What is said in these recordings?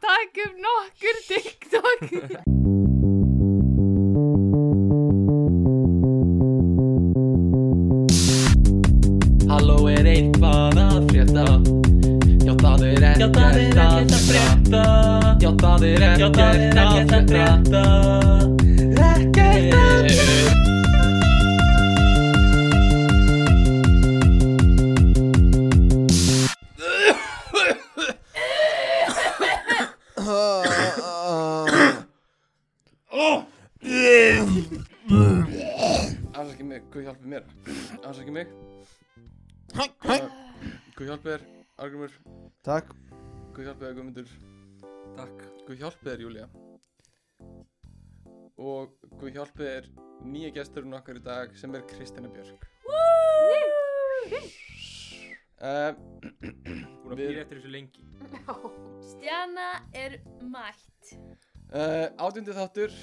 tökum nokkur TikTok Halló er eitthvað að frétta Já það er ekkert það er ekkert að að frétta Já það er Já, það er ekkert að ekkert að frétta Ekkert að frétta Afsaki mig, hvað hjálpið mér? Afsaki mig Hvað hjálpið þér, Argrymur? Takk Hvað hjálpið þér, Guðmundur? Takk Hvað hjálpið þér, Júlía? Og hvað hjálpið þér nýja gesturinn okkar í dag sem er Kristina Björk uh, Búin að Við- býra eftir þessu lengi Stjana er mætt uh, Áttundi þáttur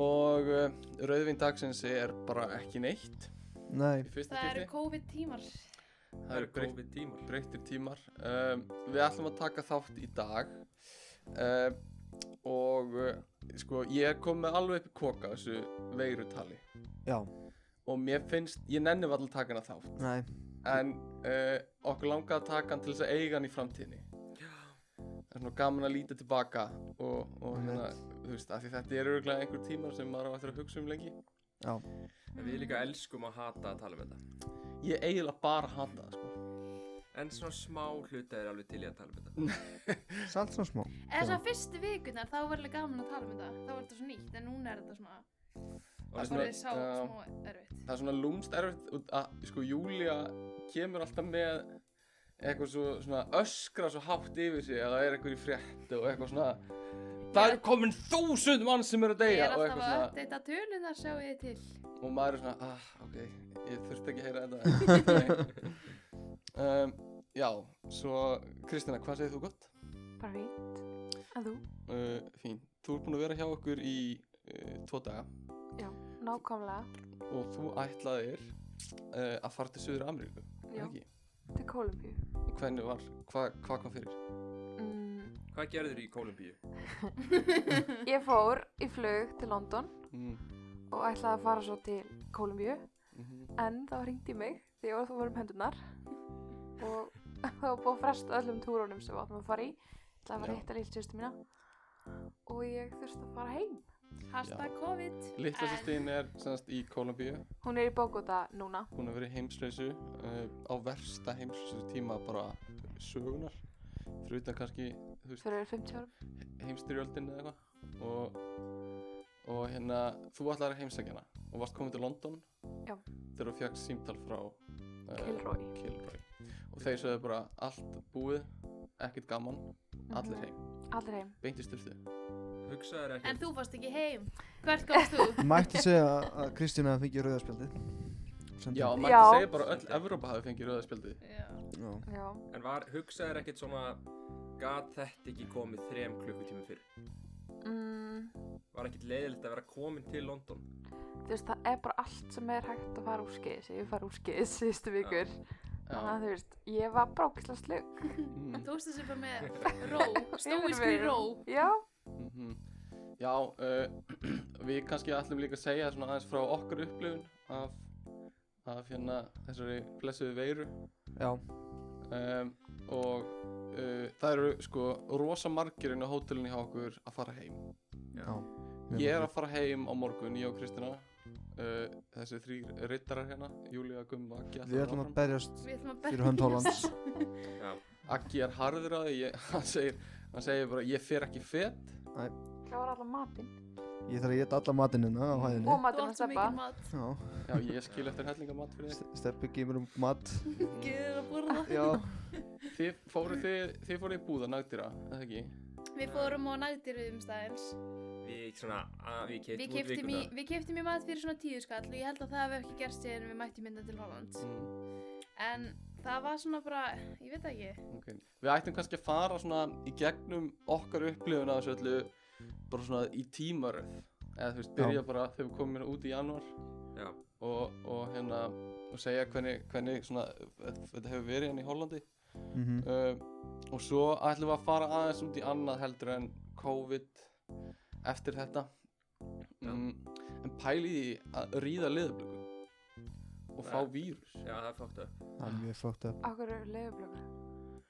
og uh, rauðvin dagsins er bara ekki neitt Nei í fyrsta Það eru skipti COVID tímar Það eru breytt- COVID tímar breyttir tímar um, við ætlum að taka þátt í dag um, og uh, sko ég er komið alveg upp í koka þessu veirutali Já og mér finnst, ég nenni vall að taka hana þátt Nei en uh, okkur langaði að taka hann til þess að eiga hann í framtíðinni það er svona gaman að líta tilbaka og, og hérna, þú veist, af því þetta eru örugglega einhver tímar sem maður á eftir að hugsa um lengi Já En Við líka elskum að hata að tala um þetta ég eiginlega bara hata það sko. En svona smá hluta er alveg til í að tala um þetta Salt svona smá Mm. Eða svona fyrstu vikunar þá var alveg gaman að tala um þetta Þá var þetta svo nýtt en núna er þetta svona Og Það svona, er sá já. smá erfitt það er svona lúmst erfitt út að sko Júlia kemur alltaf með eitthvað svo, svona öskra svo hátt yfir sig að það er eitthvað í frétt og eitthvað svona það eru komin þúsund mann sem eru Ég að deyja er alltaf og eitthvað að svona uppdata tölunar sjáu þið til og maður er svona ah ok ég þurfti ekki að heyra þetta Nei. um, já svo Kristina hvað segir þú gott? Bara fínt. En þú? Uh, fín þú ert búin að vera hjá okkur í uh, tvo daga Já, nákvæmlega. og þú ætlaðir uh, að fara til Suður Ameríku Já, ekki? til Kólumbíu. og hvernig var hvað hva, kom fyrir? Mm, Hvað gerður í Kólumbíu? ég fór í flug til London Mm. og ætlaði að fara svo til Kólumbíu Mhm. en þá hringdi í mig því ég var þú voru um hendunar og þá var búið að fresta öllum túrunum sem við áttum að fara í. Ég ætlaði að Já. fara að hitta lillsýstu mína og ég þurfti að fara heim. Hashtag COVID en- Litla sýstin er semst í Kolumbíu, Hún er í Bogota núna. hún hefur verið í heimsreisu uh, á versta heimsreisu tíma bara sögunar fyrir utan kannski þú veist, Fyrir 50 árum. heimstyrjöldin eða eitthvað og, og hérna þú ætlaðir að heimsækja hana og varst komin til London Já. þegar þú fjökk símtal frá uh, Kilroy. Kilroy og þeir sögðu bara allt búið ekkert gaman, Mhm. allir heim Allir heim. beint í styrtu Hugsaður ekki En þú fórst ekki heim Hvert komst þú? Mætti segja að Kristína fengi rauðarspjaldið Já, Já maður Já. segir bara öll Evrópa hafi fengið rauðaspjaldið Já. Já Já. En var, hugsaður ekkert svona Gat þetta ekki komið þrem klukkutíma fyrr? Mm, Var ekkert leiðilegt að vera komin til London? þú veist, það er bara allt sem er hægt að fara úr skeiðis. Ég fara úr skeiðis síðustu vikur. Þannig að þú veist, ég var brókislega slug. mm. Þú veist þessi bara með ró Stóísku Yfirvegun. ró Já, Mhm. Já, uh, við kannski ætlum líka að segja svona aðeins frá okkur upplifun af, af hérna þessari blessuðu veiru Já um, og uh, það eru sko rosa margir inn á hótelinu hjá okkur að fara heim. Já Mjög Ég er margir. að fara heim á morgun, ég og Kristina, uh, þessi þrýr rittarar hérna, Júlía, Gumma, Aggi, Við ætlum að berjast Við ætlum að fyrir hönd Hollands Já, Aggi er harður að því, ég- hann segir, hann segir bara, ég fer ekki fett, klára allan matinn. Ég þarf að geta alla matinina á hæðinni Og Þú matinn að átt svo steppa. mikið mat Já já, ég skil eftir hellingamat fyrir þig. Ste- Steppi geymur um mat Gjöður að borða Já Þið fóruð þið, þið fóruð í búða nagdýra, eða ekki? Við fórum á nagdýruðum staðins við svona að, Við Við keitum út keftum í, vikuna við keyptum í mat fyrir svona tíu skall og ég held að það hefði ekki gerst síðan við mættum mynda til Hollands Mm. En það var svona bara, ég veit ekki Ok, Við ættum kannski að fara svona í gegnum okkar upplifun að þessu öllu bara svona í tímaröð eða þú veist, byrja bara þegar við komum hérna út í januar Já, og, og hérna og segja hvernig, hvernig svona eh, þetta hefur verið hérna í Hollandi Mhm. uh, og svo ætlum við að fara aðeins út í annað heldur en COVID eftir þetta Já. mm, en pæli í því að ríða liðublöku og fá Nei. vírus Já, það er fucked up. Það er mjög fucked up. Akkur eru leðublöku.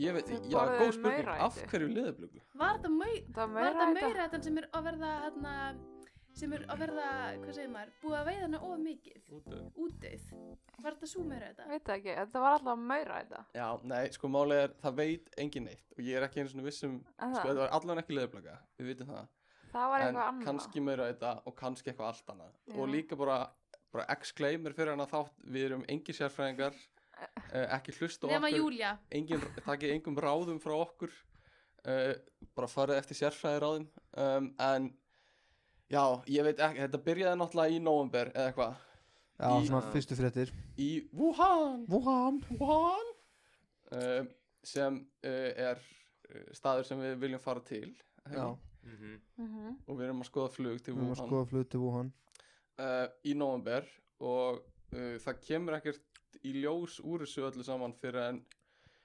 ég veit, Þið já, borðuðu góð spurning, maurætur. af hverju liðublöku? Var þetta mau- Það var var meira þetta maurætan sem er að verða, hérna, sem er að verða, hvað segir maður, búið að veiða hana of mikið, Útöð. útdauð? Var þetta svo mauræta? Veit það ekki, þetta var alltaf meira þetta. já, nei, sko málið er, það veit engin neitt og ég er ekki einu svona vissum En sko, það, þetta var allan ekki liðublöka, við vitum það það var en eitthvað annað. kannski meira þetta og kannski eitthvað allt annað Já. og líka bara, bara exclaimer fyrir hann að þátt við erum engi sérfræðingar eh, ekki hlusta á Nefna okkur Júlia. engin, takið engum ráðum frá okkur uh, bara farið eftir sérfræðiráðum um, en já, ég veit ekki, þetta byrjaði náttúrulega í november eða eitthvað, Já, Í- svona Já. fyrstu fréttir. í Wuhan Wuhan. Wuhan um, sem uh, er uh, staður sem við viljum fara til er það Já, ekki? Mhm. Mhm. og við erum að skoða flug til við erum að Wuhan skoða flug til Wuhan. uh, í november og uh, það kemur ekkert í ljós úr þessu öllu saman fyrir en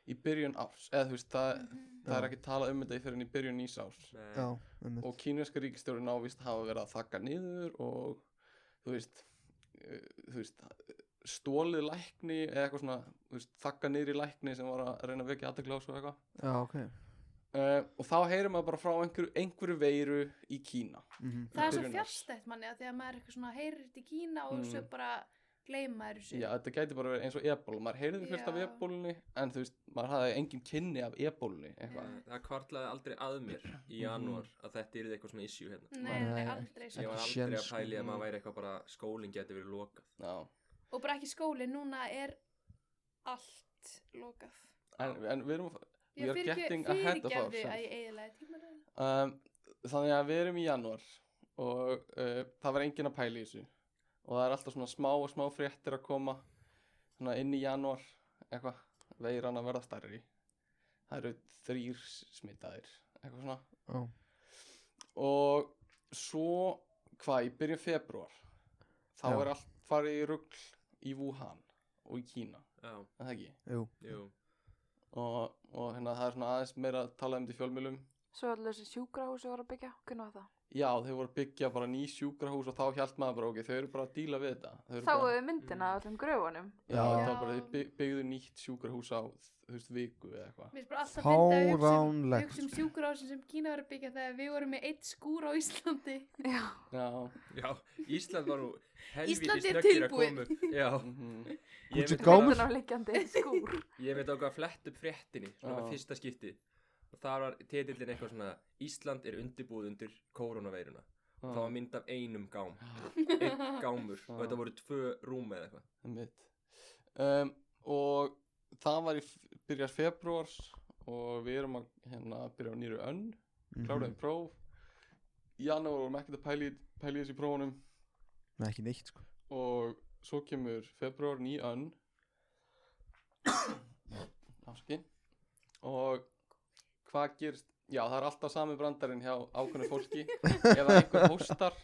í byrjun árs eða þú veist, það, það Mhm. er Já. ekki talað um þetta fyrir en í byrjun nýs árs Nei. Já, einmitt. og kínverska ríkistjórin ávist hafa verið að þakka niður og þú veist, uh, þú veist stólið lækni eða eitthvað svona þú veist, þakka niður í lækni sem var að reyna að vekja aðtekla á svo eitthvað Já, ok. uh, og þá heyrir maður bara frá einhverju, einhverju veiru í Kína Mhm. Það er svo Byrjun árs. fjárstætt manni að því að maður er eitthvað svona heyrir þetta í Kína og Mm. svo bara gleyma þér þessu. Já, þetta gæti bara verið eins og ebola maður heyrði fyrst af Já. ebolunni en þú veist, maður hafði engin kynni af ebolunni eitthvað Mm. Það það hvarlaði aldrei að mér í janúar að þetta yrði eitthvað svona issue hérna. Mhm. Nei, nei, Nei, aldrei Ég svo. var Ekki aldrei að séns, sko. pæli að maður væri eitthvað bara skólinn geti verið lokað. Já. Og bara ekki skóli, núna er allt lokað. En, en við erum að We Ég are fyrirgef- getting ahead of fyrirgefðu ourselves. að ég eiginlega tímalega. um, þannig að við erum í janúar og uh, það var engin að pæla í þessu og það er alltaf svona smá og smá fréttir að koma svona inn í janúar eitthvað, veiran að verða stærri það eru þrýr smitaðir eitthvað svona Já. og svo hvað, í byrjun februar þá Já. er allt farið í rugl í Wuhan og í Kína Já, er það ekki Jú. jú. og, og hérna það er svona aðeins meira að tala um þetta í fjölmjölum Svo allir þessi sjúkrahúsi voru að byggja, hvernig var það? Já, þau voru að byggja bara ný sjúkrahús og þá hjælt maður bara, ok, þau eru bara að díla við þetta. Þau eru Sáuðu bara, þið myndina af öllum gröfunum? já, þá Já. bara þau bygg- byggðu nýtt sjúkrahús á, þú veist, viku eða eitthvað. Mér er bara alltaf fyndið að hugsa um- Fáránlegt. hugsa um sjúkurhásin sem Kína var að byggja þegar við vorum með eitt skúr á Íslandi. Já, Já, Já, Ísland var nú helviti Ísland er snöggir að tilbúið. koma upp. Já, mhm, Put ég veit your bara- Gómur. myndin af liggjandi skúr. ég veit ákvað að flett upp fréttinni, svona Já. með fyrsta skipti. Og þar var titillin eitthvað svona, Ísland er undirbúið undir koronaveiruna. Og það var mynd af einum gám, einn gámur. Og þetta voru tvö rúm eða eitthvað. mitt. Um, og það var í f- byrjar februars og við erum að hérna, byrja á nýru önn, Mhm. kláraðum próf. Í janúar vorum ekkert að pæli, pæli þessi prófunum Nei, ekki neitt, sko. og svo kemur februar ný önn afsaki og hvað gerst já það er alltaf sami brandarinn hjá ákveðnu fólki ef að einhver hóstar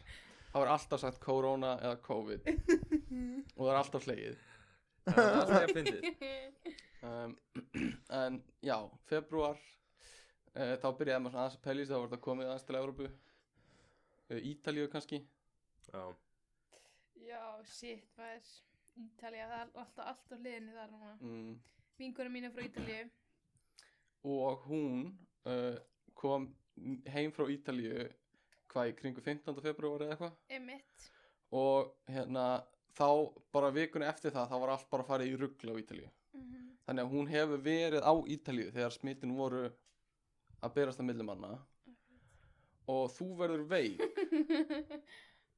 þá er alltaf sagt corona eða covid og það er alltaf hlegið Það er alltaf að fyndið. um, en já, februar uh, þá byrjaði maður svona aðeins að peljast þá var þetta komið aðeins til Evrópu uh, Ítalíu kannski Já, Já, shit, maður. Ítalja, það er alltaf allt á hliðinni þar núna. mm, Vingunum mína frá Ítalju. og hún uh, kom heim frá Ítalíu hvað í kringu 15. februari eða eitthvað Emmett. og hérna þá bara vikuna eftir það þá var allt bara farið í ruggla á Ítalíu þannig að hún hefur verið á Ítalíu þegar smitin voru að berast að millum manna og þú verður veik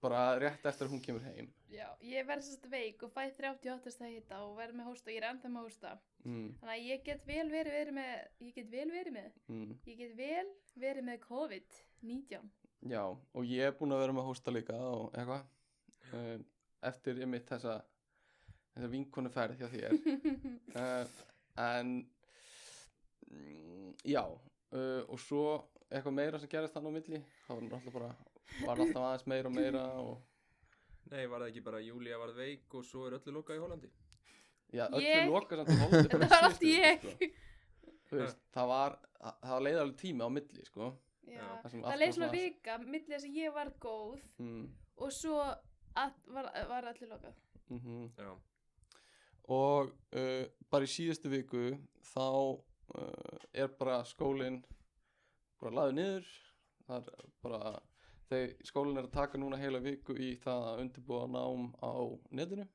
bara rétt eftir að hún kemur heim Já, ég verð sérst veik og fæ 38 stað hita og verð með hósta og ég er enda með hósta. mm, Þannig að ég get vel verið, verið með, ég get vel verið með, mm, ég get vel verið með COVID-19. já og ég er búin að vera með hósta líka og eitthvað uh, eftir ymmit þessa þessa vinkonu ferð hjá þér uh, en mm, já uh, og svo eitthvað meira sem gerist þannig á milli þá var alltaf bara var alltaf aðeins meira og meira og nei, var það ekki bara Júlia varð veik og svo er öllu lokað í Hollandi. já, öllu Ég- loka samt í Hollandi Þetta var allt ég. þú veist, það var, það, það leið alveg tími á milli, sko já. Já. sem allt það leið var svona vika millir þess að ég var góð mm, og svo að, var, var allir lokað mm já, og uh, bara í síðustu viku þá uh, er bara skólinn bara laður niður það er bara þegar skólinn er að taka núna heila viku í það að undirbúa nám á netinu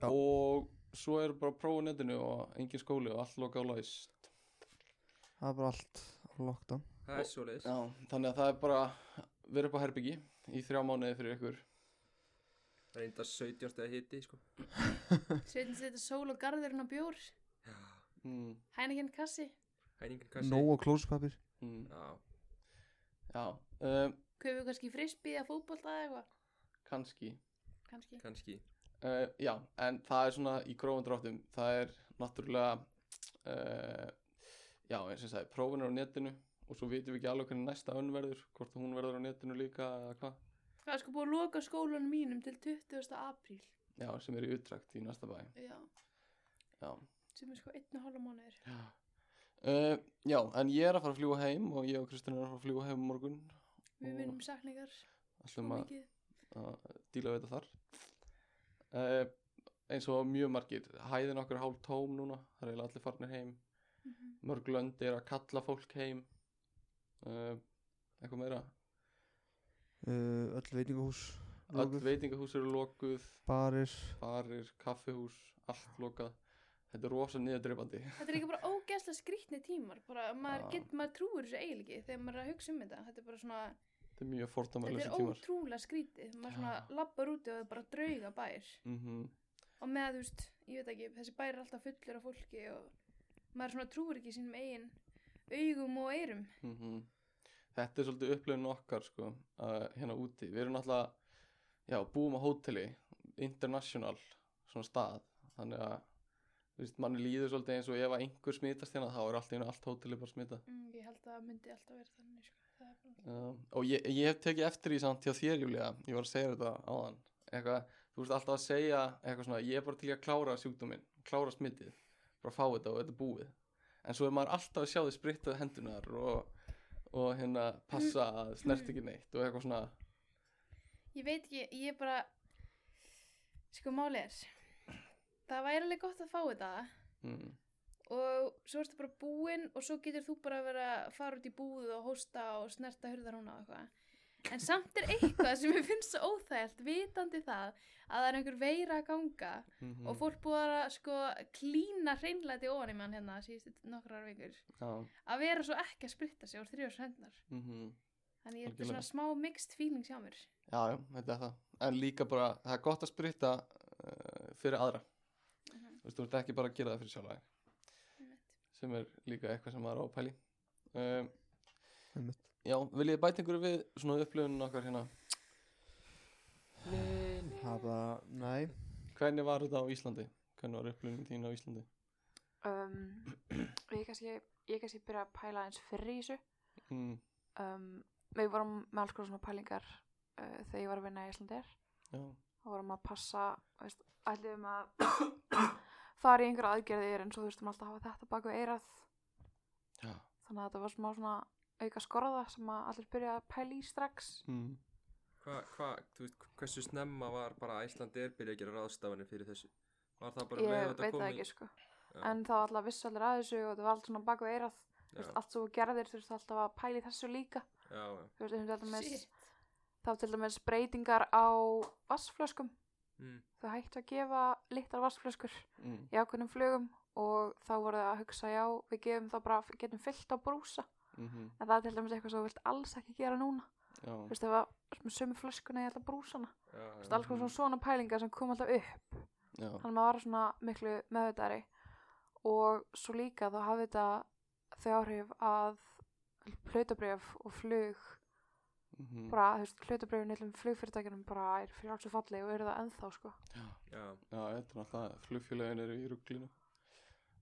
Já. og svo er bara prófa netinu og engin skóli og allt loka á læst Það er bara allt á lockdown það er svo leiðis Já, þannig að það er bara verið upp á herbyggi í þrjá mánuði fyrir ykkur reynda 17 stegar hiti sko. Sveitin setja sól og garðurinn og bjór mm, Hæningin kassi hæningar kassi Nó og klóspapir mm, já, Já, um, Kaupið kannski frisbee eða fótbolta eða eitthvað kannski Kannski kannski Uh, já, en það er svona í grófum dráttum, það er náttúrulega, uh, já eins og ég sagði, prófin er á netinu og svo vitum við ekki alveg hvernig næsta önn verður, hvort hún verður á netinu líka eða hvað, Það er sko búið að loka skólanum mínum til 20. apríl já sem er í utdrakt í næsta bæ, Já, já. sem er sko einn og hálfa mánuður Uh, já, en ég er að fara að fljúa heim og ég og Kristján er að fara að fljúa heim á morgun, Við munum sakningar og ætlum að, mikið að díla við þetta þar. Uh, eins og mjög margir, hæðin okkar er hálf tóm núna, það er eiginlega allir farnir heim. Mhm. mörg lönd er að kalla fólk heim uh, eitthvað meira uh, Öll veitingahús öll lokuð, veitingahús eru lokuð Barir barir, kaffihús, allt lokað þetta er rosa niðurdreifandi Þetta er líka bara ógeðslega skrýtni tímar bara, maður, Já. get, maður trúir þessu eiginlega ekki þegar maður er að hugsa um þetta þetta er bara svona, þetta er mjög þetta er fordómalösa tímar ótrúlega skrýtið maður svona Já. lappar úti og það er bara drauga bær mm -hmm. og með þú veist, ég veit ekki, þessi bær er alltaf fullur af fólki og maður svona trúir ekki sínum eigin augum og eyrum Mhm. þetta er svolítið upplifin okkar sko, uh, hérna úti við erum alltaf, já, búum á hóteli international svona stað, þannig að þú veist, manni líður svolítið eins og ef að einhver smitast hérna þá er allt í einu allt hóteli bara smitað mm, ég held að það myndi alltaf vera þannig sko. það er bara Já, og ég, ég hef tekið eftir því samt hjá þér Júlia, ég var að segja þetta áðan eitthvað, þú veist alltaf að segja eitthvað svona, ég er bara til í að klára sjúkdóminn klára smitið, bara fá þetta og þetta er búið en svo er maður alltaf að sjá því sprittaði hendunar og, og hérna passa að snert ekki neitt og eitthvað svona, ég veit ekki, ég er bara sko máli er það væri alveg gott að fá þetta mm, og svo ertu bara búinn og svo getur þú bara að vera að fara út í búð og hósta og snerta hurðarhúna og eitthvað en samt er eitthvað sem ég finnst svo óþægt vitandi það að það er einhver veira að ganga mm og fólk búið að sko klína hreinlæti ofan í mann hérna síðust nokkrar vikur já, að vera svo ekki að spritta sig úr þrjóðs hendnar mm þannig ég þetta er Algjörlega. svona smá mixed feeling hjá mér já, já, þetta er það en líka bara, það er gott að spritta uh, fyrir aðra þú veist, þú ert ekki bara að gera það fyrir sjálfa þig. sem er líka eitthvað sem maður á að pæli um, Einmitt. Já, viljið þið bæta einhverju við svona upplöfunum okkar hérna Það er bara, næ Hvernig var þetta á Íslandi? Hvernig var upplöfunum þín á Íslandi? um, ég kannski, ég kannski byrja að pæla eins fyrir í þessu Mm, um, við vorum með alls konar svona pælingar uh, þegar ég var að vinna í Íslandir já, þá vorum að passa veist, ætlum að fara í einhverja aðgerðir en svo þurftum alltaf að hafa þetta baku eirað já þannig að þetta var smá svona auka skorða sem að allir byrja að pæla í strax mm, hva, hva, þú veist, hversu snemma var bara Æslandir byrja að gera ráðstafanir fyrir þessu var það bara með ég þetta veit það komið ekki sko Já. en þá alltaf vissu allir að þessu og það var allt svona baku eirað Þú já, veist, allt svo gerðir þurftu alltaf að pæla í þessu líka já, já. sko. þú veist, til dæmis, Shit. þá til dæmis breytingar á vassflöskum Mm. þau hættu að gefa litlar vassflöskur mm, í ákveðnum flugum og þá voru það að hugsa já, við gefum þá bara getum fyllt á brúsa mm -hmm, en það er til dæmis eitthvað sem þú vilt alls ekki gera núna Já, þú veist, það var með sömu flöskuna í alltaf brúsana þú Já, veist, alls konar svona svona pælingar sem kom alltaf upp já, þannig að maður var svona miklu meðvitaðri og svo líka þá hafði þetta þau áhrif að hlutabrjöf og flug mhm, bara, þú veist, hlutabrjöfin illum flugfyrirtækjunum bara er fyrir alls og falli og eru það ennþá sko. já, já, já, þetta er alltaf flugfélagin eru í rugglinu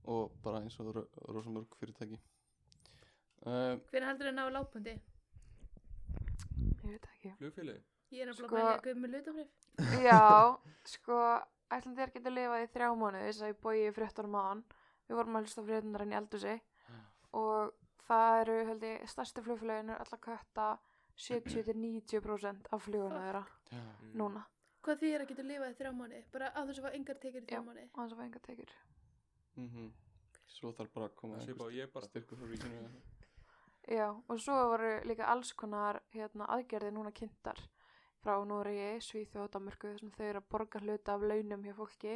og bara eins og ro- rosa mörg fyrirtæki um, hvernig heldur það að ná lápundi? ég veit það ekki flugfélagi ég er Sko- nefnilega bara að guða með lutabrif Já, sko, ætlandi er getur lifað í þrjá mánuði þess að ég bói í 14 mánu við vorum að hlusta frétundar enn í eldhúsi og það eru held ég stærsti flugfélagin er alltaf kötta 70-90% af fluguna þeirra mm. núna Hvað því er að geta lifað í þrjá mánuði? Bara á þess að fá engar tekjur í Já. þrjá mánuði. og hans að fæðingar tekjur Mhm. Svo þarf bara að koma Svipa og ég bara bara styrkur frá ríkinu eða eitthvað. Já, og svo voru líka alls konar hérna, aðgerði núna kynntar frá Noregi, Svíþjóð og Danmörku þar sem þau eru að borga hluta af launum hjá fólki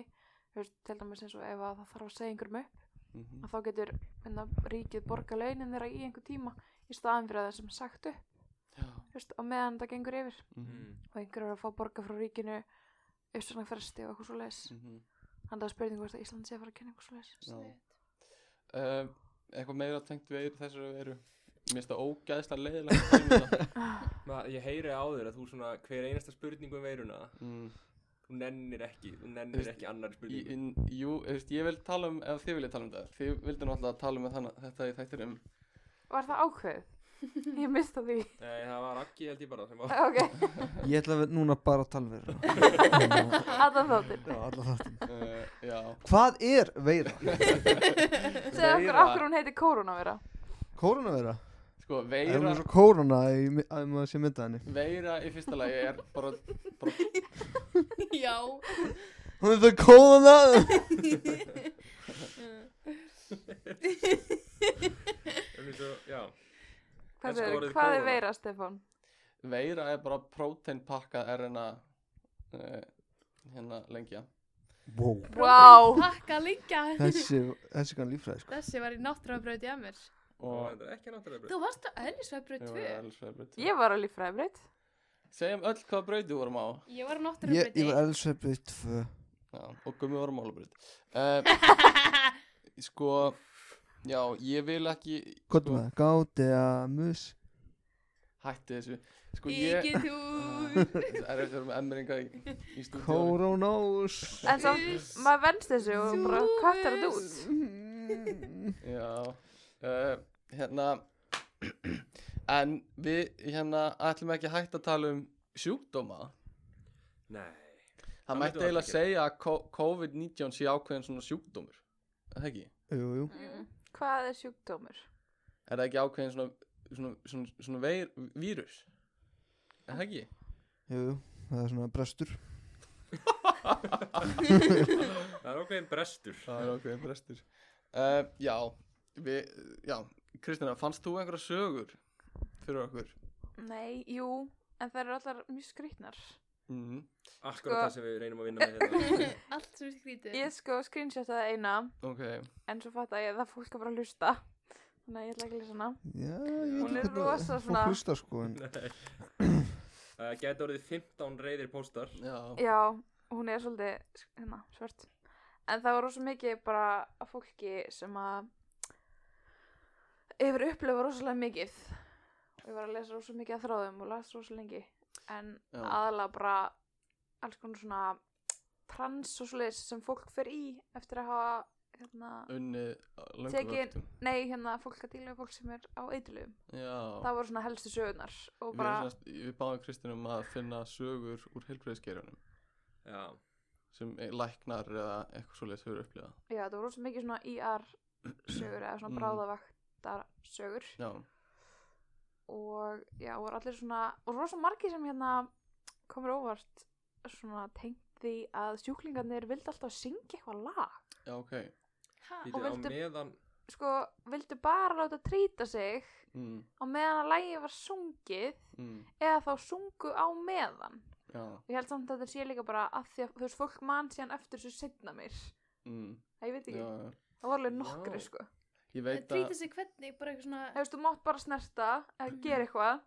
Þú veist, til dæmis eins og ef að það þarf að segja einhverjum upp Mhm. að þá getur hérna, ríkið borga launin þeirra í einhver tíma í staðan fyrir að það sem sagt upp Já. þú veist, á meðan það gengur yfir Mhm. Mm. og einhverjur eru að fá borga frá ríkinu uppsvöna fresti og eitthvað svo leis Mm. Mhm. þannig að það er spurning hvort að Ísland sé að fara að kenna eitthvað svo leis Já. Sniðugt. Um, eitthvað meira tengt við þessari veru Mér finnst það ógæðslega leiðilega að tala um þetta. Ma, ég heyri á þér að þú svona hver einasta spurningu um veiruna mm. þú nennir ekki, þú Þú nennir veist, ekki annar Í, spurningu in, jú, þú veist, ég vil tala um, ef þið viljið tala um þetta, þið vildu náttúrulega tala um þann, þetta í þættinum. Var það ákveð? Ég mista því Nei, það var Raggi held ég bara sem var Ok, Ég ætla að vera núna bara að tala vera allan þáttir Já, alla þáttin Uh, já, Hvað er veira? Segð okkur Veira. okkur hún heiti Kórónavera Kórunaveira? sko, Er hún veira, eins og kóruna í mi- að maður sé mynda henni? veira í fyrsta lagi er bara, bara Já. Hún er það kóruna Mm. svo, já, Hvað, Elska er, orðið hvað er kóróna. veira, Stefán? veira er bara próteinpakka RNA uh, hérna lengja. Wow Vá Takk að líka. Þessi, þessi kann líffræði sko Þessi var í náttúrubraut í Amir. og Og þetta er ekki náttúrulega breyð Þú varst á eðlisvæðbraut ég 2. var alls vegar braut. Ég var á líffræðibreyt Segjum öll hvaða braut við vorum á. Ég var á Ég, náttúrubraut ég var elsvefið tvö Já, og gummi vorum á álabraut. Uh, sko, já, ég vil ekki, Hvað Sko- með það? Gáti að mus hætti þessu. Sko, ég, Ekki þú. það er eftir að vera með emmeringa í, í stúdíu. Kórunós En samt, maður venst þessu og bara Þú kattar þetta út veist. Mm. Já, uh, hérna, en við, hérna, ætlum ekki hægt að tala um sjúkdóma. Nei, Það Það mætti myndum við eiginlega ekki segja að co- COVID-19 sé ákveðin svona sjúkdómur, er það ekki? Jú, jú Mm. Hvað er sjúkdómur? Er það ekki ákveðin svona, svona, svona, svona veir, vírus, er það ekki? Jú, jú Það er svona brestur það er okkur einn brestur Það er ákveðin brestur. Uh, já, við, já, Kristina, fannst þú einhverja sögur fyrir okkur? Nei, jú, en það eru allar mjög skrýtnar Mhm. Akkurat Sko- það sem við reynum að vinna með hérna Allt sem skrítið. Ég sko screenshotaði eina Ok, en svo fatt að ég að það fólk er bara að hlusta Þannig að ég ætla ekki að lesa hana Já, ég Hún er veit ekki rosa hvernig svona- Fólk hlusta sko en uh, Gæti orðið 15 reyðir póstar já, Já, hún er svolítið hérna, svört En það var rosa mikið bara af fólki sem að yfir upplifa rosalega mikið og ég var að lesa rosa mikið af þráðum og las rosa lengi en já. aðalega bara alls konar svona trans og svoleiðis sem fólk fer í eftir að hafa hérna, unnið löngu Tekin- vöktum. nei, hérna fólk að díla við fólk sem er á eitilugum Já, það voru svona helstu sögurnar og við, bara, bara... við báðum Kristinum að finna sögur úr heilbreyðskerjunum Já, sem e- læknar eða eitthvað svoleiðis hefur upplifað. já, það voru rosa mikið svona IR sögur eða Mm. svona bráðavaktar sögur Já, og já, voru allir svona og rosa margir sem hérna komur óvart svona tengt því að sjúklingarnir vildi alltaf syngja eitthvað lag já, ok. Ha? býtu Og á vildu- meðan sko, vildi bara láta trýta sig Mm, á meðan að lægi var sungið mm, eða þá sungu á meðan já, ég held samt að þetta sé líka bara að því að þú veist fólk mann síðan eftir þessu setna mér mm, það ég veit já, ekki, já. það voru alveg nokkri Já. sko Ég Það veit að, trýta sig hvernig, bara eitthvað þú svona, veist, þú mátt bara snerta eða gera eitthvað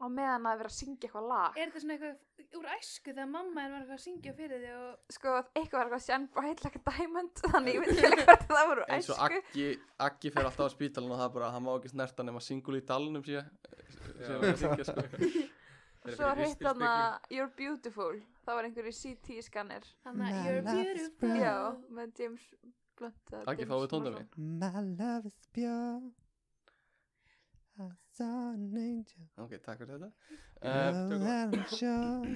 á meðan að vera að syngja eitthvað lag er þetta svona eitthvað úr æsku þegar mamma henn var eitthvað að syngja fyrir þig og sko, eitthvað var eitthvað sjann bara heitlega diamond þannig ég veit ekki alveg hvort það voru eins og æsku Aggi, Aggi fer alltaf á spítalinn og það er bara, hann má ekki snerta nema singul í dalnum síðan. Já. Síðan að syngja, sko. Þeir svo fyrir ristil heitt hann að speglum. You're Beautiful það var einhverju CT skanner þannig My að you're love is beautiful. brown. já, með James Blunt eða Aggi, James fáið tóndæmi? My Morrison. love is pure I saw an angel Ok, takk fyrir þetta. Uh, Well, tökum- I'm sure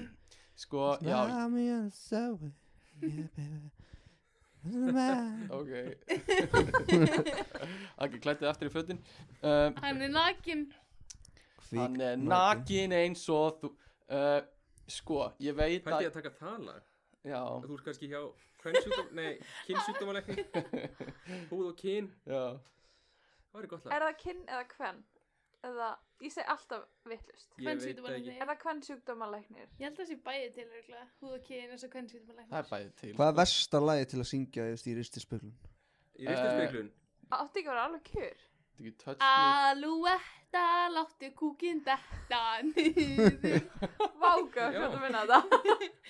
sko, já, Smile me and so Yeah, baby Nei, ok Akki klættið aftur í fötin um, Hann er nakin Hann er nakin eins og þú uh, Sko, ég veit Pældi að ég að taka það lag? Já, Að Þú ert kannski hjá kvennsjúkdóm, nei, kynnsjúkdómalækni Húð og kyn, já það var gott Er lag það kinn eða kvenn? Eða, ég segi alltaf vittlust Ég veit það ekki Er það kvenn sjúkdómalæknir? Ég held að það sé bæði til örgulega Húð og kyn eins og hvern sýtum að Það er bæðið til Hvað er versta lagi til að syngja just í ristispuglun? Í Eh. ristispeglun, Átti ekki að vera alveg kjör Þetta ekki touch Ah. me Alúetta, láttu kúkin detta niður Vága, Já. hvernig minna þetta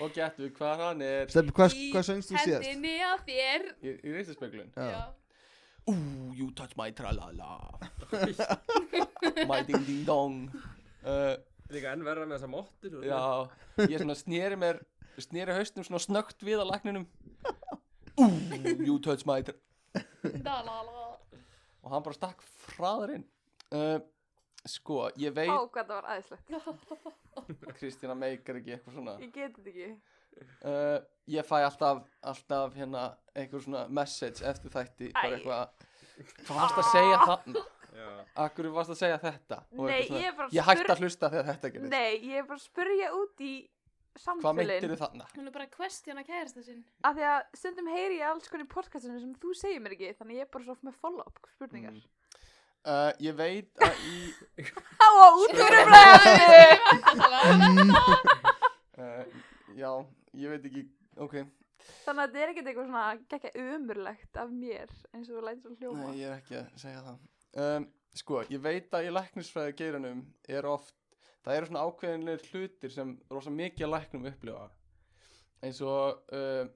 Og getur við hvað hann er Steppi, hvað, í hvað söngst þú síðast? Hendinni á þér Í, í reistispeglun Já. Ooh, you touch my tralala My ding ding dong uh, þetta er eitthvað enn verra með þessa mottur og- Já, ég svona sneri mér Sneri haustum svona snöggt við að lækninum Ooh, you touch my tralala Dalala Og hann bara stakk fræðarinn uh, Sko, ég veit Ó, hvað það var aðeinslegt Kristína meikar ekki eitthvað svona Ég geti þetta ekki uh, Ég fæ alltaf, alltaf hérna Eitthvað svona message eftir þætti Bara Æ. eitthvað Hvað varst að segja þarna? Já. Akkur varst að segja þetta? Og Nei, eitthvað svona, ég er bara Ég hætti spurð- að hlusta þegar þetta gerist Nei, ég er bara að spurja út í Hvað meintir samtölin þið þarna? Hún er bara að questiona kærasta sinn Af því að stundum heyri ég alls konar í podcastinu sem þú segir mér ekki Þannig ég er bara svo oft með follow-up spurningar Mm. Uh, ég veit að í Á, á, út fyrir bræði uh, Já, ég veit ekki Ok, Þannig að þetta er ekkert eitthvað svona gekka umurlegt af mér eins og þú lætur að hljóma. nei, ég er ekki að segja það um, Sko, ég veit að í læknisfræði geiranum er oft Það eru svona ákveðinleir hlutir sem rosa mikið að læknum upplifa Eins og uh,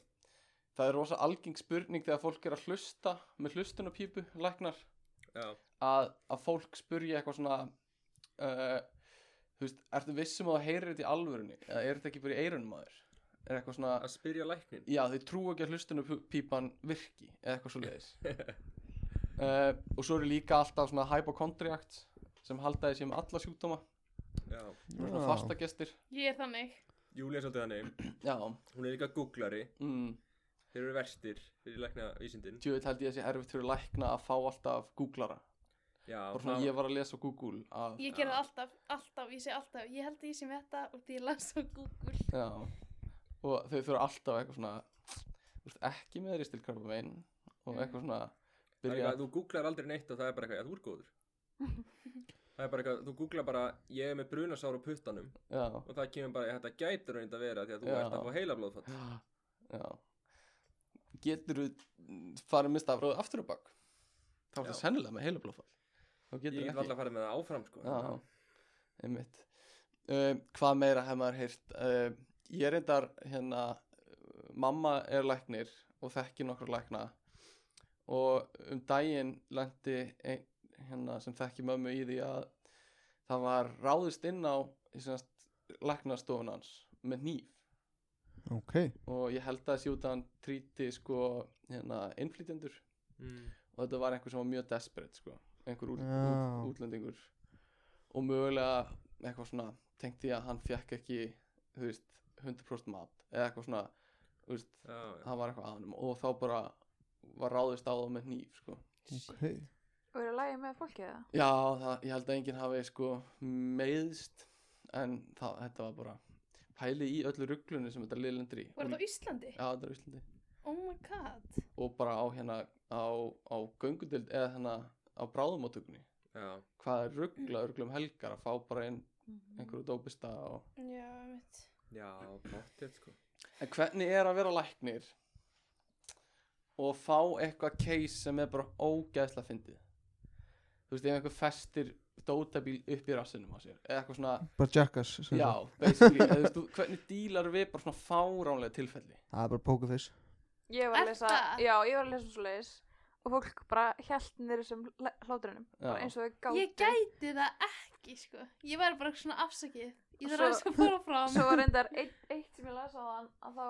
Það er rosa algeng spurning þegar fólk er að hlusta með hlustunarpípu, læknar Já. að, að fólk spurja eitthvað svona uh, þú veist, ertu vissum að það heyrir þetta í alvörunni eða er þetta ekki bara í eirunum að þér er eitthvað svona, Að spyrja læknin já þau trú ekki að hlustunarpípan virki eða eitthvað svo leiðis uh, og svo eru líka alltaf svona hypochondriakt sem halda þessi með alla sjúkdóma Já. sem eru svona fastagestir Ég er þannig Júlía er svolítið þannig, já, hún er líka googlari mm, Þeir eru verstir fyrir lækna vísindin tjóðið held ég þessi erfitt fyrir lækna að fá alltaf googlara Já, og það- svona ég var að lesa á Google að, Ég ger það alltaf, alltaf, ég segi alltaf Ég held að ég sé með þetta og því ég las á Google Já, og þau þurfa alltaf eitthvað svona þú veist, ekki með ristilkarpa megin og eitthvað svona það er byrja, eitthvað að þú googlar aldrei neitt og það er bara eitthvað, já, þú ert góður Það er bara eitthvað, þú googlar bara ég er með brunasár á puttanum já, og það kemur bara, þetta gætur hann að vera því að þú Já. ert að fá heilablóðfall já getur farið með stafröðu aftur á bak þá er Já. það sennilega með heilablóðfall þá Ég getur get ekki alltaf að fara með það áfram sko já, einmitt um, hvað meira hef maður heyrt um, ég reyndar hérna uh, mamma er læknir og þekki nokkra lækna og um daginn lendi ein, hérna sem þekki mömmu í því að það var ráðist inn á semast, læknastofun hans með nýf Ah, Ok, og ég held að þessi út að hann tríti sko hérna innflytjendur Mm. og þetta var einhver sem var mjög desperate sko. einhver út, Já. út, útlendingur og mögulega eitthvað svona tengt því að hann fekk ekki þú veist, 100% mat eða eitthvað svona þú veist, Já, já. það var eitthvað aðanum og þá bara var ráðist á það með nýf sko. ok Og eru að lægi með fólki eða? já, það, ég held að enginn hafi sko, meiðst en það, þetta var bara pæli í öllu rugglunni sem þetta liðlendur í Var Og- þetta á Íslandi? já, þetta er á Íslandi Oh my god og bara á hérna á, á göngudeld eða hérna á bráðumóttökunni Já. hvað er ruggla, ruggla um helgar að fá bara inn Mhm. einhverju dópista og... Já, mitt Já, pottet sko en hvernig er að vera læknir og fá eitthvað case sem er bara ógeðslega fyndið þú veist, ef einhver festir dótabíl upp í rassinum á sér eða eitthvað svona, Bara jackass sem já, sagt. basically eða, þú veist, þú- hvernig dílar við bara svona fáránlega tilfelli Það er bara pokerface Ég var Er að lesa, það? já, ég var að lesa svo leiðis og fólk bara hjælt niður þessum hla- hlátrinum, bara Já. eins og þau gátu. Ég gæti það ekki, sko Ég væri bara svona afsakið Ég þarf Svo- aðeins að fara fram Svo var reyndar eitt, eitt sem ég lasa á þann að þá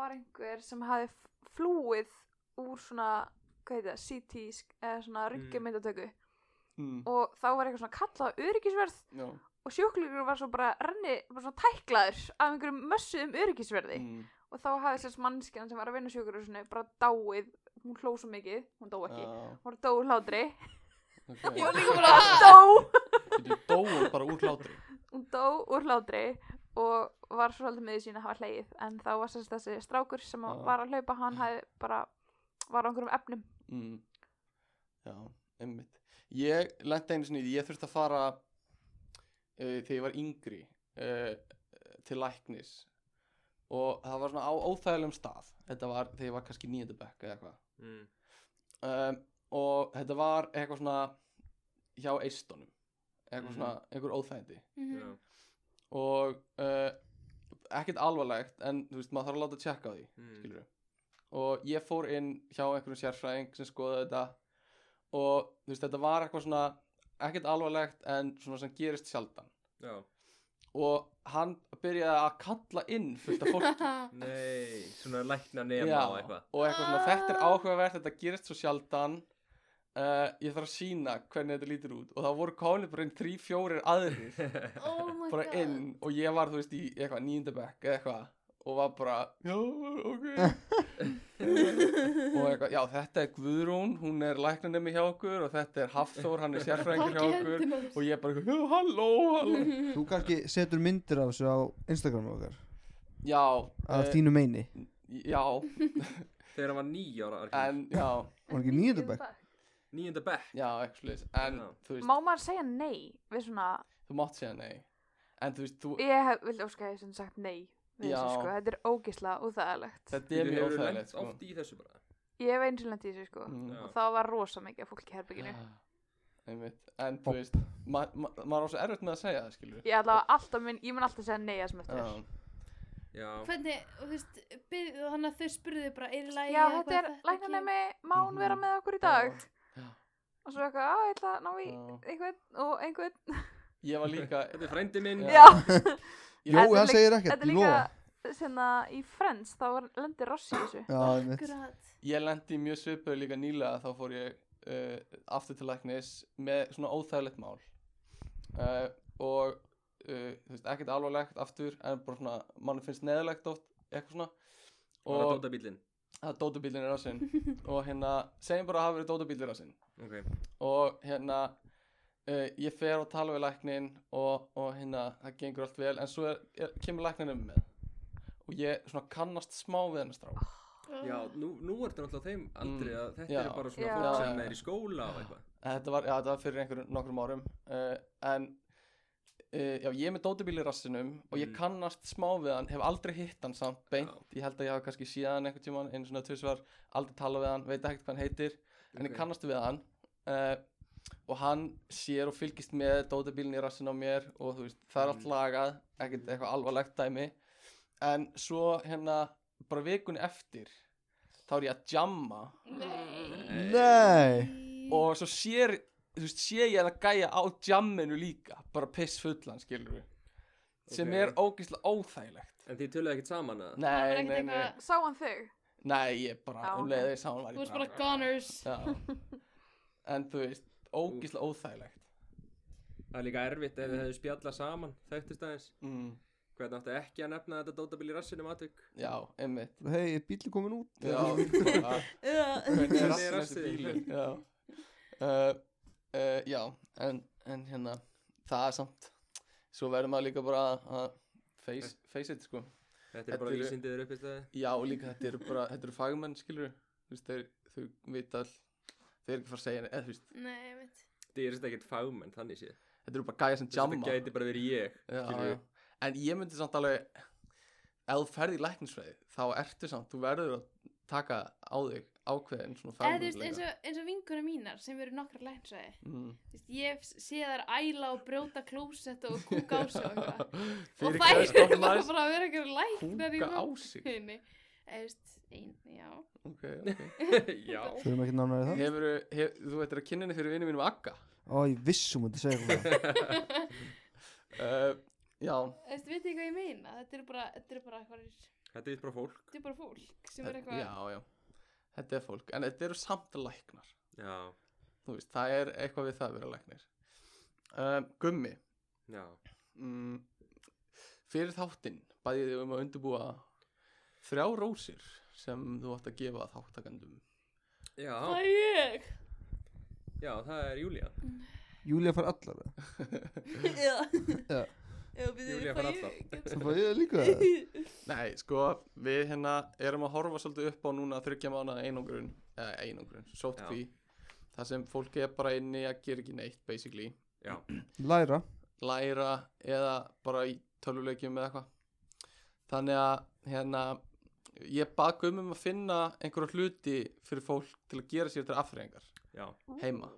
var einhver sem hafi f- flúið úr svona, hvað heit það, CT sk- eða svona ryggjumyndatöku mm. og þá var eitthvað svona kallað öryggisverð já, og sjúklingur var svo bara renni, bara svona tæklaður af einhverjum mössuðum um öryggisverði mm. og þá hafði sérst mannskjan sem var að vinna sjúkurúsinu bara dáið, hún hló svo mikið hún dó ekki, Já, hún dó úr hlátri ok. Ég var líka bara að dó, Þú dóur bara úr hlátri. hún dó úr hlátri og var svolítið með sín að hafa hleið en þá var sérst þessi strákur sem Já. að var að hlaupa, hann hafði bara var á einhverjum efnum Mm. Já, einmitt. Ég lendi einu sinni, í því, ég þurfti að fara uh, þegar ég var yngri uh, til læknis og það var svona á óþægilegum stað. Þetta var þegar ég var kannski nýjöndabekk eða eitthvað. Mm. um, og þetta var eitthvað svona hjá eistunum eitthvað Mhm. svona, einhver óþægindi Mhm. Já. og uh, ekkert alvarlegt en þú veist, maður þarf að láta tjekka á því Mm. skilur og ég fór inn hjá einhverjum sérfræðing sem skoðaði þetta og þú veist, þetta var eitthvað svona ekkert alvarlegt en svona sem gerist sjaldan Já. og hann byrjaði að kalla inn fullt af fólki Nei, svona lækna nema Já, og eitthvað og eitthvað svona, Ah. þetta er áhugavert, þetta gerist svo sjaldan uh, ég þarf að sína hvernig þetta lítur út og það voru komin bara einn þrý, fjórir aðrir Oh my bara god inn og ég var, þú veist, í eitthvað nýjöndabekk eða eitthvað og var bara, já, ok og eitthvað, já, þetta er Guðrún hún er læknanemi hjá okkur og þetta er Hafþór, hann er sérfræðingur hjá okkur og ég bara, já, halló, halló Mhm. Þú kannski setur myndir af þessu á Instagram okkar já, Af eh, þínu meini já, Þegar hann var níu ára en, en, já Var ekki um nýjöndabæk? Níunda bekk já, ekki slis, en, Já. þú veist má maður segja nei við svona, þú mátt segja nei en þú veist, þú, ég hef, vildi óska að ég sem sagt nei við Já. þessu sko, þetta er ógisla óþægilegt þetta er Þú mjög hefur óþægilegt lent sko. oft í þessu bara ég hef eins og lent í þessu sko Mm. Já. og þá var rosa mikið fólk í herbygginu Einmitt. en þú Bopp. veist ma ma maður á svo erfitt með að segja það skilur ég, allavega alltaf mun, ég mun alltaf segja nei að smöttur Já. Já, Hvernig, þú veist, byrð, þannig að þau spurðu bara er í lagi já, eitthvað þetta er ekki?" læknanemi, má hún vera Mhm. með okkur í dag Já. og svo eitthvað, að ég ætla að ná í Já. einhvern og einhvern ég var líka þetta er frændi minn já, Jó, Jói, Þetta er hann líka- segir þetta ekkert, er ég líka lofa sinna, í Friends, þá var- lendir Ross í þessu Já, einmitt Akkurat ég lendi í mjög svipuðu líka nýlega þá fór ég uh, aftur til læknis með svona óþægilegt mál uh, og uh, þú veist, ekkert alvarlegt aftur en bara svona, mann finnst neðalegt oft eitthvað svona Var það og dótabílinn það dótabílinn er á sinn og hérna, segjum bara að hafa verið dótabílinn á sinn Ok, og hérna uh, ég fer og tala við læknin og, og hérna það gengur allt vel en svo er, er, kemur læknin um með og ég svona kannast smá við hennar strá já, nú, nú er þetta náttúrulega á þeim aldrei að þetta Mm. Já. er bara svona Já. fólk sem Já. er í skóla og eitthvað þetta var, já, þetta var fyrir einhverjum nokkrum árum uh, en uh, já, ég er með dótubíl í rassinum og ég Mhm. kannast smá við hann hef aldrei hitt hann samt beint ég held að ég hafa kannski síðan hann einhvern tímann einu svona tvisvar, aldrei tala við hann, veit ekkert hvað hann heitir en ég Ok. kannast við hann uh, og hann sér og fylgist með dótabílinn í rassin á mér og þú veist, það er allt Mm. lagað ekkert eitthvað alvarlegt dæmi en svo hérna bara vikunni eftir þá er ég að jamma Nei og svo sér þú veist, sé ég hann að gæja á jamminu líka bara piss fullan, skilur við sem Ok. er ógeðslega óþægilegt En þið töluðu ekkert saman Það að var nei, ekkert nei, nei, eitthvað- sá hann þau? nei, ég bara Já, um ok. leiði sá hann var Þú ég veist bara goners já. en þú veist, ógeðslega óþægilegt Það er líka erfitt ef þið hefðu spjallað saman Þekktist aðeins mm. Hvernig áttu ekki að nefna þetta dótabíl í rassinum aðtök já, einmitt Hei, er bíli komin út Já, bara, hvernig er Hvernig er rassin þessi rassið? bílinn Já, uh, uh, já en, en hérna það er samt svo verður maður líka bara að face, face it sko Þetta er Þetta bara eru- vísindið þeir uppist aðeins Já, og líka þetta eru bara, þetta eru fagmenn skilur veist, þeir, þau vita all þau eru ekki að fara að segja eða, þú veist, Nei, mitt Þetta er ekkert fagmenn, þannig séð þetta eru bara gæja sem Þess að jamma Þetta gæti bara verið ég já, skilurðu. já. en ég myndi samt alveg ef þú ferð í læknisfræði þá ertu samt, þú verður að taka á þig ákveðin Eða þú svona fagmenn veist, eins og, eins og vinkunum mínar sem eru nokkra lænsæði mm. Ég sé þær æla og brjóta klósett og kúka á sig og eitthvað og Fyrir þær eru hvað bara stofn maður bara að vera eitthvað læknar í kúka á sig völdinni eðust, ein, já Ok, ok Já Förum ekki nánar í það Hefurðu, hef, þú veitir að kynninni fyrir vinnu mínum Akka Ó, ég vissum að þetta segja eitthvað uh, Já, eðust, veit ég hvað ég meina þetta eru bara, þetta eru bara eitthvað þetta Þetta er bara fólk eru bara fólk sem er eitthvað já, já Þetta er fólk, en þetta eru samt læknar Já, Þú veist, það er eitthvað við það að vera læknir um, Gummi já mm, Fyrir þáttinn bæðið þig um að undirbúa þrjá rósir sem þú átt að gefa þáttakandum Það Já, er ég já, það er Júlía Júlia fær allar það. Já Já. Já, býðu, Júlía fæ ég- fær alla. get- Svo fæ ég það líka það. Nei, sko, við hérna erum að horfa svolítið upp á núna þryggja mánaða einogrun eða einogrun, sótkví það sem fólk er bara inni að gera ekki neitt basically, Já, Læra. læra eða bara í töluleikjum eða eitthvað þannig að hérna ég bað um um að finna einhverja hluti fyrir fólk til að gera sér til afþreyingar já, heima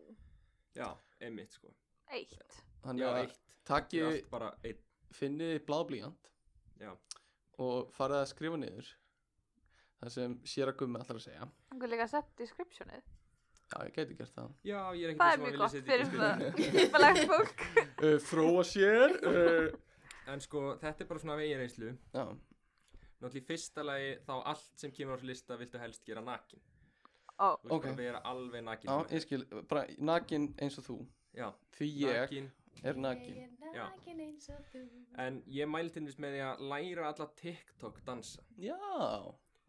já, einmitt sko Eitt Já, þannig að eitt, Ég... takki allt bara einn finnið bláblíjant Já. og farið að skrifa niður það sem sér að gummi allar að segja Þannig líka að setja descriptionið já, ég gæti gert það Já, ég er ekkert viss um að Það er mjög vilja gott setja fyrir ekki það skrifin. Íbalegt fólk uh, fróa sér uh, En sko, þetta er bara svona af eigin reynslu já, Náttúrulega í fyrsta lagi þá allt sem kemur á þessu lista viltu helst gera nakin Ó, Þú vilt Ok. bara vera alveg nakin já, ég skil bara nakin eins og þú Já, því ég nakin er nakin Ég Já. er nakin eins og þú En ég mælti hennis með því að læra alla TikTok dansa já,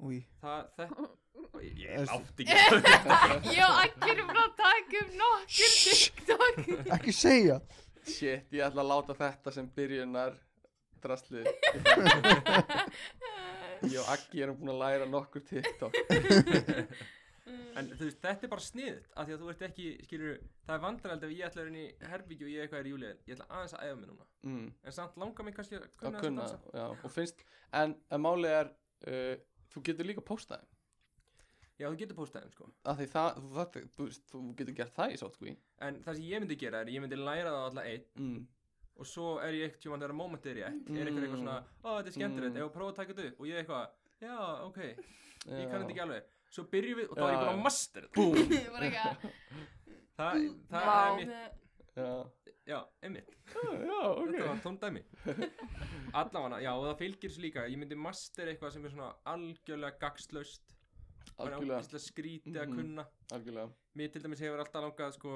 Új. Það, þetta Er- Ég átti ekki Já, allir er bara að taka um nokkur TikTok Ekki segja. shit, ég ætla að láta þetta sem byrjunar drastlið ég og Aggi erum búin að læra nokkur TikTok En þú veist, þetta er bara sniðt af Því að þú ert ekki, skilur Það er vandræld ef ég ætla að vera inn í herbyggju og ég eitthvað er í júlið Ég ætla aðeins að æfa mig núna mm. En samt langar mig kannski að að kunna þess að kunna dansa já, og finnst, en, en máli er uh, þú getur líka postað þeim Já, þú getur postað þeim sko að því það, þú, það, þú, veist, þú getur gert það í sótkví En það sem ég myndi gera er, ég myndi læra það alla einn mm. og svo er ég eitthvað, þegar moment er ég eitt er eitthvað eitthvað svona, ó þetta er skemmtilegt, Mm. mm. ef að prófa að taka þetta upp og ég eitthvað, já, ok, ég kann Já. þetta ekki alveg svo byrjum við og þá Já, er ég bara já. að master þetta. Búm Ég var ekki að það, það Vá. er mitt, Já, já, einmitt já, þetta ok var tóndæmi allavega, já, og það fylgir svo líka ég myndi master eitthvað sem er svona algjörlega gagslaust, bara Algjörlega, ógeðslega skrítið Mhm. að kunna algjörlega mér til dæmis hefur alltaf langað sko,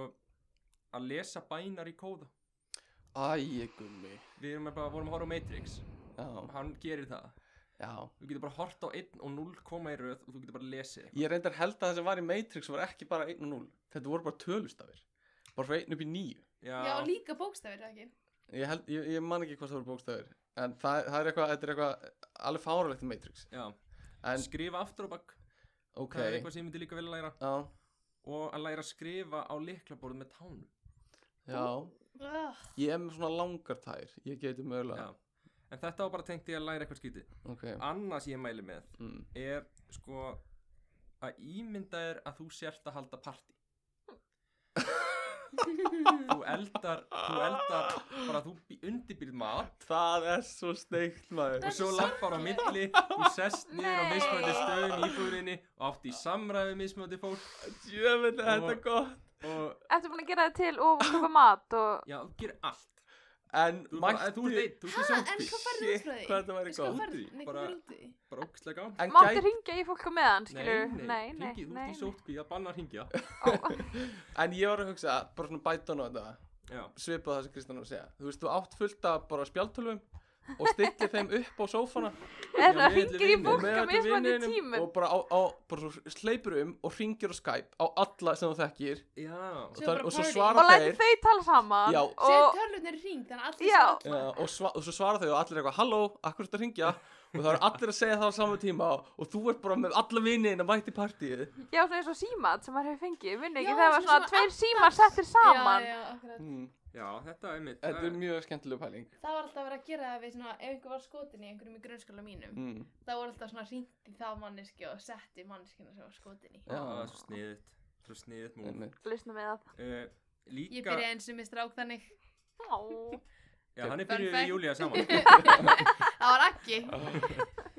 að lesa bænar í kóða Æ, gummi við erum bara, vorum að horfa á Matrix Já, hann gerir það já Þú getur bara hort á 1 og 0 koma í röð og þú getur bara lesið Ég reyndar held að það sem var í Matrix var ekki bara 1 og 0 Þetta voru bara tölustafir Bara frá 1 upp í 9 Já, líka bókstafir ekki Ég, held, ég, ég man ekki hvað það voru bókstafir En það, það er eitthvað, þetta er eitthvað alveg fáralegt í Matrix já. En, Skrifa aftur á bakk ok Það er eitthvað sem ég myndi líka vilja læra Já, Og að læra að skrifa á liklaborð með tánum já Ugh. Ég er með svona langar tær Ég geti mögulega Já. En þetta var bara tengt ég að læra eitthvað skítið Ok Annað sem ég mæli með mm. er sko að ímynda þér að þú sért að halda partí Þú eldar, þú eldar bara þú undirbyrð mat Það er svo steikt Það maður og er svo svo lappar á milli þú sest niður á Nei. mismöndi stöðum í búrinni og átt í samræðu mismöndi fólk Jöfnveld er þetta Og- gott og Ertu búin að gera það til og koka mat og já, þú gerir allt En þú, bara, mættu þú ert einn, þú ert í En sjónkví hvað færðu út frá því? Shit, hvað þetta væri Sko, gott. hvað færðu- Úti, Nei, hvað bara- færðu út frá því? bara ógstlega gaman En Máttu gæti- ringja í fólk á meðan, skilur? nei, nei, nei, þú ert í sótkví að banna að ringja En ég var að hugsa, bara svona bætan á þetta já, Svipað það sem Kristján var að segja Þú veist, þú átt fullt af bara spjaltölvum Og stillir þeim upp á sófana Er Já, það við ætlum ringja í vinum. fólk með á öllum meðan í vininum tímum? Og bara, á, á, bara svo sleipur um Og ringir á Skype á alla sem þú þekkir já, Og, Svo það, bara og svo party. svara Og læti þeir þau tala saman Já. Segðu og tölvunir í hring þannig að allir Já. sjá Já, og, sva, og svo svara þau og allir eitthvað Halló, akkur þetta ringja Og það eru allir að segja það á sama tíma Og þú ert bara með alla vinina mætt í partíið já, svona eins og símat sem maður hefur fengið, vinnu Já, ekki, það var svona svona svona tveir addar. símar settir saman Já, já, akkurat mm. já, þetta er mitt Þetta er mjög skemmtileg pæling Það var alltaf að vera að gera það við svona, ef einhver var skotin í einhverjum í grunnskóla mínum, mm. það voru alltaf svona hringt í það manneski og sett í manneskina sem var skotin í. Já. það er svo sniðið svo sniðið Mm. múl einmitt. Lysna með það uh, Ég líka, byrjaði eins og mér strák þannig. Já, já, hann er Fun byrjuð fact. við Júlía saman Það var ekki.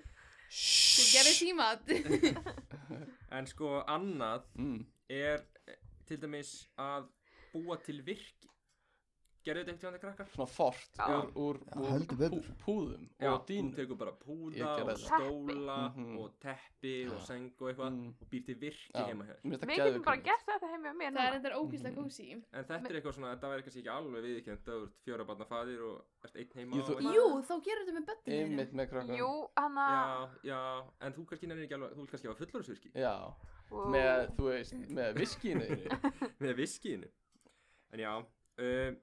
Sem gerði tímat. en sko annað Mm. er eh, til dæmis að búa til virki gerðu þetta eitthvað til krakkar svona fort Já. úr, úr, Já, úr heldur betur. púðum Já, og hún dýnum tekur bara púða Ég gerði og það. stóla Teppi. Mhm. og teppi og Já. seng og eitthvað Mm. og býr til virki Já. heima hjá þér. Mér finnst það Við getum geðveikt bara hugmynd. gert þetta heim hjá mér það er núna. endar ógíslega Mhm. kósi En þetta er eitthvað svona, þetta væri kannski ekki alveg viðkjönd að þú ert fjóra barna faðir og ert einn heima Jú, þú- og Jú, þá gerur þetta með bönninu einmitt með krakkan Jú, hann að... Já, já, en þú kannski nefnir ekki alveg, þú vil kannski hafa fullorðsvirki Já, með, þú veist, með viskínu þínu. með viskiðinu. En já, um,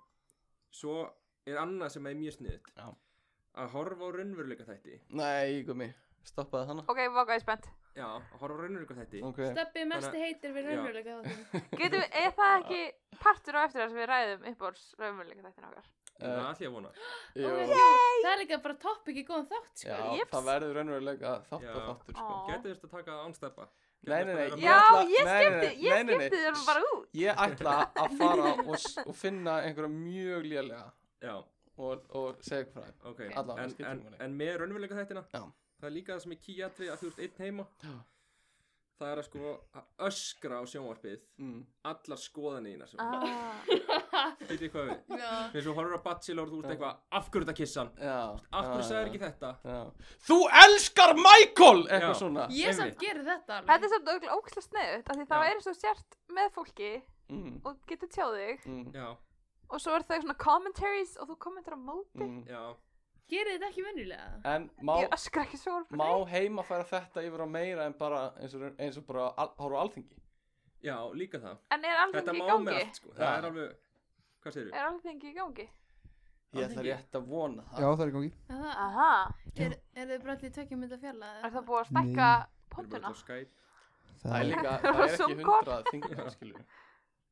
svo er annað sem er mjög sniðut. Já. Að horfa á raunveruleika þætti. Nei, gumi, stoppaði hana Ok, vaka, ég er spennt. Já, að horfa á raunveruleika þætti. Ok, Steppi mest heitir við Já. raunveruleika þáttum Getum við, er það ekki partur á eftir það sem við ræðum uppbórs raunveruleika þættin okkar? Það uh, ætlum ég að vona. jú, Það er líka bara topp ekki góðan þátt já, sko. Jeps. það verður raunverulega þátt Já. að þáttur, sko. Ó. Gæti þurft að taka án steppa. Nei, nei, nei, Já, ætla- nei, ég nei, skipti, nei, ég nei, nei, nei. skipti þér bara út. Ég ætla að fara og, s- og finna einhverja mjög lélega Já, og, og segja ykkur frá þeim. ok. Allavega, en, skiptir en, máli. en með raunveruleika þættina, Já. það er líka það sem er kýjatri að þú ert einn heima. Já. Það er að sko að öskra á sjónvarpið Mm. allar skoðanina sem ah. Ah, Vitið hvað við Já. Þegar þú horfur á Bachelor, þú ert eitthvað Af hverju þetta kissan? Já. Af hverju já, sagðir já. ekki þetta? Já. Þú elskar Michael! Eitthvað Já. svona. Ég Einmitt. samt gerir þetta alveg þetta er samt auðvitað ógæslega sniðut, af því það Já. er eins og þú sért með fólki Mm. og getur tjáð þig Mm. Já, og svo er þau svona commentaries og þú kommentar á móti. Mm. já Gerir þetta ekki venjulega En má, Ég öskra ekki svo Mm. má heima færa þetta yfir á meira en bara eins og, eins og bara al, horfa á alþingi? Já, líka það En er alveg Þetta ekki má með í gangi? Eh, allt sko Það Já. er alveg Hvað segir þú? Er alveg ekki í gangi? Ég ætla rétt að vona Já, það. það er í gangi. Er það- Aha, Er, er þið bara allir tvekja mynda fjalla? er það búið að Við stækka erum bara öll pottuna? á Skype Það er líka, það er ekki Zoom-kort. hundrað þingmenn, skilur við.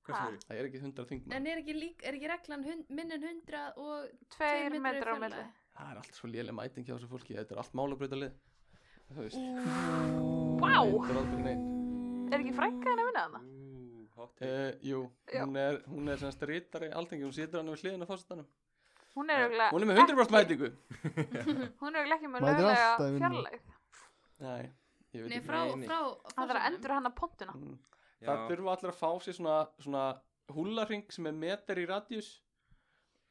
Hvað Ha. segir þú? Það er ekki hundrað þingmenn. En er ekki, lík, er ekki reglan hund, minn en 100 og Tveir metrar á milli. Það er allt svo léleg mæting hjá þessu fólki. Þetta er allt málabreytalið. Þú veist. Vá, Það er aldrei neitt. er ekki frænka henni að vinna þarna? Ú, hot take Uh, jú, Já. hún er, hún er semst rítari alþengi, hún situr hann við hliðin á fórsetanum. Hún er auðvitað, Hún er með 100% mætingu. hún er auðvitað ekki með Mætir löglega alltaf í vinnuna. fjarlægð. Nei, ég veit Nei, ekki. frá, Nei, nei. frá Það þarf að endur hann að pottuna. Mm. Já, Það þurfa allir að fá sér svona, svona húlarring sem er meter í radjus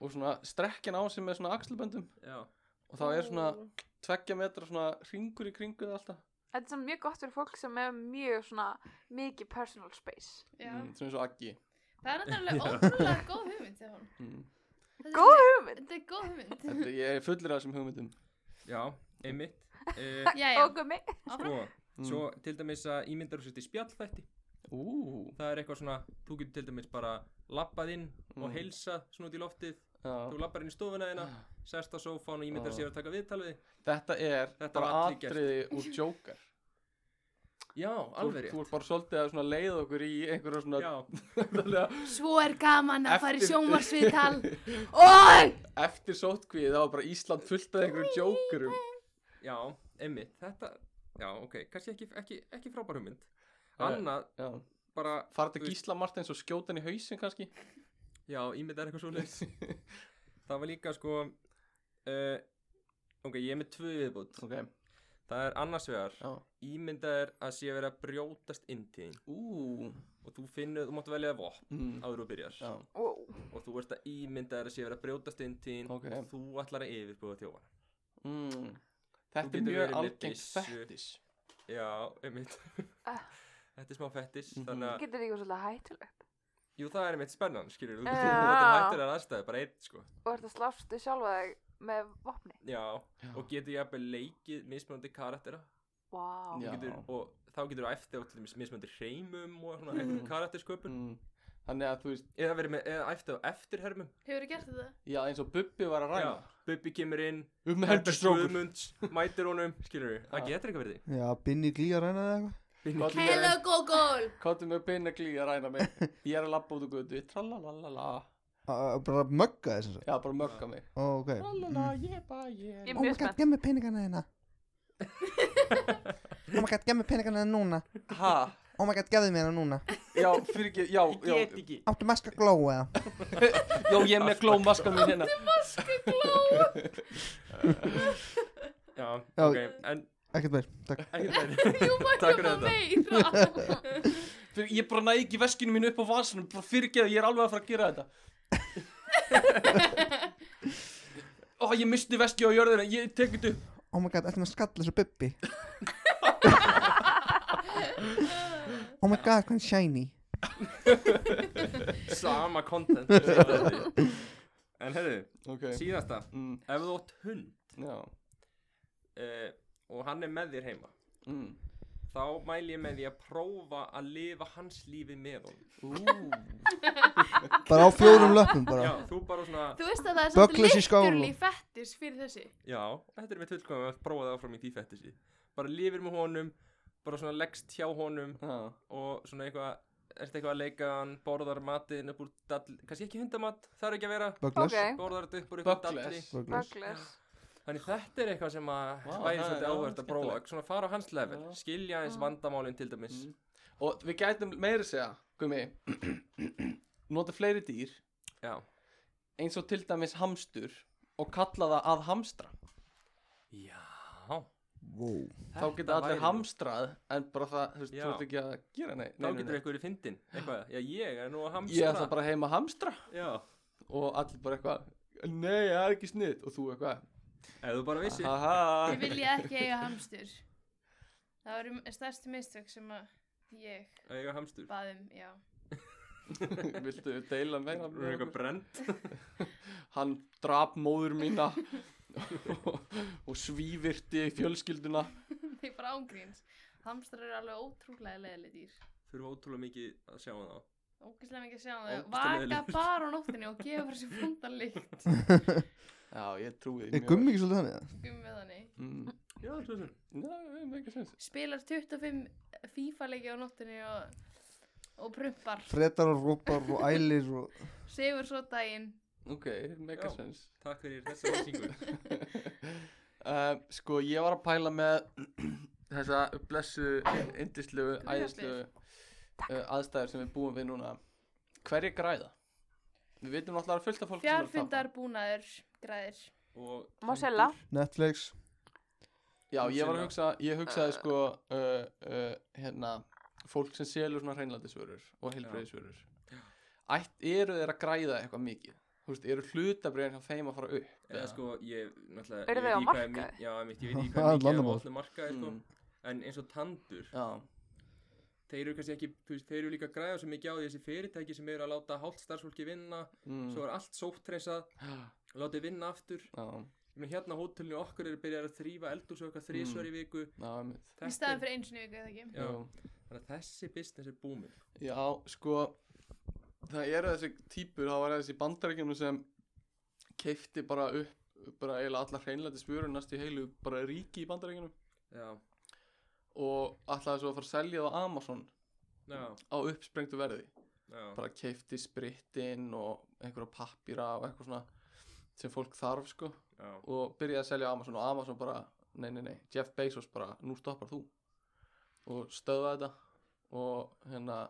og svona strekkjan á sem er svona axlböndum já og þá er svona tveggja metra svona ringur í kringu það alltaf. Þetta er svona mjög gott fyrir fólk sem er mjög svona mikið personal space. Já. Mm, svona eins og aggi. Það er náttúrulega ótrúlega góð hugmynd þegar hún Mm. Góð hugmynd! Þetta er góð hugmynd Þetta, ég er fullir af þessum hugmyndum. Já, einmitt uh, Jæja, Og gummi. áfram Sko, Mm. svo til dæmis að ímyndar þú sért í spjallþætti Ú, Það er eitthvað svona Þú getur til dæmis bara labbað inn og Mm. heilsa svona út í loftið Þú já. labbar inn í stofuna þeina Sest á sófán og ímyndar Já. sér að taka viðtalið Þetta er Þetta bara var allir gert. atriði úr Joker. Já, Þú, þú alveg rétt ert bara svolítið að svona leiða okkur í einhverja svona Já, Þannig Svo er gaman að fara í Eftir- sjónvarsviðtal Og að eftir sótkvíð þá var bara Ísland fullt af einhverjum jókurum Já, einmitt, þetta Já, ok, kannski ekki, ekki, ekki frábær hugmynd Annað, bara farið Þú til veist- Gísla Martins og skjóta hann í hausin kannski Já, ímynd er eitthvað svo Það var líka sko uh, Ok, ég er með tvö viðbútt ok, Það er annars vegar já Ímyndað er að sé að vera að brjótast inn til þín ú, Og þú finnur, þú mátt velja vopn mm. áður og byrjar já, Wow. Og þú ert að ímyndað er að sé að vera að brjótast inn til þín Ok. Og þú ætlar að yfirbúða þjófana mm. Þú þetta er getur verið mjög með algengt byssu. fettis Já, einmitt Ah. Þetta er smá fettis Mhm. Þannig að, Getur þið ekki svolítið hættulegt. jú það er einmitt spennan Skilur, þú getur Já. þú þetta hættilegar aðstæði Bara einn sko Og ert að slástu sjálfa þig með vopni. Já, Já. og getur jafnvel leikið mismunandi karaktera Vá. Þú Já. getur, og þá getur þú æfti á til dæmis mismunandi hreimum og svona einhverjum karaktersköpun mm. þannig að þú veist, eða verið með, eða æfti á eftirhermum Hefur þið gert þetta? já eins og Bubbi var að ræna Bubbi kemur inn, um með Herbert hendurstrókur Guðmunds mætir honum, skilur við, það Já. getur eitthvað verið Já, Binni Glí að ræna það eitthvað. Gott Binni- líka. Hello Google káttu með beina glí að ræna mig ég er að labba út og guðu, tralalala Að- að Bara mögga þess að. já, bara mögga mig Ó, ok. Mm. tralala, ég bara, ég Ég er Oh my god, mjög spennt. gef mér peningana þína. oh my god, gef mér peningana þína núna. ha, Oh my god, gefðu mér það núna. já, fyrir ekki, já, Ég já get ekki Áttu maska gló eða? já, ég er með glómaskan mín hérna Já, Já. ok, en Ekkert meir, takk. ekkert verið Jú, maður Takk fyrir koma meira Fyrir, ég bara næði ekki veskinu mínu upp á vasanum bara fyrirgeðu, ég er alveg að fara að gera þetta Ó, ég misti veski á jörðina, ég tek þetta upp Oh my god, ertu með skalla svo bubbi Oh my god, hvað er shiny Sama content En herru, Ok, síðasta mm, Ef þú átt hund já uh, og hann er með þér heima mm. þá mæl ég með því að prófa að lifa hans lífi með honum Bara á fjórum löpum Já, bara þú bara svona Þú veist að það er samt Bögglas í skóla. literally fettis fyrir þessi Já, þetta er mitt fullkomum að prófa það áfram í því fettisi Bara lifir með honum bara svona leggst hjá honum Já, og svona eitthvað Ertu eitthvað að leika hann, borðar matinn upp úr dall kannski ekki hundamat, það er ekki að vera Bögglas Ok. borðar þetta upp úr eitthvað dalli Buckless Bögglas Böggles Þannig þetta er eitthvað sem að Vá, það væri er- svolítið já, áhverð að prófa skemmtilegt. svona fara á hans level, Já. skilja eins vandamálin til dæmis Mm. Og við gætum meira að segja, gumi Nota fleiri dýr Já, Eins og til dæmis hamstur Og kalla það að hamstra Já Wow. Þá geta allir hamstrað En bara það, þú veist, Já. þú veist ekki að gera nei, Þá nei, nei, getur nei. eitthvað verið fyndin Eitthvað, já ég er nú að Ég hamstra ætla bara heima að hamstra Já Og allir bara eitthvað Nei, það er ekki snitt Og þú eitthvað Ef þú bara vissir Aha Ég vilja ekki eiga hamstur Það eru stærstu mistök sem að ég að ég er hamstur baði um, já Viltu deila meira Þú er eitthvað brent Hann drap móður mína og, og svívirti fjölskylduna Ég er bara ángríns Hamstrar eru alveg ótrúlega leðileg dýr Þurfa ótrúlega mikið að sjá hann á Ógislega mikið að sjá það Ógeðslega Vaka leiðilegir. bara á nóttinni og gefa frá sér fundan líkt Já, ég trúi því Er gummi ekki svolítið þannig? eða? um með þannig Mm. Já, svo sem Já, við erum ekki sens Spilar 25 FIFA-leiki á nóttinni og, og prumpar Fredar og rópar og ælir og Sefur svo daginn Ok, mega Já. sens Takk fyrir þessa lýsingu uh, Sko, ég var að pæla með þessa blessu, indislegu, æðislegu Gríðarslegu. uh, aðstæður sem við búum við núna Hverju græða? Við vitum náttúrulega að fullt af fólk Fjárfundar búnaður græðir Og Mosella Netflix Já, ég var að Sinna. hugsa, ég hugsaði sko uh, uh, hérna, fólk sem selur svona hreinlætisvörur og heilbreyðisvörur Ætt, eru þeir að græða eitthvað mikið? Þú veist, eru hlutabriðin hjá þeim að fara upp? Eða sko, ég náttúrulega Eru ég veit þau á í hvað er mi- markaði? Já, mitt, ég veit Það í hvað er er mikið landamál. á allir markaði sko. En eins og tandur Já, Þeir eru kannski ekki, þú veist, þeir eru líka að græða svo mikið á því þessi fyrirtæki sem eru að láta hálft starfsfólki vinna mm, Svo er allt sóttreysað Látið vinna aftur já, Ég meina, Hérna á hótelinu okkar eru byrjað að þrýfa eldur okkar þrísvar í viku já, einmitt. Í Þetta staðan er- fyrir eins og nývíku eða ekki Já, Jú. þannig að þessi business er búmið Já, sko Það eru þessi típur, það var þessi bandarækjunum sem keifti bara upp bara eiginlega allar hreinlæti spjörur næst í heilu bara ríki í bandarækjunum Já, og ætlaði svo að fara að selja það á Amazon já, á uppsprengtu verði já bara keifti spritinn og einhverja pappýra og eitthvað svona sem fólk þarf sko Já, og byrjaði að selja á Amazon og Amazon bara nei, nei, nei, Jeff Bezos bara, nú stoppar þú og stöða þetta og hérna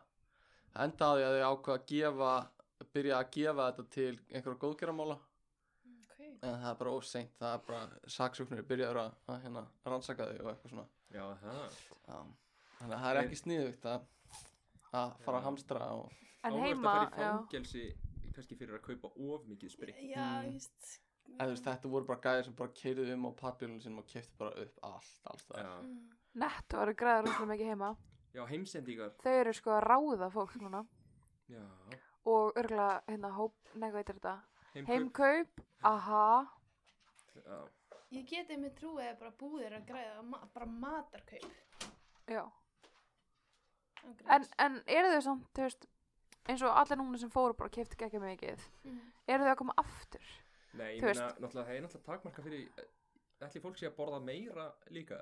endaði að þau ákvað að gefa byrja að gefa þetta til einhverja góðgeramála okay. en það er bara óseint, það er bara saksóknir byrjaður að, að hérna, rannsaka þau og eitthvað svona já, það Já. þannig að það er ekki sniðugt að, að fara að hamstra og En Áhugavert að heima, fara í já fangelsi kannski fyrir að kaupa of mikið sprit Já, Mm. víst eða þú veist, þetta voru bara gæðir sem bara keirðu um á pappilunum sínum og keiftu bara upp allt, allt það Já, Mm. Netto eru græða rúslega mikið heima já heimsendingar Þau eru sko að ráða fólk núna Já, Og örgulega, hérna, hóp, nei, hvað heitir þetta? heimkaup Heimkaup, aha Já, Ég get einmitt trúið að bara búðir að græða ma bara matarkaup Já En, ángríns. en eru þau samt, þú veist Eins og allir núna sem fóru bara keiftu ekki mikið Mm. Eru þau að koma aftur? nei, ég Þú veist- meina, náttúrulega það er náttúrulega takmarka fyrir eh, Ætli fólk sé að borða meira líka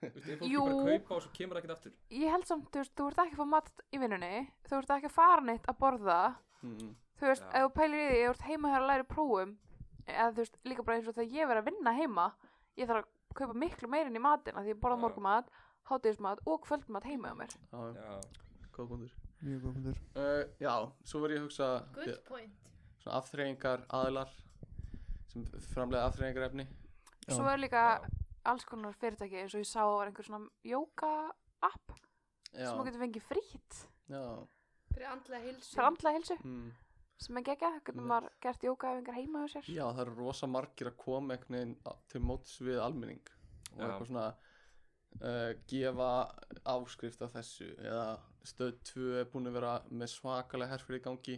Þú veist, ef fólk Jú. er bara að kaupa og svo kemur það ekki aftur Ég held samt, þú veist, þú ert ekki að fá mat í vinnunni Þú ert ekki að fara neitt að borða mm. Þú veist, Já. ef þú pælir í því, ef þú ert heima hér að læra í prófum Eða þú veist, líka bara eins og þegar ég verið að vinna heima Ég þarf að kaupa miklu meirin í matina Því ég borða Já. morgumat, hátíðismat og kvöldmat heima á mér Já, Já, góð búndur Mjög góð myndur Uh, já, svo var ég að hugsa Good eh, point svona afþreyingar aðilar sem framlega afþreyingar efni Já. Svo er líka Já. alls konar fyrirtæki eins og ég sá var einhver svona jóka app Já, sem þú getur fengið frýtt já Fyrir andlega hilsu fyrir andla hilsu mm. sem er gegja, hvernig Nei. maður gert jókaæfingar heima á sér Já, það eru rosa margir að koma einhvern veginn á- til móts við almenning og Já. eitthvað svona uh, gefa áskrift af þessu eða stöð 2 er búin að vera með svakalega herfyrir í gangi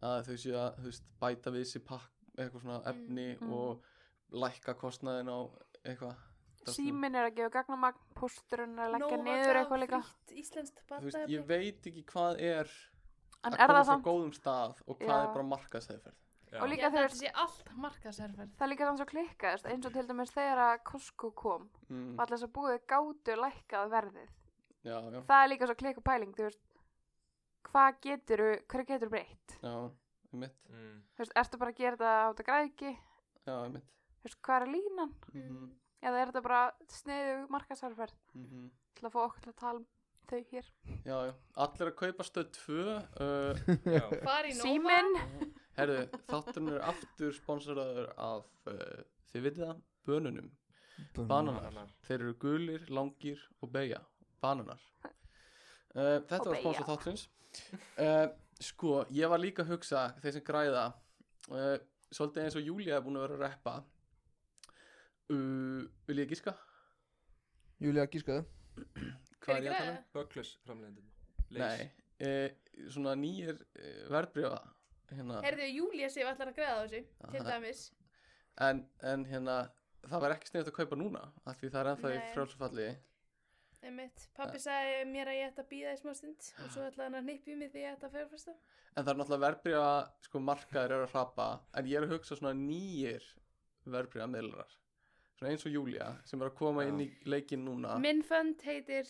að þau séu að þú veist, bæta við sér pakk eitthvað svona efni mm. og lækka kostnaðin á eitthvað símin er að gefa gagnamagn, pósturinn er að leggja Nóa niður gaf eitthvað líka frítt íslenskt Þú veist, ég bataefni veit ekki hvað er en að er koma það frá samt, góðum stað og hvað Já. er bara markaðsæðferð Já. og líka Já, þegar- þetta sé allt markaðsherferð það er líka þannig svo klikkaðist eins og til dæmis þegar að Costco kom mm. og alltaf þess að búið gátu lækkað verðið Já, já, það er líka svo klikku pæling þú veist, hvað getur hver getur breytt já, mitt, Mm. Þú veist, ertu bara að gera þetta át að græðki já, mitt Þú veist, hvað er línan mm -hmm. eða er þetta bara sniðu markasarferð Mm til að fá okkur til að tala um þau hér Já, já, allir að kaupa stöð 2 uh, Já. Fari í Nóa símin Herðu, þátturinn er aftur sponsoraður af, uh, þið vitið það, bönunum Bananar, Bananar. þeir eru gulir, langir og beigja Bananar uh, Þetta Og var sponsor beygja. þátturins uh, Sko, ég var líka að hugsa, þeir sem græða uh, Svolítið eins og Júlía er búin að vera að reppa uh, Vil ég giska? Júlia, gískaðu Hver er ég að tala um? græða? Bögglaus framleiðin Nei, uh, svona nýjir uh, verðbrífa hérna. Herðu, Júlía sé allar að græða á þessu Til Aha. dæmis en, en hérna það var ekki sniðið að kaupa núna af því það er ennþá í Nei. frjálsfalli Einmitt. Pappi sagði mér að ég ætti að býða í smá stund og Ah. svo ætlaði hann að hnippi mig því ég ætti að fjárfesta. en það er náttúrulega verðbrífa sko markaður eru að hrapa en ég er að hugsa svona nýjir verðbrífa meðlarar svona eins og Júlia sem er að koma Já. inn í leikin núna Minn fönd heitir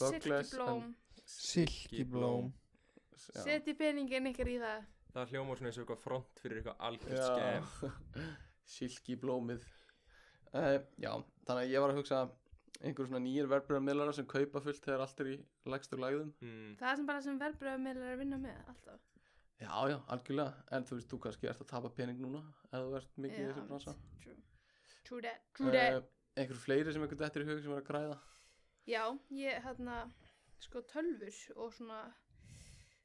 Douglas Silkiblóm. Silkiblóm Já. Setji peningin ykkar í það. Það hljóma svona eins og eitthvað front fyrir eitthvað algjörð Já. skemm silkiblómið uh, já, þannig að ég var að hugsa einhver svona nýjir verðbrífa meðlarar sem kaupa fullt þegar allt er í lægstur lægðum mm. Það er sem bara sem verbröðumilar er að vinna með alltaf. já, já, algjörlega, en þú veist, þú kannski ert að tapa pening núna ef þú ert mikið í þessu bransa true. True that. True that. Eh, einhver fleiri sem einhvern dættir í hug sem er að græða Já, ég hérna sko tölvur og svona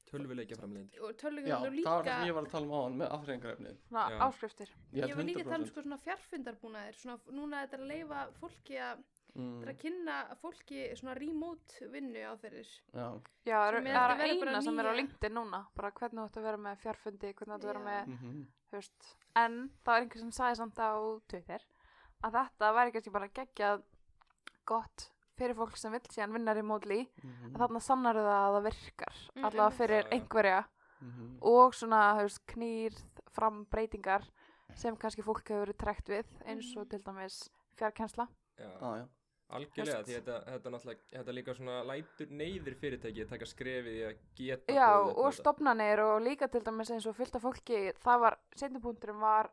Tölvuleikja framleiðin og já, tölvuleikar og það líka var það sem ég var að tala um á hann með afhrengarefnið Ná, Já. áskriftir ég var líka að tala um sko svona fjarfundarbúnaðir svona f- núna þetta er að leifa fólki að þetta er mm, að kynna fólki svona remote vinnu á þeirrir já, já, það Sem eru- er það að er vera bara eina sem er á nýja. LinkedIn núna bara hvernig þú ætti að vera með fjárfundi hvernig þú ætti að vera Já. með mm þú veist, en það var einhver sem sagði samt á Twitter að þetta væri kannski bara geggjað gott fyrir fólk sem vill síðan vinna remotely mhm, að þarna sannar það að það virkar Mm, allavega einmitt. Já, fyrir já. einhverja mhm, og svona þú veist, knýr fram breytingar sem kannski fólk hefur verið trekt við eins Mm. og til dæmis fjarkensla á, Ah, já, Algjörlega, Hest. því þetta, þetta náttúrulega Þetta líka svona lætur neyðir fyrirtæki að taka skrefið í að geta boðið upp Já, á og þetta. stopnanir og líka til dæmis eins og fullt af fólki, það var, setjupunkturinn var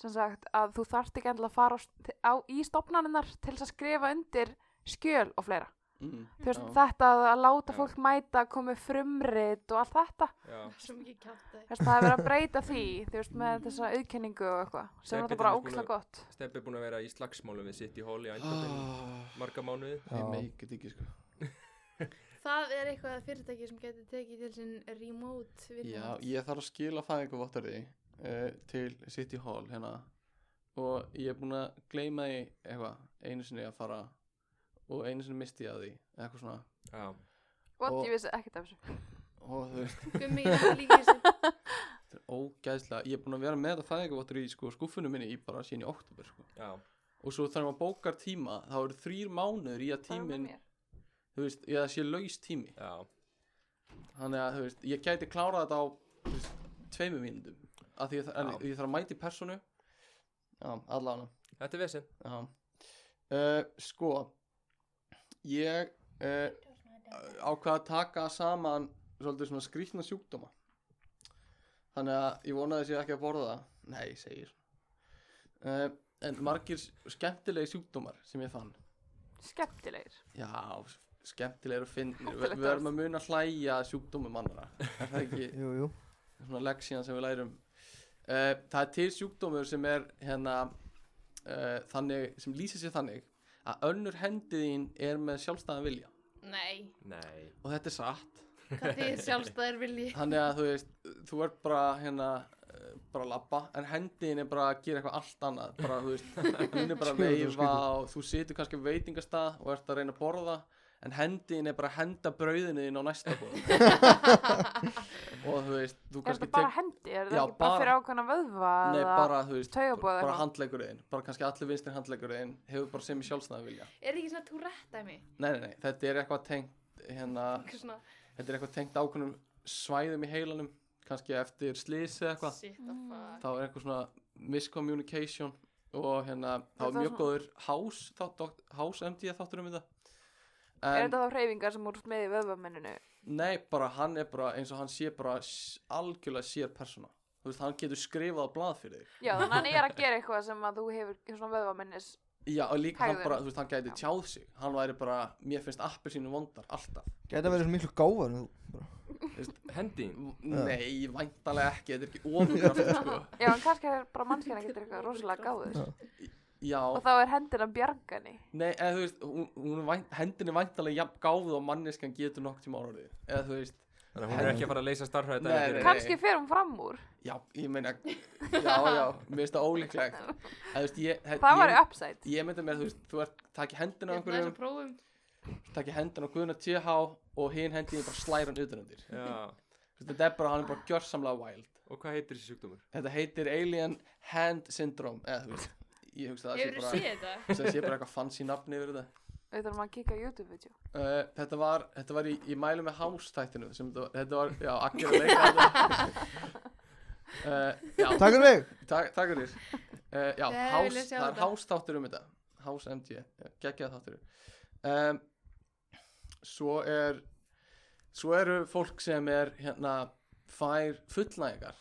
sem sagt að þú þarft ekki endilega að fara á, st- á, í stopnaninnar til þess að skrifa undir skjöl og fleira. mhm, Þú veist, Já. þetta að láta Já. fólk mæta, komi frumrit og allt þetta, Já, svo mikið kjátt Þú veist, það er verið að breyta því, þú veist, Mm. með þessa auðkenningu og eitthvað, sem Stebbi er þetta bara til dæmis ógæslega gott. Steppi er búin að vera í slagsmálum við City Hall í Eindhoven Ah, marga mánuði ég Já. meikið ekki sko Það er eitthvað fyrirtæki sem getur tekið til sinn remote vinnu. já, ég þarf að skila fæðingu vottarði uh, til City Hall hérna og ég er búin að gleyma því eitthvað, einu sinni að fara og einu sinni misti ég að því eitthvað svona Já, What, Og- ég vissi ekkert af þessu. og þú veist Gummi, ég er líka í þessu. Þetta er ógæðslega, ég er búin að vera með þetta fæðingavottur í sko, skúffunum minni í bara síðan í oktober sko. já, og svo þegar maður bókar tíma þá eru þrýr mánuður í að Það er með tímin mér. þú veist, eða sé laus tími já þannig að þú veist, ég gæti klárað þetta á þú veist, tveimur mínundum af því að það- en Já. ég þarf að mæti personu já, allan Þetta er vesinn já. Uh, sko ég uh, ákvað að taka saman svolítið svona skrýtna sjúkdóma þannig að ég vonaði sér ekki að borða það nei, segir uh, en margir s- skemmtilegi sjúkdómar sem ég fann Skemmtilegir. já, s- skemmtilegir og finnir Vi, Ótrúlegt við erum að muna að hlæja að sjúkdómum annara er það ekki Jú, jú svona leksíðan sem við lærum uh, það er til sjúkdómur sem er hérna uh, þannig, sem lýsir sér þannig að önnur hendi þín er með sjálfstæðan vilja Nei, Nei, og þetta er satt hvað þið sjálfstæðir vilji Þannig að þú veist, þú ert bara hérna eh, bara að labba, en hendin er bara að gera eitthvað allt annað bara, þú veist, hún er bara að Skrýtið, veifa skrýtið. og þú situr kannski á veitingastað og ert að reyna að borða en hendin er bara að henda brauðinu þín á næsta bóð og þú veist, þú Er þetta kannski bara hendi? Er Já, þetta ekki bara fyrir bara- ákveðna vöðva? Nei, eða- bara, þú veist, taugaboð eða bara eitthvað? handleggurinn bara kannski allir vinstir handleggurinn hefur bara sem í sjálfsnaði vilja er ekki svona Tourette dæmi Nei, nei, nei, þetta er eitthvað tengt hérna, Eitthvað svona, þetta er eitthvað tengt ákveðnum svæðum í heilanum kannski eftir slýsi eða eitthvað shit the fuck þá er eitthvað svona miscommunication og hérna, þá Er er það mjög svona- góður house, þá, dok, house MD að þáttur um þetta Er en þetta þá hreyfingar sem voru með í vöðvamenninu? nei, bara hann er bara eins og hann sé bara s- algjörlega sér persóna þú veist, hann getur skrifað á blað fyrir þig Já, þannig að hann er að gera eitthvað sem að þú hefur svona vöðvamennis já, og líka hann Hegðun. bara, þú veist, hann gæti Já. tjáð sig hann væri bara, mér finnst appir sínu vondar alltaf, Gæti að vera svo miklu gáfar en þú. Hendin V- nei, væntalega ekki þetta er ekki ofurkraft, sko Já, en kannski er bara mannskjana getur eitthvað rosalega gáður Já. já, Og þá er hendina bjargani nei, eða þú veist hún, hún, er vænt- hendin er væntalega jafn gáð og manneskan getur nokk tíma orðið, eða þú veist Þannig að hún er ekki að fara að leysa starfræði Nei, nei, nei. Kannski fer hún fram úr Já, ég meina, já, já, mér finnst það ólíklegt. En þú veist, ég, he- Það ég, var upside ég myndi mér, þú veist, þú ert, takk hendina á Hérna þess einhverjum, að prófum takk hendina á Guðna TH og hinn hendina bara slæra hann utanundir. Já, Þetta er bara, hann er bara gjörsamlega wild. og hvað heitir þessi sjúkdómur? Þetta heitir Alien Hand Syndrome, eða þú veist, ég hugsa það sé Hefur þú bara, séð þetta? það sé bara eitthvað fancy nafni yfir þetta. Við þurfum að kíka á YouTube-vídeó Uh, þetta var, þetta var í, í mælu með hástættinu, sem þetta var, þetta var, já, akkur að leika þetta. Uh, já, Takk fyrir mig. Takk, takk fyrir uh, Já, Nei, hás, vilja sjá það er þetta. hástáttur um þetta Hás MG, geggjað þáttur um, Svo er Svo eru fólk sem er hérna, fær fullnægingar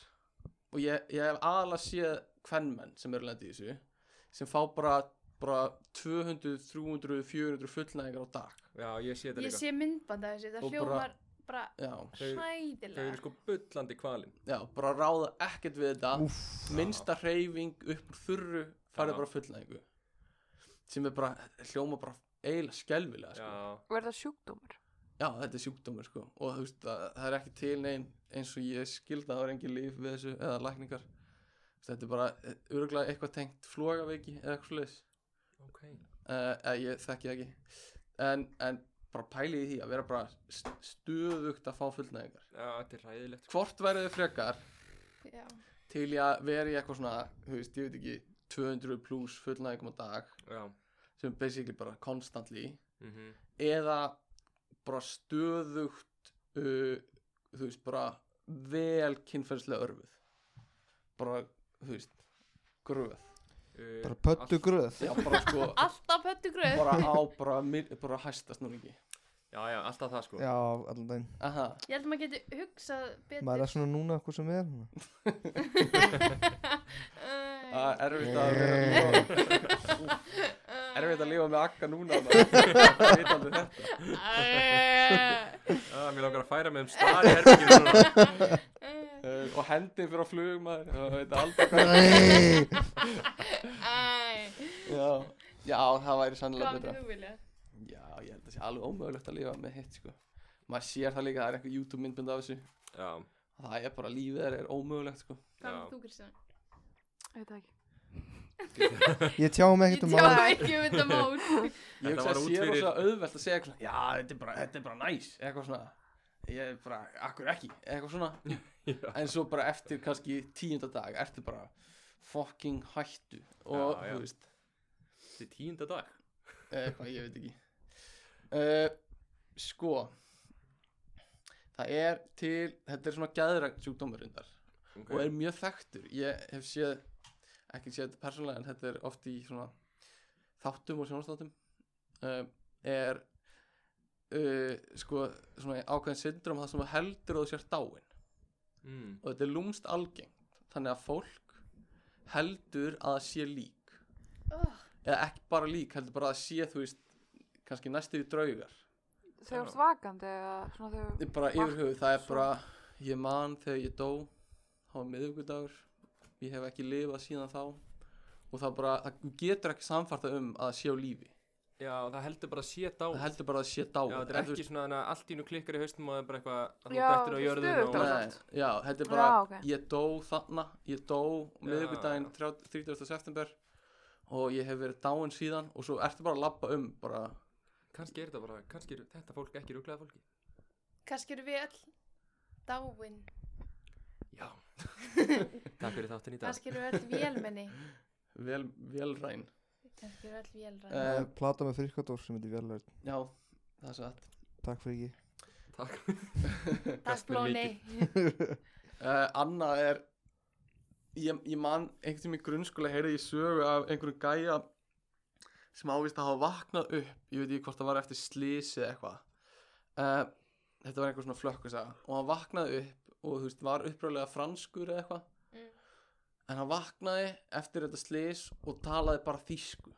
og ég, ég hef aðalega séð kvennmenn sem eru lendið í þessu sem fá bara, bara 200, 300, 400 fullnægingar á dag Já, ég sé Ég þetta líka sé myndbanda þessu, það Og bara- hljómar bara Já, Þau- Þau hræðilega eru sko bullandi kvalin já bara ráða ekkert við þetta Úff. minnsta hreyfing upp úr þurru Já. farið bara fullnæðingu sem er bara, hljóma bara eiginlega skelfilega sko. já. Já, Og er það sjúkdómur? þetta er sjúkdómur sko. og þú veist að það er ekki til negin eins og ég skildi að það er engin líf við þessu eða lækningar Þú veist, þetta er bara öruglega eitthvað tengt flogaveiki eða eitthvað svoleiðis ok uh, eða ég þekki það ekki en, en bara pælið í því að vera bara st- stöðugt að fá fullnæðingar Já, þetta er sko. ræðilegt hvort verður þið frekar Já. til í að vera í eitthvað svona þú veist, ég veit ekki 200 pluss fullnæðingum á dag Já, sem er basically bara constantly mhm eða bara stöðugt uh, þú veist bara vel kynferðslega örfuð bara þú veist gröð Uh, Bara pöttu gröð. já bara sko Alltaf pöttu gröð bara á bara, mið, bara hæstast nú ekki Já, já, alltaf það sko Já, allan daginn. aha Ég held að maður geti hugsað Maður betur er svona núna hvað sem er. það Æ, er erfitt að vera Nei. erfitt að lifa með akka núna maður. Það veit aldrei þetta æ, Já, mér langar að færa mig um stari herbyggir núna æ, uh, og hendin fyrir að flug maður það veit aldrei Nei. æ. já já það væri Hvað sannlega betra myndir þú vilja? Já, ég held að það sé alveg ómögulegt að lifa með hitt sko. Maður sér það líka, það er eitthvað YouTube myndbund af þessu Já, Það er bara lífið þeirra er ómögulegt sko. Hvað Já. myndir þú Kristján? Ég veit það ekki Ég tjá Ég mig ekkert um tjá mál. ekki um þetta mál Ég Þetta hugsa var að út sé fyrir- rosa auðvelt að segja eitthvað svona, Já, þetta er bara, þetta er bara næs Eitthvað svona Ég er bara, akkur ekki Eitthvað svona já, En svo bara eftir kannski tíunda dag Ertu bara fucking hættu Og, Já, já. þú veist, þetta er tíunda dag eitthvað, ég veit ekki uh, Sko Það er til, þetta er svona gæðrækt sjúkdómur undar Ok, og er mjög þekktur ég hef séð, ekki séð þetta persónulega en þetta er oft í svona þáttum og sjónastátum um, er uh, sko svona ákveðin syndrom það sem þú heldur að þú sér dáin mm. og þetta er lúmst algengt þannig að fólk heldur að það sé lík Oh, eða ekki bara lík, heldur bara að það sé þú veist, kannski næstu í draugar Þau eru svakandi eða svona þau Ég bara Mark- yfir höfuð, það er svo- bara ég man þegar ég dó það var miðvíkudagur ég hef ekki lifað síðan þá og það bara, það getur ekki samfarta um að það sé á lífi já, það heldur bara að sé dá það heldur bara að sé já, dáið þetta er En þú ekki svona þannig að allt í nú klikkar í haustum og það er bara eitthvað að þú Já, dættir á þú jörðin stöðugt og að- Nei, já, þetta er Já, bara, ok. ég dó þarna, ég dó miðvikudaginn 30 30. september og ég hef verið dáinn síðan og svo ertu bara að labba um bara, kannski er þetta bara, kannski er þetta fólk ekki rúglega fólki Kannski eru við all dáin já, takk fyrir þáttin í dag Kannski eru við all vélmenni vel, velræn Kannski eru við all vélræn Eh, Plata með friskadór sem heitir Vélörn Já, það er satt Takk fyrir ekki takk Takk blóni uh, Annað er ég, ég man einhvern tímann í grunnskóla heyrði ég sögu af einhverjum gæja sem ávist að hafa vaknað upp ég veit ekki hvort það var eftir slísi eða eitthvað uh, þetta var einhver svona flökkusaga og hann vaknaði upp og þú veist var uppræðlega franskur eða eitthvað Mm. en hann vaknaði eftir þetta slís og talaði bara þýsku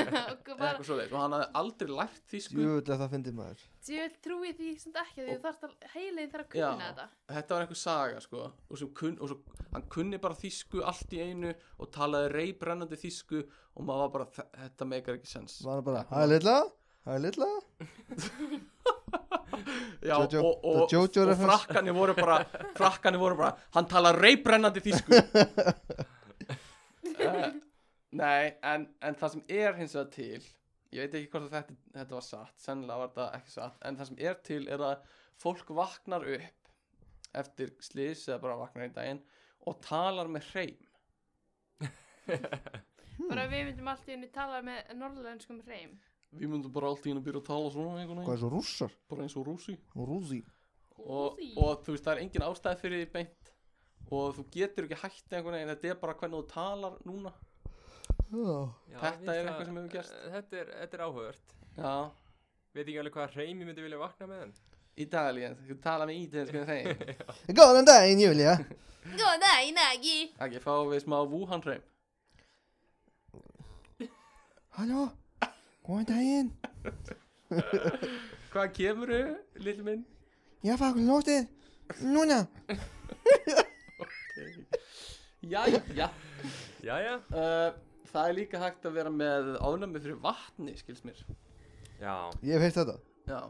Og bara, eitthvað svoleiðis og hann hafði aldrei lært þýsku Jöfull að það fyndi maður ég trúi því sem ekki að því þú þarft að heilin þarf að Já. kunna þetta þetta var einhver saga sko og, sem kun, og svo, hann kunni bara þýsku allt í einu og talaði reybrennandi þýsku og maður var bara "Þe- þetta meikar ekki sens Var hann bara, hæ litla, hæ litla Já, Jojo- og, og, the Jojo og reference. frakkanir voru bara frakkanir voru bara, hann talaði reybrennandi þýsku uh, nei en, en það sem er hins vegar til ég veit ekki hvort að þetta, þetta var satt sennilega var þetta ekki satt en það sem er til er að fólk vaknar upp eftir slís eða bara vaknar í daginn og talar með hreim Hmm. Bara við myndum allt í henni tala með norðlenskum hreim við myndum bara allt í hennu byrja að tala svona einhvern Hvað veginn, er svo rússar? bara eins og rúsi Rúsi og, og þú veist, það er engin ástæð fyrir því beint og þú getur ekki hætt einhvern veginn, þetta er bara hvernig þú talar núna Já, Þetta er við það- Eh, eitthvað sem hefur gerst. þetta er, þetta er áhugavert já, veit ekki alveg hvað reymi myndi vilja vakna með hann ítalíens, þú tala með ítalíens hvernig þeim, Eh, Góðan daginn, Júlia Góðan daginn, Agi ekki, fáum við smá Wuhan-reim Halló, góðan daginn hvað kemur þau, lill minn? Ég er fagur lótið Núna jæja Jæja uh, það er líka hægt að vera með ánæmi fyrir vatni, skils mér Já, Ég hef heilt þetta já,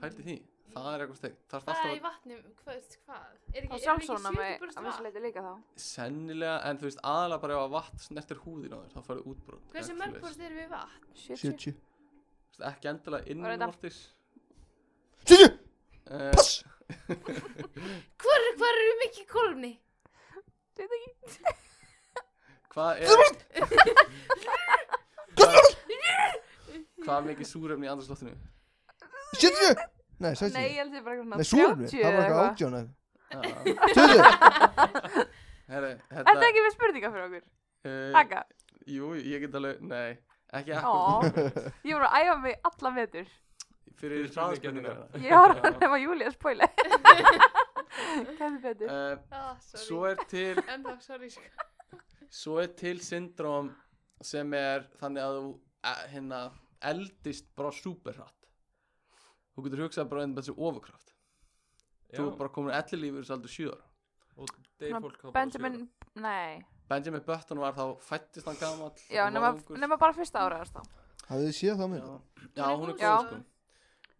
pælti því, það er eitthvað steg það er Hvað er í alltaf vatnum, hvað veist hvað? Er Það ekki, er ekki sjálfsóna með 70% að vatn? vissleiti líka þá. sennilega, en þú veist, aðalega bara ef að vatn snertir húðin á þér, þá farið útbrot Hversu Eitthvað mörg svoleiðis. bort erum við vatn? Shit, shit. 70 Þú veist, ekki endilega Var þetta- innvortis 70 uh, Pass Hvar, hvar eru mikið kolumni? Þetta ekki. Hvað er Hvað- Hvað er mikið súrefni í andarslóttinu? 70 Nei, 60 Nei, ég held þið bara eitthvað svona Nei, súrumni, það 30 var eða eitthvað eitthvað. átjón eða- Herri, 20 þetta Þetta er ekki með spurningar fyrir okkur. uh, Taka. hérna, Jú, ég get alveg, nei Ekki Ó. akkur Ég voru að æfa mig alla vetur. fyrir Fyrir hraðspenningar spurningarnar. Ég var að nefna Júlia spóila. Kæmi betur. uh, Ah, sorry. Svo er til En þá, sorry, sko. Svo er til syndróm sem er þannig að þú eh, hérna, eldist bara súperhratt Þú getur hugsað bara einnig þessi ofurkraft já Þú er bara komin ellilífur þess aldur 7 ára og deyr Svona fólk þá bara Benjamin, sjö ára. nei. Benjamin Button var þá fættist hann gamall Já, hann var nema, ungur. nema bara fyrsta ára þess þá. Hafið þið séð það Já, mynd? já Hún er hún er góð, góð sko. sko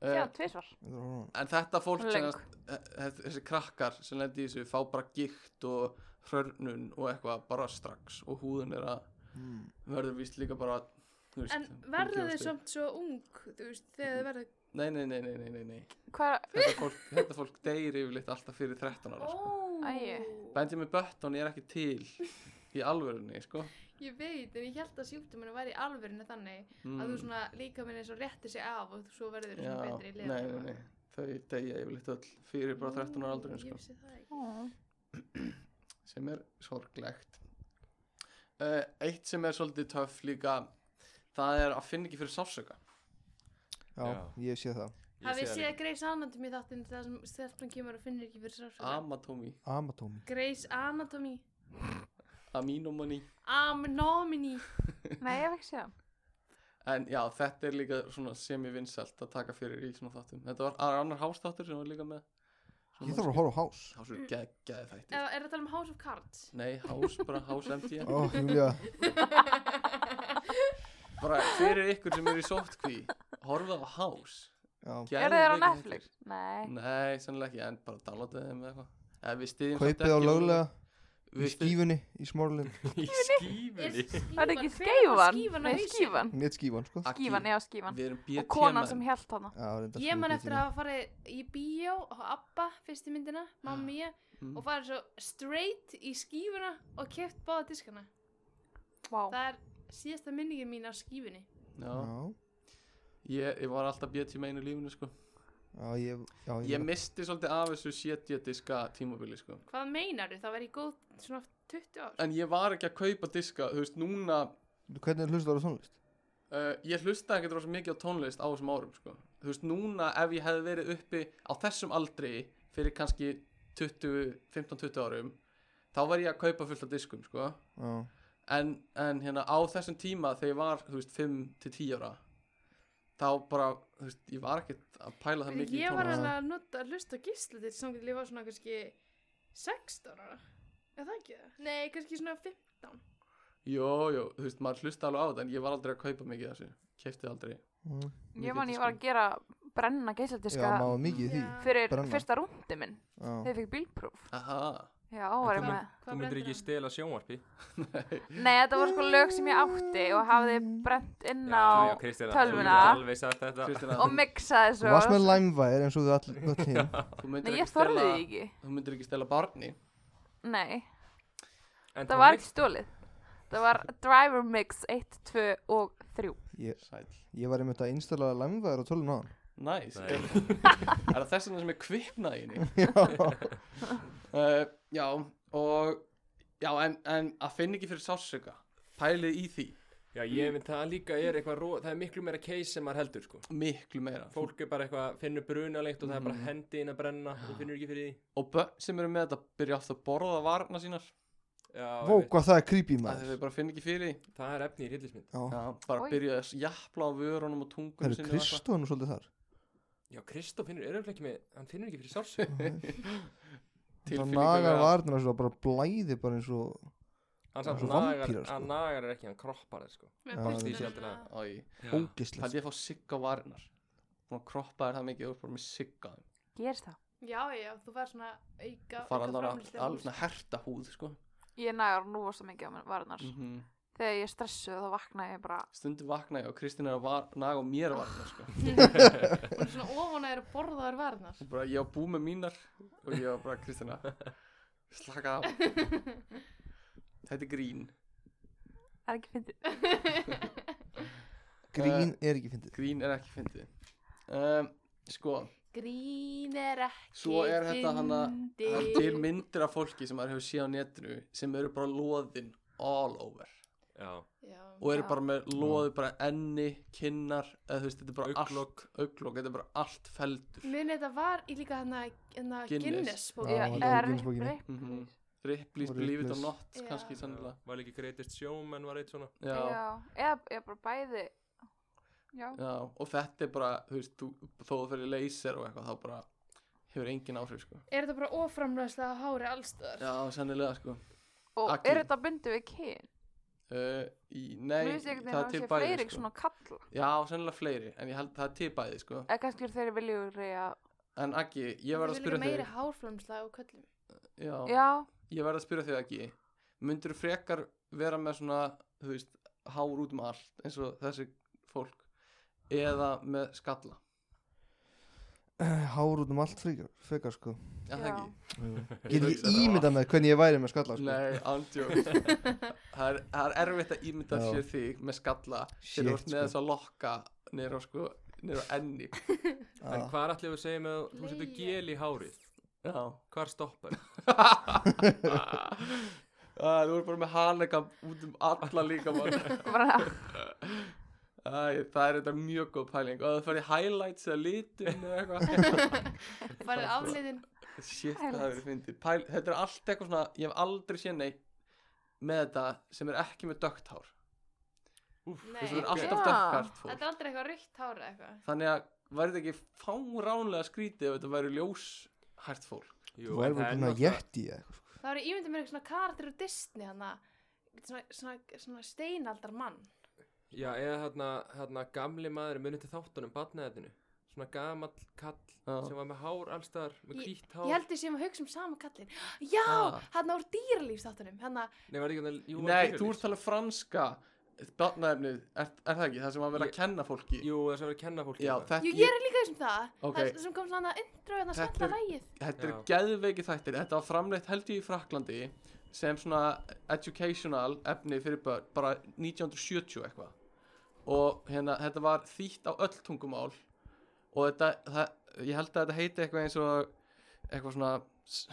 Já, uh, tvisvar. Þetta var hún. En þetta fólk Hún er sem löng. sagt, eh, eh, þessi krakkar sem lendi í þessu fá bara gikt og hrörnun og eitthvað bara strax og húðun er að Mm. verður víst líka bara þú veist, En hún verða gefur þau stig. samt svo ung, þú veist, þegar þau verða... Nei, nei, nei, nei, nei, nei, nei. Hvað, Þetta, fólk, þetta fólk deyr yfirleitt alltaf fyrir 13 ára sko. Ó, Æi. Benjamin Button er ekki til í alvörunni sko. ég veit, en ég held að sjúkdóminu væri í alvörinu þannig mm. að þú svona líka minn eins og rétti sig af og þú svo verður þú já, svona betri í nei, nei, nei. Þau deyja yfirleitt öll fyrir bara 13 ára aldurinn sko. Ég vissi það ekki. hvað sem er sorglegt uh, eitt sem er svolítið töff líka það er að finna ekki fyrir sásöka Já, Já. ég hef séð það Ég Hafið sé það séð líka. Grey's Anatomy þáttinn það sem stelpun kemur og finnir ekki fyrir sársöka? amatómi, Amatómi Grey's Anatomy. aminomani Amnomini. Nei, ég hef ekki séð hann. en já, þetta er líka svona semi-vinsælt að taka fyrir í svona þáttum þetta var það er annar hástáttur sem var líka með Ég þarf að horfa á hás hásur geggjaði þættir Eða er það að tala um House of Cards? nei, hás, bara hás MD Ó, Júlia bara fyrir ykkur sem eru í sótkví horfað á House Já, Geðveik Eru þeir á myndir. Netflix? Mm. Nei. Nei, sannlega ekki, en bara downloadaði þeim eða eitthvað Eða við styðjum samt kaupið á ekki- löglega í Við styðjum skífunni í smáralind Í skífunni Það er ekki skífan? Hvenær skeifan? fór skífan Nei, á hausinn? skífan. Hún hétt skífan, sko Já, Akki, Skífan, já, skífan. Við erum Og BT konan sem held hana. reyndar Ég man svolítið eftir að hafa farið í bíó á Abba, fyrstu myndina, Ah. mamma ég Mm. og farið svo straight í skífuna og keft báða diskana Vá. Það er síðasta minningin mín á skífunni Já, Já, ég, ég var alltaf BT með einu lífinu sko já, ég Já, Ég misti svolítið af þessu 70 diska tímabili sko Hvað meinar þú? Það var í góð svona 20 ár En ég var ekki að kaupa diska, þú veist, núna Hvernig hlustu ára tónlist? Uh, ég hlustaði ekkert rosa mikið á tónlist á þessum árum sko. þú veist núna ef ég hefði verið uppi á þessum aldri fyrir kannski 20, 15-20 árum þá var ég að kaupa fullt af diskum sko. Já, en, en hérna á þessum tíma þegar ég var þú veist 5-10 ára þá bara þú veist, ég var ekkert að pæla það mikið Ég í var tónlist alveg að nota að hlusta á gísla til sem ég var svona kannski 16 ára Er það ekki það? Nei, kannski svona 15 Jó, jó, þú veist maður hlusta alveg á þetta en ég var aldrei að kaupa mikið af þessu keftið aldrei já, Ég mikið man, ég diskum. var að gera brenna já geisladiska maður mikið í því Já. fyrir brenna. fyrsta rúndi minn. Já, Þegar ég fikk bílpróf. Aha, Já, var ég Þetta með. Þú myndir ekki stela sjónvarpi Nei, þetta voru sko lög sem ég átti og hafði brent inn á Kristina, tölvuna. Þú myndir alveg sagt þetta Kristina, og miksaði Þú varst með svo. læmvæðir eins og þú allir öll hinn þú myndir Nei, ekki ég þorði stela því ekki. þú myndir ekki stela barni Nei, En það var ekki stólið. Það var driver mix 1, 2 og 3. Ég, Sæl ég var einmitt að installera læmvæðir á tölun á hann Næs, Nei. er, er það þess vegna sem er kviknaði henni? Já, Uh, já, og já, en, en að finna ekki fyrir sársöka pælið í því, Já, ég mynd það líka er eitthvað ró, það er miklu meira case sem maður heldur sko miklu meira Fólk er bara eitthvað, finnur bruna lengt og það er bara Mhm. hendi inn að brenna og finnur ekki fyrir því og börn sem eru með þetta byrja oft að borða varna sínar Já, vó, einmitt. hvað það er creepy að þau maður bara finna ekki fyrir því það er efni í rillismynd Já, já, bara Oj. byrja að jafla á vörunum og það tungunum eru sinni og eitthvað. Kristóðan svolítið þar Já, Kristó finnur, er örugglega ekki með, hann finnur ekki fyrir sársöku Það Tilfinningalega. nagar varnir að bara blæði bara eins og Hann samt Svo nagar, vampíra, sko. hann nagar er ekki, hann kroppar þér sko Með Já, ég sé pulsunum aldrei. Æ, ógislegt Paldi ég að fá sigg á varnar og kroppa er það mikið, þú er bara með sigg á þeim Gerist það? Já, já, þú var svona auka, fara auka alveg framlýslega alveg svona herta húð sko. Ég nægar nú svo mikið á mér varnar. mm -hmm. Þegar ég er stressuð þá vakna ég bara, stundum vakna ég og Kristín er að var, naga á mér varnar sko. Hún er svona ofan að er að borða þær varnar Og bara, ég á bú með mínar og ég á bara Kristina slaka á þetta er grín það er ekki fyndið. Grín er ekki fyndið grín er ekki fyndið um, sko, Grín er ekki Svo er þetta hana- það er til fyndið. myndir af fólki sem maður hefur séð á netinu sem eru bara loðin all over Já, Já. og eru Já. bara með loði bara enni, kinnar eða þú veist, þetta er bara Augnlok. allt auglokk, þetta er bara allt feldur Mun þetta var í líka hana, hana Guinness. Guinness bók Já, Já, þetta eða er Guinness-bókinni. rip- Mhm. rip- Ripley's Og Believe It or Ripley's. Not Já. kannski sannlega var líka greatest showman var eitt svona já, Já, eða eða bara bæði. Já, já, og þetta er bara, þú veist, þú, þó að fyrir laser og eitthvað, þá bara hefur engin áhrif sko Er þetta bara oframlæslega á hári allstöðar? Já, sannilega sko og Agli. er þetta bundið við kyn? uh, í, Mér Nei, finnst ég það er ekki til að fleiri bæði sko. sko. svona kalla. Já, sannilega fleiri, en ég held það er til bæði sko. Eða kannski eru þeirri viljúri að, En Aggi, ég verð að spyrja meiri þig hárframlæslega á köllum. já, já, Ég verð að spyrja þig Aggi Myndur frekar vera með svona þú veist, hár út um allt eins og þessi fólk eða með skalla Hár út um allt frekar, frekar sko Já, það Já. ekki Get hugsa ég það. ímyndað með hvernig ég væri með skalla sko Nei, andjók það, er- það er erfitt að ímynda Já. sér þig með skalla Shit, þegar þú ert með sko. þess að lokka niður á sko, niður á enni En Ah, hvað er allir að segja með, þú- þú setur Leia. gel í hárið Já Hvar stoppar? Ah, Þú voru bara með hanleika út um alla líka bara Æ, það er þetta mjög góð pæling og það fær í highlights eða litum eða eitthvað Farið afliðin. shit hvað það verið fyndið Pæl, þetta er allt eitthvað svona, ég hef aldrei séð neitt með þetta sem er ekki með dögt hár Nei, þess að það er ok. alltaf þetta sko. dögt hár Já. er aldrei eitthvað raukt hár eða eitthvað. þannig að væri þetta ekki fáránlega skrítið ef þetta væri ljóshært fólk Jú, Þú væri en það bara er búin að náttúrulega- jætti ég eitthvað sko. Það var ímyndið mér eitthvað svona karakter úr Disney hana, svona, svona, svona steinaldar mann. Já, eða hérna, hérna gamli maður munið til þáttunum, badnaðinu Svona gamall kall Já. sem var með hár allstar, með Ég- hvítt hár Ég held ég sem að hugsa um sama kallin Já, Ah. hann úr dýralífstáttunum Hann að, Nei, var ekki hérna, jú, var Nei, ekki þú ert talað franska Barnaefnið, er, er það ekki? Það sem að vera að Ég- kenna fólki Jú, það sem var að kenna fólki Já, um það. þetta, jú, ég er líka þessum það Ok. Það sem kom svona að intro en að Þetta skalla er- lægið þetta eru Já. geðveiki þættir Þetta var framleitt held ég í Fraklandi sem svona educational efni fyrir börn, bara 1970 eitthvað og hérna, þetta var þýtt á öll tungumál og þetta, það, ég held að þetta heiti eitthvað eins og eitthvað svona s-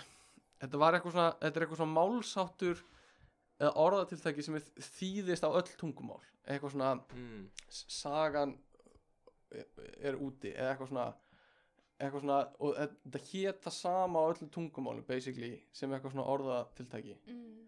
þetta var eitthvað svona, þetta er eitthvað svona málsáttur eða orðatiltæki sem er þýðist á öll tungumál eitthvað svona Mm. sagan er úti eða eitthvað svona eitthvað svona og e- þetta hét það sama á öllum tungumálum basically sem eitthvað svona orðatiltæki mm.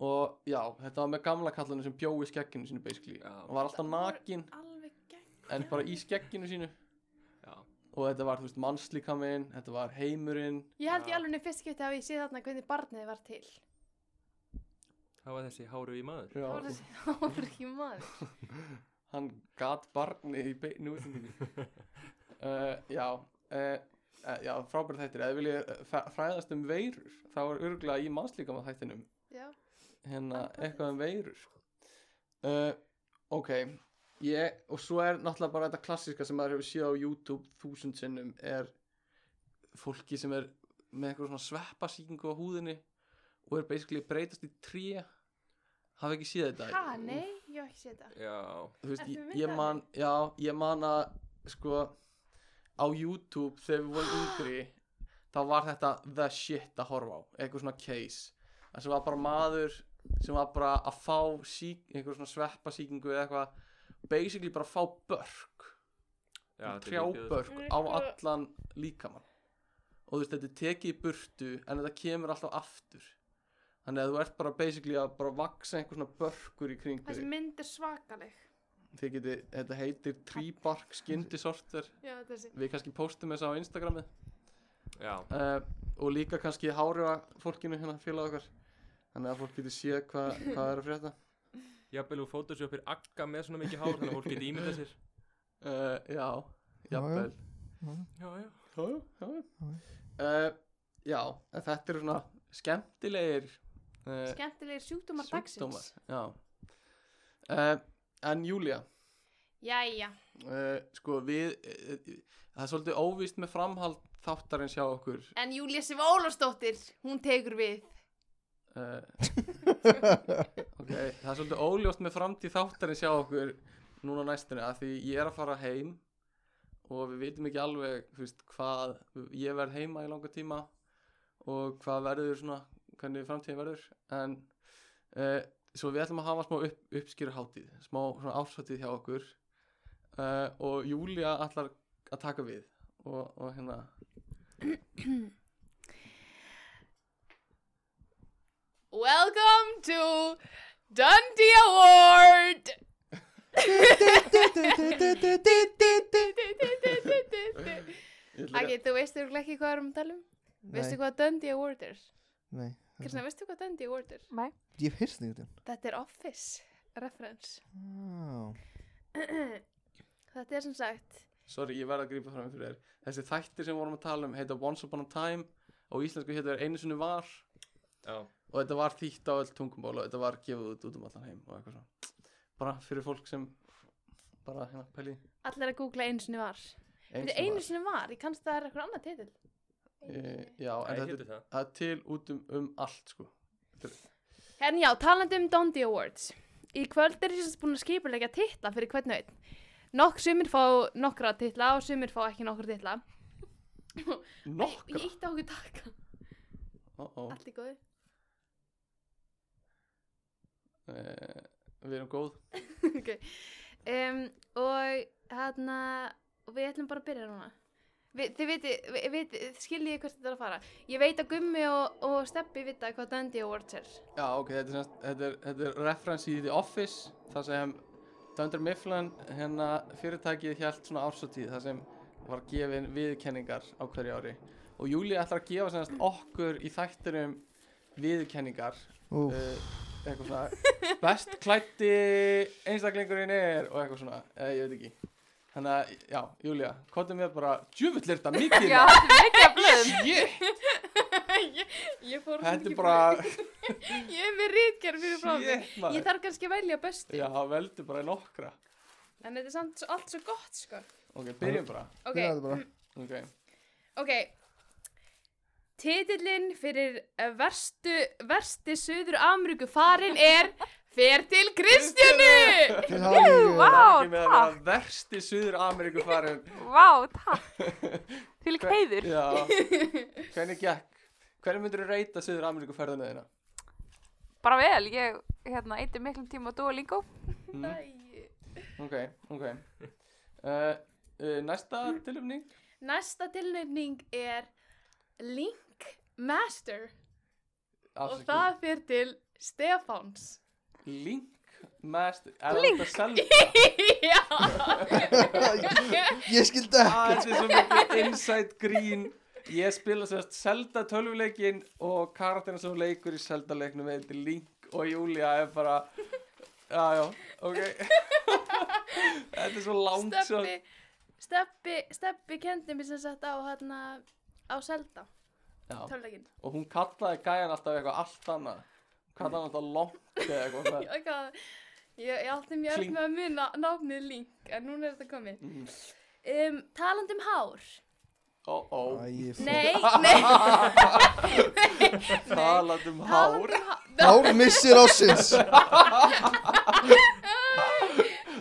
og já, þetta var með gamla kallinu sem bjó í skegginu sínu basically Já. hann var alltaf nakin Alveg gegn en bara í skegginu sínu Já. og þetta var þú veist mannslíkaminn þetta var heimurinn Ég held Já. ég alveg fyrst getið að ég sé þarna hvernig barnið var til Það var þessi háru í maður Það var þessi ári maður hann gat barnið í beinu útsendingu uh, já uh, eh, já, frábæri þættir eða viljið eh, fræ- fræðast um veirur þá er örgulega í mannslíkama þættinum Já, hérna Andlátið. eitthvað um veirur sko. uh, ok ég, og svo er náttúrulega bara þetta klassiska sem maður hefur séð á YouTube þúsund sinnum er fólki sem er með eitthvað svona sveppasíkingu á húðinni og er basically breytast í tré hafa ekki séð þetta ha, nei, ég hef ekki séð þetta Já, þú veist, Ertu ég, með ég myndavél? man já, ég man að sko á YouTube þegar við vorum yngri þá var þetta the shit að horfa á eitthvað svona case það sem var bara maður sem var bara að fá sík, einhver svona sveppasíkingu eða eitthvað basically bara að fá börk já þetta er geðveikt. trjábörk Þetta er á eitthvað- allan líkamann og þú veist þetta er tekið í burtu en þetta kemur alltaf aftur þannig að þú ert bara basically að bara vaksa einhver svona börkur í kringu Þessi mynd er svakaleg þið geti, þetta heitir Tríbark Skyndisorter Já, þessi við kannski postum þess á Instagrami Já, uh, og líka kannski háriða fólkinu hérna félag okkar þannig að fólk geti séð hvað hva er að frétta jafnvel og photoshopir agga með svona mikið hár þannig að fólk geti ímyndað sér uh, já, jafnvel Já, já já, já, já. Uh, já, en þetta eru svona skemmtilegir uh, Skemmtilegir Eh. sjúkdómar dagsins já uh, en Júlia Jæja, uh, sko við uh, það er svolítið óvíst með framhald þáttarins hjá okkur en Júlia Sif Ólafsdóttir, hún tekur við uh, ok, það er svolítið óljóst með framtíð þáttarins hjá okkur núna á næstunni að því ég er að fara heim og við vitum ekki alveg þú veist, hvað, ég verð heima í langa tíma og hvað verður svona, hvernig framtíðin verður en uh, svo við ætlum að hafa smá upp, uppskýruhátíð smá svona árshátíð hjá okkur uh, og Júlia ætlar að taka við og, og hérna Welcome to Dundee Award ég ætla Ok, þú veist örugglega ekki hvað við erum að tala um Veistu hvað Dundee Award er? Nei, Kristina, veistu hvað Dundee Award er? Nei, ég hef hyrst nýtt Þetta er Office reference Já, Þetta er sem sagt Sorry, ég verð að grípa fram í fyrir þér. Þessi þættir sem við vorum að tala um heita Once Upon a Time og íslensku heita er Einu sinni var Já, og þetta var þýtt á öll tungumból og þetta var gefið út út um allan heim og eitthvað svona. Bara fyrir fólk sem bara hérna pæli í. Allir að googla einu sinni var Þetta sinni einu var. sinni var, ég kannst það er eitthvað annað titill Eh, Já, en það þetta heitir það það er til út um, um allt sko. En já, talandi um Dondi Awards Í kvöld er ég sérst búin að skipulega titla fyrir hvern og einn Nokk sumir fá nokkra titla og sumir fá ekki nokkra titla Ég, Nokkra! ég ítti á okkur takka, Ó, ó. allt í góðu Eh, Við erum góð. Ok. um, Og hérna, og við ætlum bara að byrja núna Vi, Þið viti, vi, viti, skiljið hvert þetta er að fara Ég veit að Gummi og, og Steppi vita hvað Dondi Awards er Já, ok, þetta er, semst- þetta er, þetta er reference í The Office, það sem Dunder Mifflin, hérna fyrirtækið hjælt svona ársatíð, það sem var gefin viðkenningar á hverju ári. Og Júli ætlar að gefa semst okkur í þættinum viðkenningar úf, uh, eitthvað svona best klætti einstaklingurinn er og eitthvað svona, eða ég veit ekki þannig að, já, Júlia, kvotum við bara djöfull er þetta mikið Já, maður. mikið af blöðum Shit, ég, ég fór þetta ekki er bara bara- Ég er með rítgerð fyrir frá mig shit, Ég maður þarf kannski að velja bestu já, veldu bara í nokkra En þetta er samt svo- allt svo gott sko ok, byrjum bara Ok, Byrjaðu bara. ok, ok Titillinn fyrir eh, verstu, versti Suður Ameríku farin er Fer til Kristjánu Til hamingju. vá. það er ekki með að takk. vera versti Suður Ameríku farin Vá, takk Til heiður já, hvernig gekk hvernig myndur þú reyta Suður Ameríku ferðinu þína Bara vel, ég hérna, eitir miklum tíma á Duolingo mm, ok, ok uh, uh, næsta tilumning Næsta tilnefning er Link Master og það fer til Stefáns Link Master Er það hægt að selja Já Ég skildi ekki. Ah, Þetta er svo mikið inside green Ég spila sérst Zelda tölvuleikin og karakterinn sem hún leikur í Zelda leiknum heitir Link og Júlia er bara Já, já, ok Þetta er svo langt svo Steppi Steppi, Steppi kendi mér sem sagt á hérna á Selda, já. tölulegin Og hún kallaði gæjan alltaf eitthvað allt annað Hún kallaði hann alltaf Lonk eða eitthvað svona. ég, ég, ég átti mjög öll Kling. með að muna námið Link en núna er þetta komið Mm. um, talandi um hár Ó, ó, Æ, fó- nei, nei, talað talandi um hár um hár Hár missir ásins.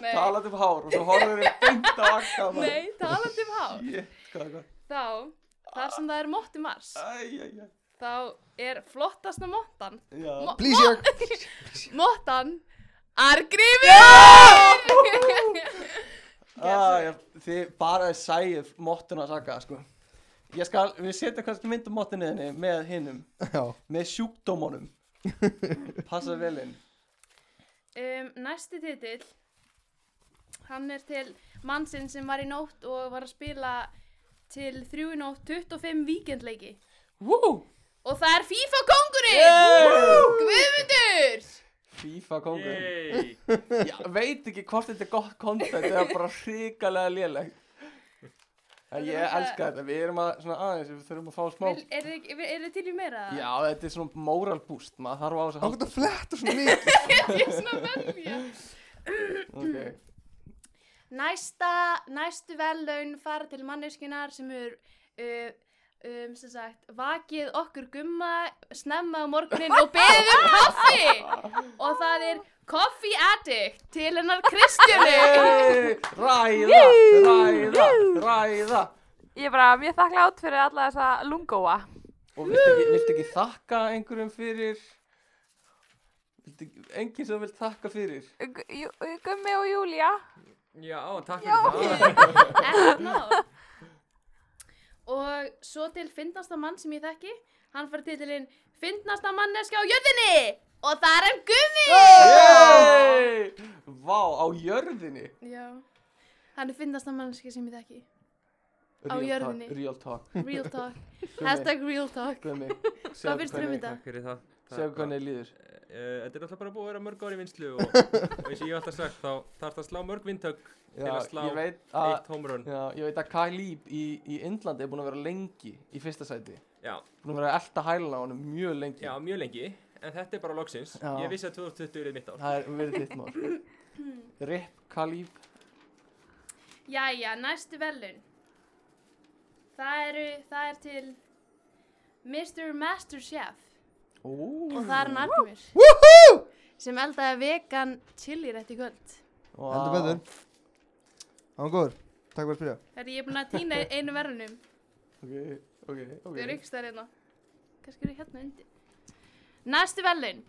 nei, Talað um hár og svo horfður við beint á akka nei, talandi um hár Jétt, hvað er það? þá, þar sem það er Motti Mars Æ, æ, æ þá er flottasta Mottan Já Mo- Please, Jörg. Mottan Argrifur Ah, ég, þið bara sæið mottuna að saka sko. Ég skal, við setja kannski mynd um mottinu þinni með hinnum, Já. með sjúkdómunum Passa vel inn um, næsti titill hann er til mannsinn sem var í nótt og var að spila til þrjú í nótt 25 víkendleiki Woo! og það er FIFA kongurinn Yay! Guðmundur FIFA kongur Yay! Ég veit ekki hvort þetta er gott content eða bara hrikalega lélegt En Ég elska þetta, við erum að svona aðeins, við þurfum að fá smá Vil- er þið- er þið til í meira? Já, þetta er svona moral boost, maður þarf á þess Hann að halda gott að fletta svona mikið. ég er svona að velja okay. næsta, næstu vellaun fara til manneskunar sem er uh, um, sem sagt vakið okkur gumma snemma á morgunin og beðið um kaffi og það er Coffee Addict til hennar Kristjánu Yay! Ræða, ræða, ræða Ég er bara mjög þakklátt fyrir alla þessa lungóa Og viltu ekki, viltu ekki þakka einhverjum fyrir viltu, ekki- Enginn sem vilt þakka fyrir Gu- Jú- Gummi og Júlia Já, takk fyrir það Ekkert mál. og svo til fyndnasta mann sem ég þekki hann fær titilinn fyndnasta manneska á jörðinni og það er hann Gummi Yay! Vá, á jörðinni já hann er fyndnasta manneski sem ég þekki Á Real jörðinni. talk, Real real talk talk, Gummi, hashtag real talk Gummi Hvað finnst þér um þetta? Takk fyrir það Takk. Segðu hvernig þér líður Eh, Þetta er náttúrulega bara búið að vera mörg ári vinslu og, og eins og ég hef alltaf sagt þá þarf það að slá mörg vindtögg til að slá ég veit að eitt homerun Já, ég veit að Kælíb í, í Indlandi er búin að vera lengi í fyrsta sæti Já, Búin að vera að elta hælana á honum mjög lengi já, mjög lengi En þetta er bara loksins Já. Ég vissi að 2020 er mitt ár Það er verið þitt mál Rip Kælíb jæja, næstu velun það eru það er til Mr. Masterchef og það er hann Arnumir sem eldaði vegan chili rétt í kvöld Heldur betur. Hann var góður. Takk fyrir að spyrja. Þegar ég er búin að týna einu verðunum Ok, ok, Þau eru ok ykkur stær hérna. Kannski eru hérna undir. Næstu velun.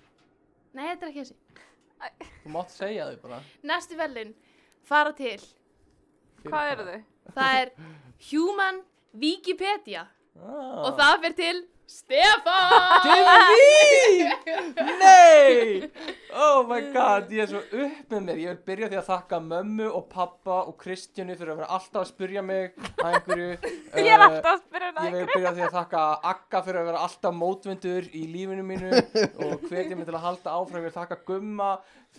Nei, þetta er ekki þessi. Þú mátt segja þau bara Næstu velun fara til. Fyrir Hvað eru þau? Það er Human Wikipedia. Ah, Og það fyrir til Stefán! Nei! Oh my god, ég er svo upp með mér Ég vil byrja því að þakka mömmu og pappa og Kristjánu fyrir að vera alltaf að spyrja mig að einhverju Ég er alltaf að Eh, spyrja Ég það vil byrja því að þakka Akka fyrir að vera alltaf mótvindur í lífinu mínu og hvetja mig til að halda áfram. Ég vil þakka Gumma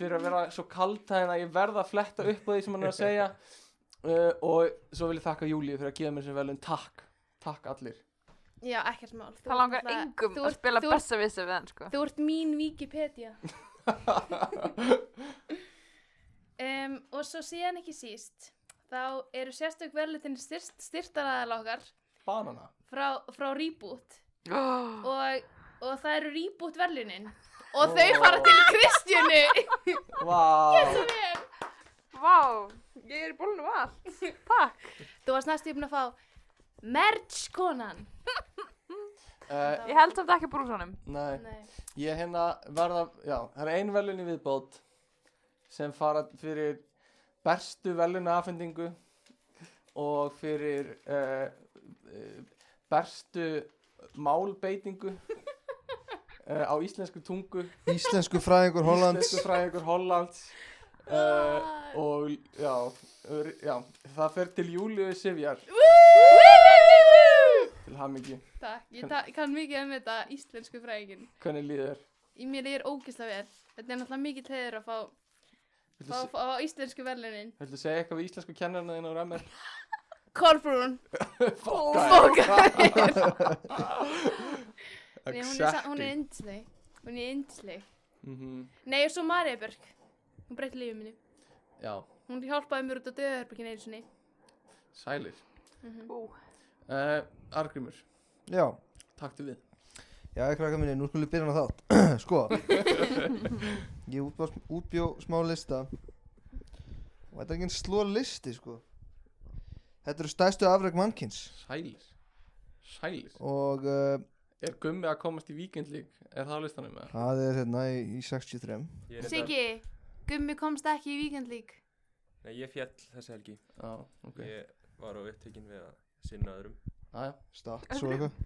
fyrir að vera svo kaldtæðin að ég verða að fletta upp á því sem hann er að segja uh, og svo vil ég þakka Júlíu fyrir að gefa mér sem velun takk. Takk allir. Já, ekkert mál. Þú Það ert langar náttúrulega- engum þú að ert- spila þú ert- besservissi við hann sko Þú ert mín Wikipedia. um, og svo síðan ekki síst, þá eru sérstök verðlutin styrt, styrtaraðal okkar Banana. frá, frá Reboot oh. og, og það eru Reboot verðlunin og þau fara til Kristjánu. Vá. Wow. Vá, ég er í bólunum allt Takk þú varst næstu yfirn að fá Merge konan. Uh, Ég held samt ekki brúsanum nei. Nei. Ég hérna verða, já, það er ein velun í viðbót sem fara fyrir bestu veluna afhendingu og fyrir uh, uh, bestu málbeitingu uh, á íslensku tungu, Íslensku fræðingur Hollands íslensku fræðingur Hollands uh, Ah. og já, r- já, það fer til Júliu Sivjar til hamingi, Takk, ég ta ég kann mikið um þetta íslensku fræðingin. hvernig líður þér? Í mér er ógislega vel. Þetta er náttúrulega mikill heiður að fá, fá, Viltu, fá, fá íslensku verðlunin. viltu segja eitthvað við íslensku kennarna þín á ræmmer? Kolbrún. Fokkaði Nei, hún er, sa- hún er yndisleg. Hún er yndisleg. Nei, og svo Maribjörg. Hún breytti lífið minni. Já, Hún hjálpaði mér út á döðarbyggin einu sinni. sælir Ú. uh, Argrimur, Já, taktu við já, krakkar minni, nú skulum við byrja hann að þátt Sko Ég útbjó, útbjó smá lista Og þetta er enginn sló listi, sko Þetta eru stæstu afreg mannkins Sælir Sælir Og uh, Er gummi að komast í víkendlík? Er það á listanum með? það er hérna í, í 63 Ég, er reyndar- Siggi, gummi komst ekki í víkendlík. Nei, ég fjall þessi helgi Já, ok Ég var á upptökin við að sinna öðrum Aja, Statt svo eitthvað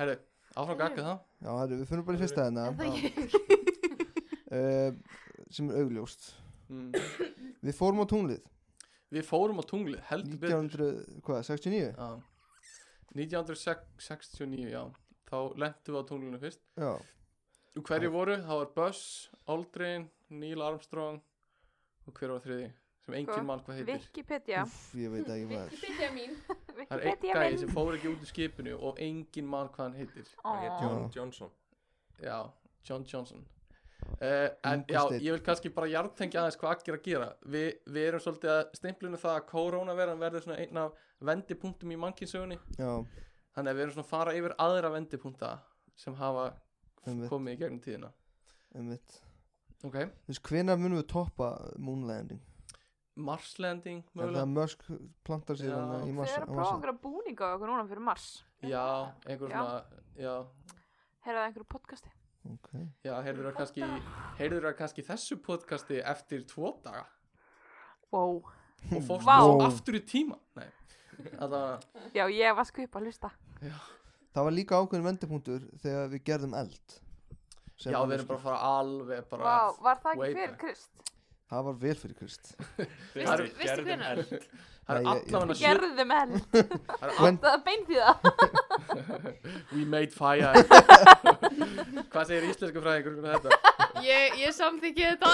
herru, áfram gakka það Já, herru, við finnum bara í fyrsta Er það hérna ekki? uh, Sem er augljóst mm. Við fórum á tunglið Við fórum á tunglið, heldur betur 1969 Já. 1969, já Þá lentum við á tunglinu fyrst Já, Og hverju voru? Það var Buzz, Aldrin, Neil Armstrong Og hver var þriði? Sem Sko, enginn mann hvað heitir Hmm. Wikipedia Úff, ég veit ekki maður Wikipedia mín. Það er einn Wikipedia gæði minn sem fór ekki út úr skipinu og engin mann hvað hann heitir. Það hétt Ó. John Já. Johnson Já, John Johnson. Uh, en Ungur já, steinn. ég vil kannski bara jartengja aðeins hvað Akki er að gera. Vi, við erum svolítið að stimplunum það að koronaveran verður svona einn af vendipunktum í mannkinsögunni. Já, Þannig að við erum svona að fara yfir aðra vendipunta sem hafa Einmitt. komið í gegnum tíðina. um mitt Ok, Þú veist, hvenær munum við toppa moon landing? Mars landing Er það mögulega? að Musk plantar sér Já. hann í Þau massa, eru að prófa einhverja búninga á okkur núna fyrir mars Já, einhver Já. svona, já, Heyrðu það einhverju podcasti Okay. já, heyrður það kannski, heyrður það kannski í þessu podcasti eftir tvo daga. Wow og fórst Vá. svo aftur í tíma Nei, alltaf Já, ég var skupa að hlusta Það var líka ákveðin vendipunktur þegar við gerðum eld Sem Já, var við erum sko- bara að fara alveg bara Vá, var það way ekki fyrir back. Krist? Það var vel fyrir Krist Það eru- Veistu veistu hvenær? Það er Nei, ég- ég- allavega sjö Gerðum eld það eru When- Það er beint í það all- We made fire Hvað segir íslensku fræðingur um þetta? Ég, ég samþykki þetta.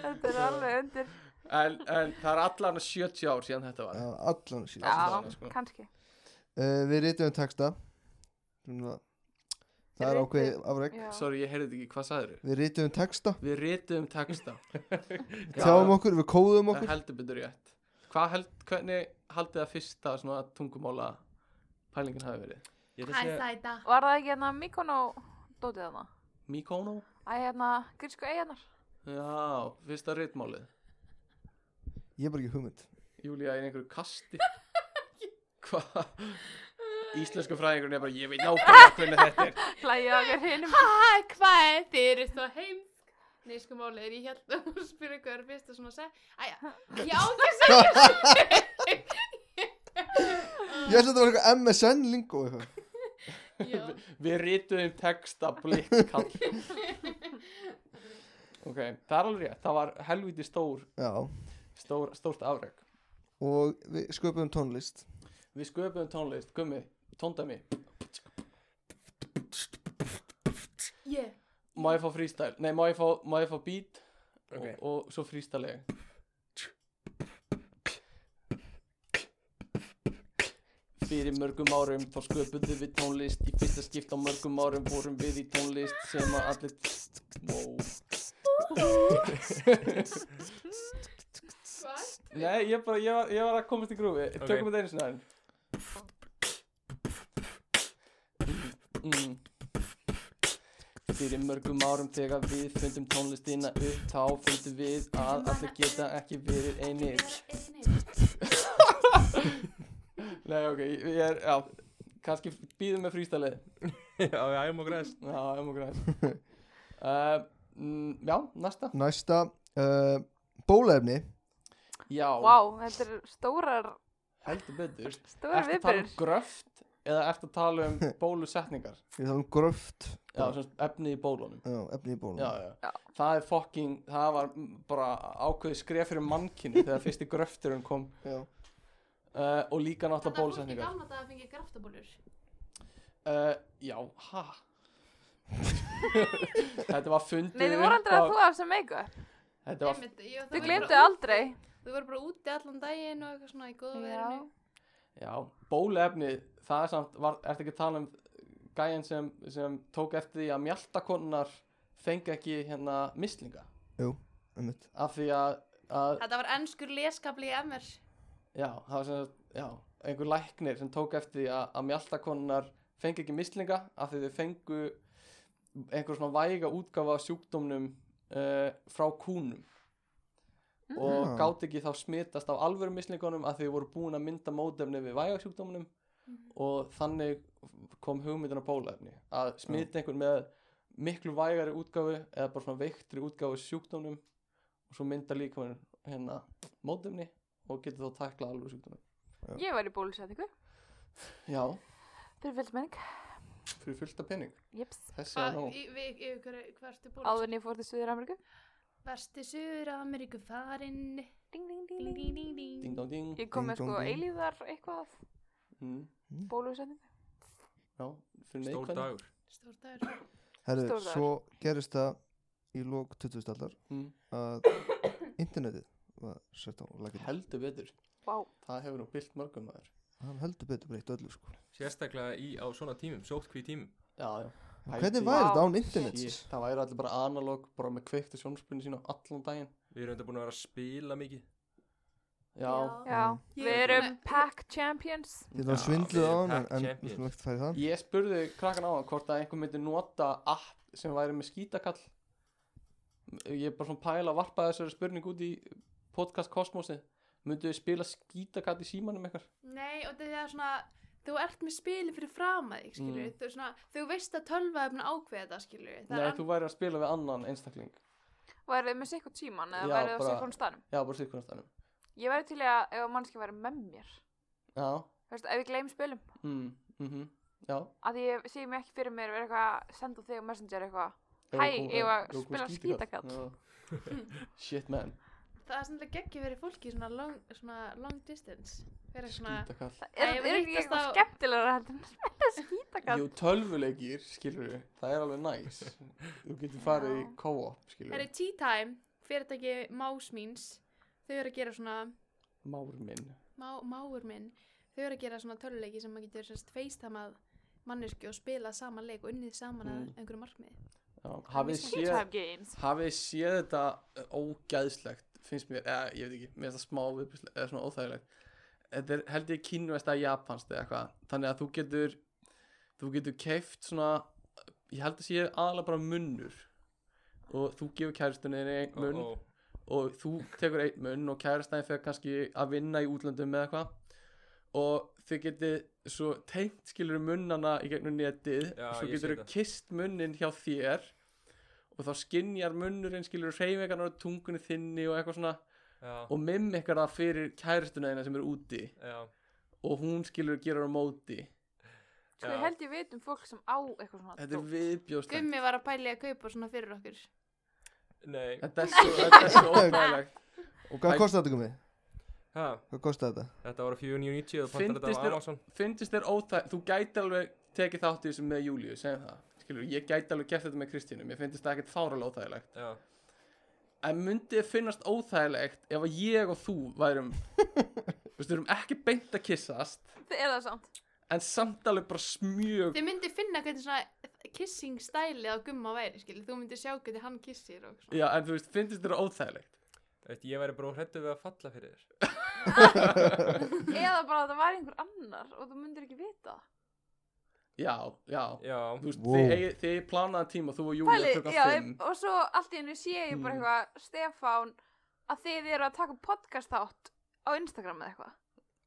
Þetta er alveg undir En, en það er allavega 70 ár síðan þetta var Það var allan síðan Já. uh, allavega, sko. Já, kannski Við rítum um texta Svona- Það er Rituðum- ákveðið afreg Já. Sorry, ég heyrði ekki, hvað sagður Við rítum um texta, Við rituðum texta tjáum okkur, við kóðum Það okkur heldur betur rétt Hvað held, hvernig haldið það fyrsta svona tungumála pælingin hafi verið? Ég ætla Hæ, að segja sæta. Var það ekki hérna Mikono dótið þarna? Mikono? Æ, hérna, grísku eiginar Já, fyrsta ritmálið Ég er bara ekki hugmynd Júlía er í einhverju kasti Hvað? Íslensku fræðingurinn er bara Ég veit nákvæmlega hvernig þetta er Hlæja okkur hinum Hæ, hvað er þeir þá heim? Nei, sko málið er ég held að hún spyrja hvað er fyrst og svona seg. Æja, já, ekki að segja. Ég ætla að þetta var eitthvað MSN link og eitthvað Já. Við rituðum texta blikkall Ok, það er alveg rétt Það var helviti stór, já stór stórt afreg og við sköpum tónlist Við sköpuðum tónlist, gummi, tóndæmi Yeah. Má ég fá freestyle? Nei, má ég fá, má ég fá beat Ok. og, og svo freestyle ég Fyrir mörgum árum þá sköpuðum við tónlist Í fyrsta skipta á mörgum árum vorum við í tónlist sem að allir Wow Hvað? Nei, ég, bara, ég, var, ég var að komast í grúfi Ok. Tökum þetta einu sinni aðeins mm. Fyrir mörgum árum þegar við fundum tónlistina upp Þá fundum við að allir geta ekki verið einir Nei, ok, ég ég er, já kannski býðum með frístalið Já, já, ég má græst Já, ég múið græs uh, mm, Já, næsta næsta uh, bólefni Já, Vá, þetta er stórar, heldur betur stórar Ertu að tala um viðbyrður. gröft eða ertu að tala um bólusetningar? við þáum gröft Já, sem sagt, efni í bólunum já, efni í bólefni já, já. Það er fucking, það var mm, bara ákveðið skref fyrir mannkinni þegar fyrsti gröfturinn kom Já. uh, og líka Þetta fólk í náttúrulega bólusetningar gamla daga fengið graftabólur. uh, Já, ha Þetta var fundið Nei, þið voru aldrei að þú af sem eigu. Þetta var, Einmitt, já, Þið voru glemdu bara- aldrei. Þau voru bara úti allan daginn og eitthvað svona í góða Já. veðrinu. já, bólefni það er samt, var, ertu ekki að tala um gæjan sem, sem tók eftir því að mjaltakonnar fengi ekki hérna mislinga einmitt. af því að, að Þetta var ennskur leskapli í MR. Já, það var sem sagt, já, einhver læknir sem tók eftir því að, að mjaltakonunnar fengi ekki mislinga af því þau fengu einhver svona væga útgáfa af sjúkdómnum uh, frá kúnum og Ah. gátt ekki þá smitast af alvöru mislingunum af því þau voru búin að mynda mótefni við væga sjúkdómnum og þannig kom hugmyndin á bólaefni að smita einhvern með miklu vægari útgáfu eða bara svona veiktri útgáfu af sjúkdómnum og svo mynda líka hérna mótefni og getur þá tækla alveg sjúkdómi Ég var í bólusetningu. já, Fyrir fylgmenning. fyrir fullta pening Jeps. þessi er Hvað, nóg Ah, í- við- í hverju- hvert er bólur? Áður en ég fór til Suður Ameríku. Versti Suður Ameríku farinn. Ding, ding, ding, Ding, ding. ding, ding, ding. ding dong ding Ég kom Ding, með sko dong, ding. eilíðar eitthvað mm, bólusetningu. já, fyrir Stór neikvæðni dagur Stór dagur. Herru, Stór dagur. svo gerist það í lók 20. aldar mm, að internetið var sett á lakið heldur betur Vá. það hefur nú byllt mörgum maður hann heldur betur breytt öllu sko. Sérstaklega í, á svona tímum, sótkví tímum já, já En Pældi hvernig í- væri Vá, þetta án internets? Shit, það væri allir bara analog bara með kveiktu sjónspunni sína allan daginn Við erum þetta búin að vera að spila mikið já, Já. Ég Við er erum búin að- pack champions. Ég ætla að Já, svindlu við á hann erum en- pack en champions. við skulum ekkert færi það ég spurði krakkan á hann hvort að einhver myndi nota app sem væri með skítakall ég er bara svona pæla að varpa þessari spurning út í podcast kosmosi myndu við spila skítakall í símanum ykkar Nei, og þetta er svona, þú ert með spili fyrir fram að þig, skilur. Mm. Þú, svona, þú veist að tölva er búin að ákveða þetta, skilur. Nei, þú væri að spila við annan einstakling Værið með sikkur tíman eða Já, værið á bara- sikkur staðnum. Já, bara sirkunarstænum Ég væri til í að ef mannski væri með mér. Já, Þú veist, ef ég gleym spilum. mm, mm já að ég sé mig ekki fyrir mér vera eitthvað að senda á þig á messenger eitthvað Ef Hæ, þú kom- ég var að ef þú kom spila Já. Shit man, Það er sannlega geggi verið fólki í svona long, svona long distance. Verið svona, skítakall Æ, er, ef er við ekki hittast eitthvað á- skemmtilegra heldur en að spila skítakall Jú, tölvuleikir, skilur við Það er alveg næs Þú getur farið í Já. co-op, skilur það við er tea time, fyrirtæki Más míns, þau eru að gera svona, Már minn má, máur minn, þau eru að gera svona töluleiki sem maður getur sérst feistammað manneski og spila sama leik og unnið saman að Mm. einhverju markmiði. já, Hafið missing Good time séð games Hafið séð þetta eh, ógæðslegt Finnst mér, eða, ég veit ekki Mér finnst það smá viðbjörslega, eða svona óþægilegt Þetta er held ég kínvesta japanst eða eitthvað Þannig að þú getur Þú getur keift svona Ég held að sé aðalega bara munnur Og þú gefur kæristunni einn munn Ó, ó. og þú tekur einn munn og kærastæðin fyrir kannski að vinna í útlöndum með eitthvað og þið getið svo tengt skilur munnana í gegnum netið Já, svo ég sé getur þau þetta. kist munnin hjá þér og þá skinjar munnurinn skilur hreyfingarnar á tungunni þinni og eitthvað svona Já, og mimm ykkar það fyrir kærastuna þeina sem er úti já og hún skilur gera á móti Sko, ég held ég veit um fólk sem á eitthvað svona Þetta er dót. viðbjóðslegt Gummi var að pæli að kaupa svona fyrir okkur Nei Þetta er svo, þetta er svo óbæðilegt Hvað kostaði þetta komið? ha, Hvað kostaði þetta? Þetta var á 4.990 og þú Fyndist pantar þetta á þér- Amazon Fyndist þér óþæg, þú gæti alveg tekið þátt í þessu með Júlíu, segjum það Skilur, ég gæti alveg keft þetta með Kristínu, mér finnst þetta ekkert fáralega óþægilegt Já, En myndi þið finnast óþægilegt ef að ég og þú værum Þú veist, við erum ekki beint að kissast Þið er það samt. En samt alveg bara smjög Þið myndi finna hvernig svona kissing stæli á Gumma væri, skilur Þú myndi sjá hvernig hann kissir og svona Já, en þú veist, finnst þér óþægilegt veit, ég væri bara hrættu við að falla fyrir þér Eða bara að það væri einhver annar og þú myndir ekki vita. það. Já, já Þú Já, veist, Wow. þið, eigi- þið planaði tíma, þú og Júlíu Pæli, já, klukkan ég, 5 og svo allt í hennu sé ég bara Hmm. eitthvað Stefán að þið eru að taka podcast átt á Instagram eða eitthvað.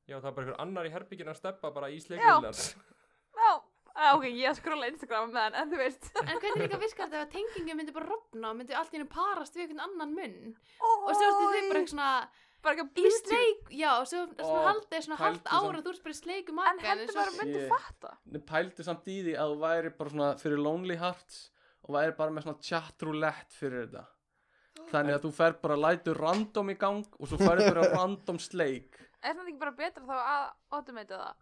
já, það er bara einhver annar í herbygginu að steppa bara í Já. sleikvillans Já, á, ok, ég skrolla Instagram með hann, en þú veist. En hvernig líka virkar þetta ef að tengingin myndi bara rofna og myndi allt í hennu parast við einhvern annan munn og Og svo ertu þið bara eitthvað svona bara eitthvað í blístur. sleik Já, og svo Ó, svona haldið svona pældu halvt ára samt. Þú erst bara í sleiku En maka heldur maður að myndi Shit. fatta. Nei, pældu samt í því að þú væri bara svona fyrir Lonely Hearts og væri bara með svona chat roulette fyrir þetta þannig að þú fer bara lætur random í gang og svo ferðu bara á random sleik Er það ekki bara betra þá að automata það?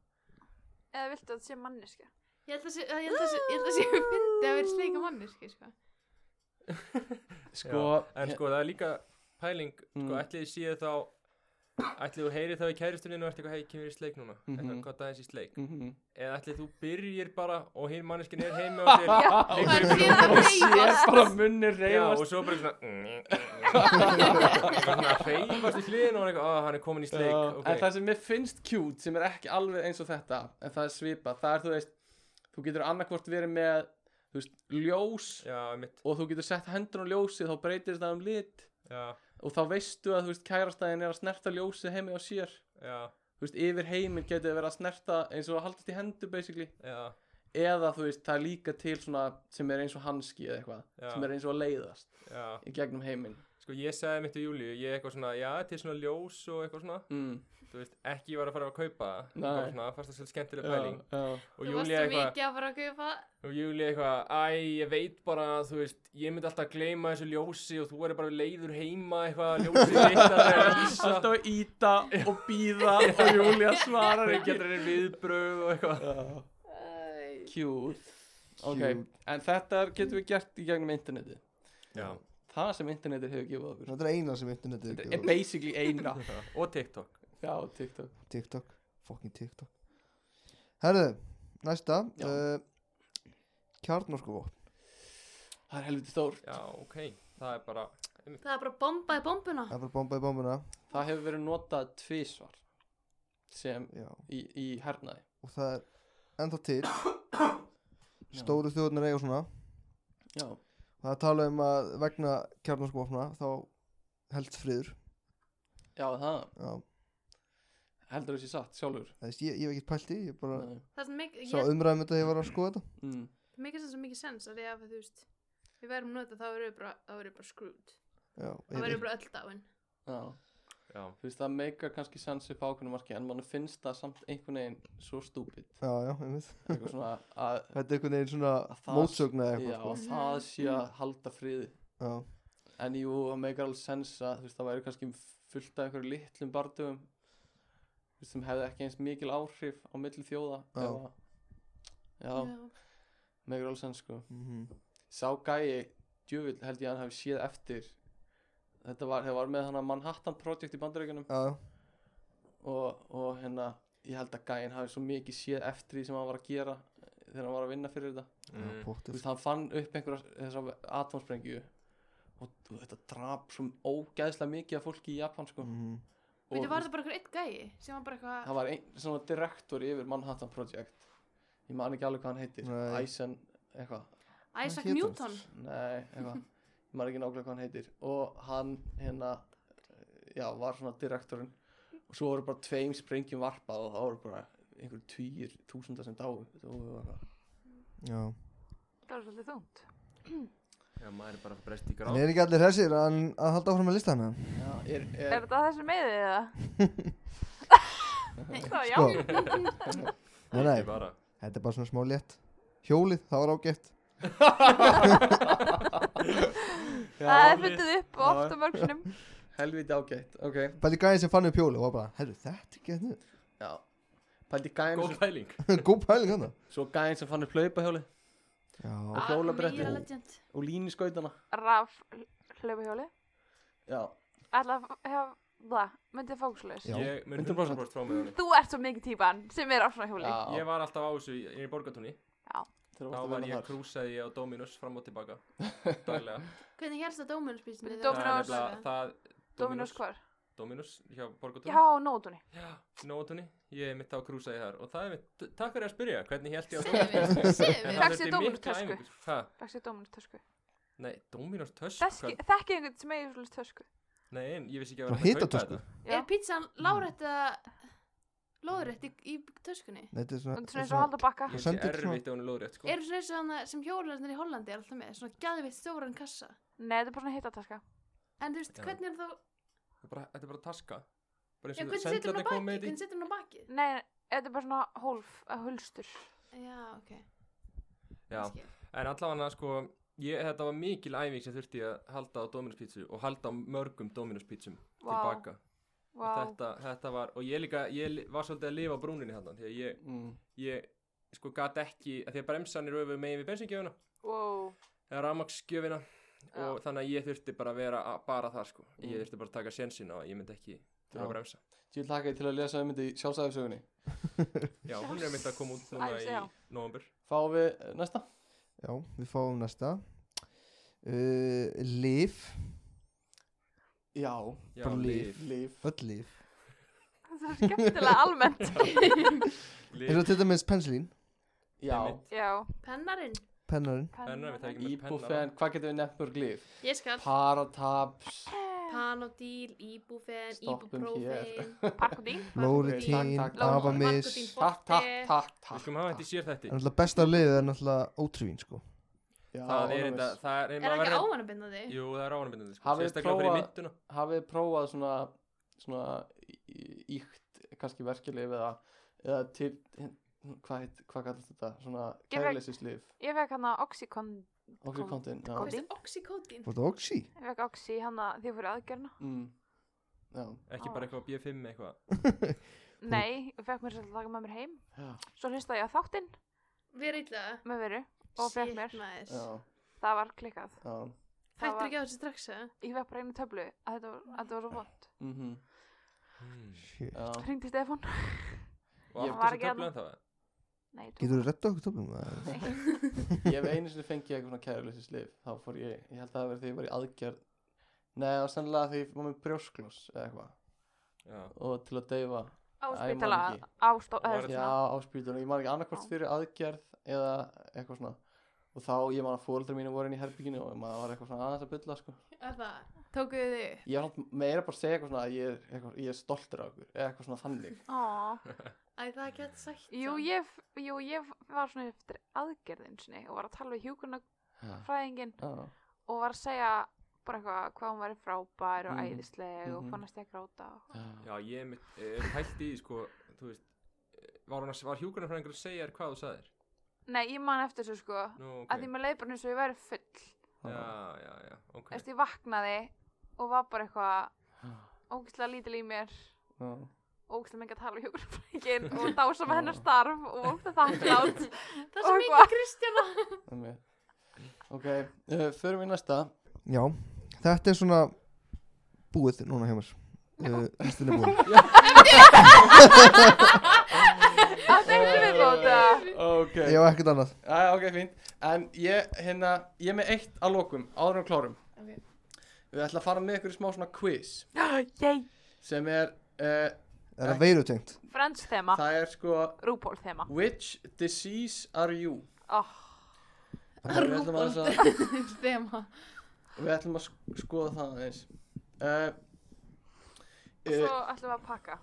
Eða viltu að þetta sé manniska? Ég held að sé- ég held að sé- ég held að sé fyndi að vera í sleiku manniski, sko sko, En sko, það er líka pæling Sko, Mm. ætlið þið séu þá Ætlið þú heyrið þá í kæristuninu og ert eitthvað, hei, kemur í sleik núna mm -hmm. Mhm. Eitthvað aðeins í sleik Mhm. Eða ætlið þú byrjir bara og hinn manneskin er heima og þér Það er fyrir að og reyfa sér bara munni Já, og reyfast svo bara svona mm, Svona að reyfast í hliðinu og hann eitthvað, "Ah, hann er komin í sleik Já, ok." En það sem mér finnst cute sem er ekki alveg eins og þetta en það er svipað, það er þú veist þú getur annarkvort verið með þú veist, ljós Já, mitt og þú getur sett hendur á ljósið þá breytir það um lit Já, og þá veistu að þú veist kærastæðin er að snerta ljósið heimi á sér já, þú veist yfir heiminn getur verið að snerta eins og að haldast í hendur basically já, eða þú veist það er líka til svona sem er eins og hanski eða eitthvað Já. sem er eins og að leiðast já í gegnum heiminn Sko, ég sagði mitt í júliu, ég eitthvað svona Já, til svona ljós og eitthvað svona mm. Þú veist, ekki var að fara að kaupa það Nei. Það var svona, fast það svolítið skemmtileg pæling já. Og Þú varst Júlía svo eitthvað, mikið að fara að kaupa og Júlía eitthvað Æ, ég veit bara, þú veist, ég myndi alltaf gleyma þessu ljósi og þú er bara leiður heima eitthvað, ljósið þitt að það er að lýsa alltaf að íta og býða og Júlia svarar Það ekki getur þeir viðbröð og eitthvað Já. það cute ok, Cute. en þetta getum við gert í gegnum internetið Já, það sem internetið hefur gefið okkur Þetta er eina sem internetið þetta gefur er basically eina og TikTok já, TikTok TikTok, fucking TikTok Herðu, næsta Já. uh, Kjarnorkuvopn það er helviti stór Já, ok, það er bara Það er bara bomba í bombuna Það er bara bomba í bombuna það hefur verið notað tvísvar sem Já. í, í hernaði Og það er ennþá til Stóru þjóðnir eiga svona já, Og það tala um að vegna kjarnorkuvopna Þá helst friður já það Já, heldur þessi satt sjálfur þess, ég, ég hef ekkert pælt í Ég bara Nei. Það er svo mikið, sá umræðum þetta að ég var að skoða þetta mm. Það mikið sem svo mikið sens að því að þú veist við verðum nota þá verðum við bara, þá verðum við bara screwed Já, þá verðum ég, við bara öll dáin já, Já, þú veist það meikar kannski sens upp á ákveðinu marki en mann finnst það samt einhvern veginn svo stúpid já, já, einmitt eitthvað svona að Þetta er einhvern veginn svona Að það- mótsögna eða já, eitthvað að það sé að halda friði sko. Já, en jú, það meikar alveg sens að þú veist það væri kannski fullt af einhverju litlum bardugum þú veist, sem hefði ekki eins mikil áhrif á milli þjóða Já. ef að- já, meikar alveg sens sko mhm, sá gæi, djövill held ég að hann hafi séð eftir þetta var, það var með hann að Manhattan Project í bandaríkunum já, og, og hérna, ég held að gæin hafi svo mikið séð eftir því sem hann var að gera eh, þegar hann var að vinna fyrir þetta já, mm. þú pottur veist, hann fann upp einhverja þessar atomsprengju og þú- þetta drap svo ógæðslega mikið af fólki í Japan sko Mhm, og Mm. Veitu, var þú veist, það bara eitthvað einn gæi sem var bara eitthvað hann var ein, svona direktor yfir Manhattan Project ég man ekki alveg hvað hann heitir Nei. Eisen, eitthvað Isaac hét hann? Newton Nei, eitthvað Ég maður ekki nákvæmlega hvað hann heitir Og hann hérna Já, var svona direktorinn Og svo voru bara tveim sprengjum varpað Og það voru bara einhverjum týjir Þúsunda sem dáu Þetta voru bara- Já, Það er svolítið þungt. Já, maður er bara að breyst í en gráð er ekki allir hressir að, að halda áfram að lista hana? Já, er, er, Er þetta þessi meðið eða? Það var Sko, já. nei, nei, Ekki bara. Þetta er bara svona smá létt Hjólið, það var ágætt það Já, er fundið upp Já. ofta mörgsunum helviti ágætt, ok Bæli gæði sem fann upp hjólið og var bara Herru, þetta er gett Já, pældi gæn Góð pæling Góð pæling hann Svo gæn sem fann upp hlaupahjóli Já, Og hjólabretti. meira legend. og líniskautana raf hlaupahjóli Já, alltaf hef það myndið fókuslaus Já. Ég mun 100% 100% frá með henni þú ert svo mikið típan sem er á svona hjóli Ég var alltaf á þessu í- í borgatúni þegar Þá varstu að var vinna ég, þar. krúsaði ég á Dominus fram og tilbaka Daglega Hvernig hérst það Dóminus-písunni? Það er Dominos. nefnilega- það- Dominus hvar? Dominus hjá Já, borgatúni á nótunni Nótunni, ég er mitt á krúsaði þar og það er mitt, takk fyrir að spyrja, hvernig held ég á Segðu mér, segðu En mér. það Fékkstu þurfti Dominus mikla tösku? æfingu. Ha, Fækst ég Dominus tösku nei, Dominus tösku? Þekki þekki einhvern sem eigi svolítið tösku Hvað- Nei, en ég vissi ekki að Svona vera hægt að kaupa hitatösku? þetta. Já. Er pítsan lárætt eða lóðrætt í, í töskunni? þetta er svona Svona eins og halda bakka Ég Sendi sé þetta svona- erfitt ef hún er lóðrétt, sko. Eru svona eins og hana sem hjólarnir í Hollandi er alltaf með, svona gæðvitt stóran kassa. Nei, þetta er bara svona hittataska En þú veist, Já. hvernig er þá, Þetta er bara- Þetta er bara taska. Bara eins já, og hvernig setur hún á sendlarnir bakið? komu með Hvernig þetta í. setur hún á bakið? Nei, þetta er bara svona hólf, að hulstur Já, ok. Já, ég skil. en allavega, sko, ég, þetta var mikil æfing sem þurfti að halda á Dominus pítsu og halda á mörgum Dominus pítsum Vá, tilbaka. vá Og þetta, þetta var, og ég líka, ég li- var svolítið að lifa á brúninni þarna, því að ég, Mm. ég, sko, gat ekki, að því að bremsan er öfu megin við bensingjöfuna, Wow, eða rafmaksgjöfina Já. og þannig að ég þurfti bara að vera að, bara það sko Mm. ég þurfti bara að taka sjensin á að ég myndi ekki þurfa Já. að bremsa Ég hlaka ég til að lesa um þetta í sjálfsæðisögunni já, hún er myndið að koma út núna Æ, í já. november Fáum við eh, næsta? Já, við fáum næsta uh, Líf, Já, já, Bara líf, líf öll líf það er skemmtilega almennt Eins líf. og til dæmis penslín, Já, Einmitt. Já, Pennarinn. pennarinn Penna, við pennar. tekjum öll pennana. íbúfen, hvað getum við nefnt mörg líf? Ég skal. Parataps Panodil, Ibufen, Stoppum Ibuprofen. Parkodín Lóritín, takk, takk. Avamis Lóritín. Það Takk, takk, takk, takk við skulum hafa þetta í sér þetta er náttúrulega besta liðið er náttúrulega ótrúin sko Já, það er Ólamis. enda það er Er einnig það að ekki vera ávanabindandi? jú, það er ávanabindandi sko Hafið þið sérstaklega fyrir prófað- mynduna Hafið þið prófað svona svona í- íkt kannski verkjalið eða, eða til hvað heit, hvað kallast þetta? svona Ég veit- kærleisinslif Ég fekk hana Oxycon okkur kontin já. Hvað veist Kódín. það? Oxycodín. Var þetta oxy? Ég fekk Oxy hana því að fyrir aðgerna Mm. já, ekki bara eitthvað B5 eitthvað Nei, ég fekk mér svolítið að taka með mér heim já, Svo hlustaði ég á þáttinn Við erum illa. með veru og fekk mér, já, það var klikkað já. Það Hættur var- ekki á þessu strax, eða? Ég fekk bara einu töflu að þetta var, að þetta var svo vond Mm Hmm. Shit. já. Hringdi Stefán og Ég aftur var þessi ekki hérna- töfla að- en það Nei, ég tók Getur þú redda okkur töflum? ég hef einu sinni fengið eitthvað svona kærleisinslif þá fór ég, ég held að það verið því ég var í aðgerð nei, það var sannlega því ég var með brjósklós eða eitthvað já, og til að deyfa Æ, á ég man spítala ekki. á stó Og var eða þetta- Já, svona. á spýtunum, ég man ekki annarkvort Já. fyrir aðgerð eða eitthvað svona og þá, ég man að fóreldrar mínu voru inn í herbygginu og maður var eitthvað svona aðeins að bylla sko. Er það? Tókuðu þið upp? ég var samt meira bara að segja eitthvað svona að ég er, eitthvað, ég er stoltur af okkur, eða eitthvað svona þannig Á. Æ, það er ekki hægt sagt. Jú, samt. ég, f- jú, ég f- var svona eftir aðgerðin sinni og var að tala við hjúkunarfræðingin Já, og var að segja bara eitthvað hvað hún væri frábær og Mhm. æðisleg og Mhm. fannast ég að gráta og- já, já, ég mitt, er pælt í því, sko þú veist eh, var, hún að- var hjúkurnarfræðingur að segja þér hvað þú sagðir Nei, ég man eftir þessu sko nú, að því ok, maður leið bara eins og ég væri full já, já, já, ok Eftir ég vaknaði og var bara eitthvað Ah. ógislega lítil í mér já, ógislega mengi að tala við hjúkunarfræðingin og dása með hennar starf og ógislega þakklátt Það sem Og ekki hvað? Kristjana. það með Ok, uh, förum við í næsta Já, þetta er svona búið núna hjá mér uh, Ístin er búin Það er ekki viðbóta Ok, Ég á ekkert annað já, ok, fínt En ég, hérna, ég er með eitt að lokum, áður en við klárum Ok. Við ætla að fara með ykkur í smá svona quiz Yay, sem er, uh, Er það veirutengt? Friends þema, það er sko RuPaul þema Which disease are you? oh. Þannig að Við ætlum aðeins að, Stema. við ætlum að sk- skoða það aðeins. Uh, Eh, Og svo ætlum við að pakka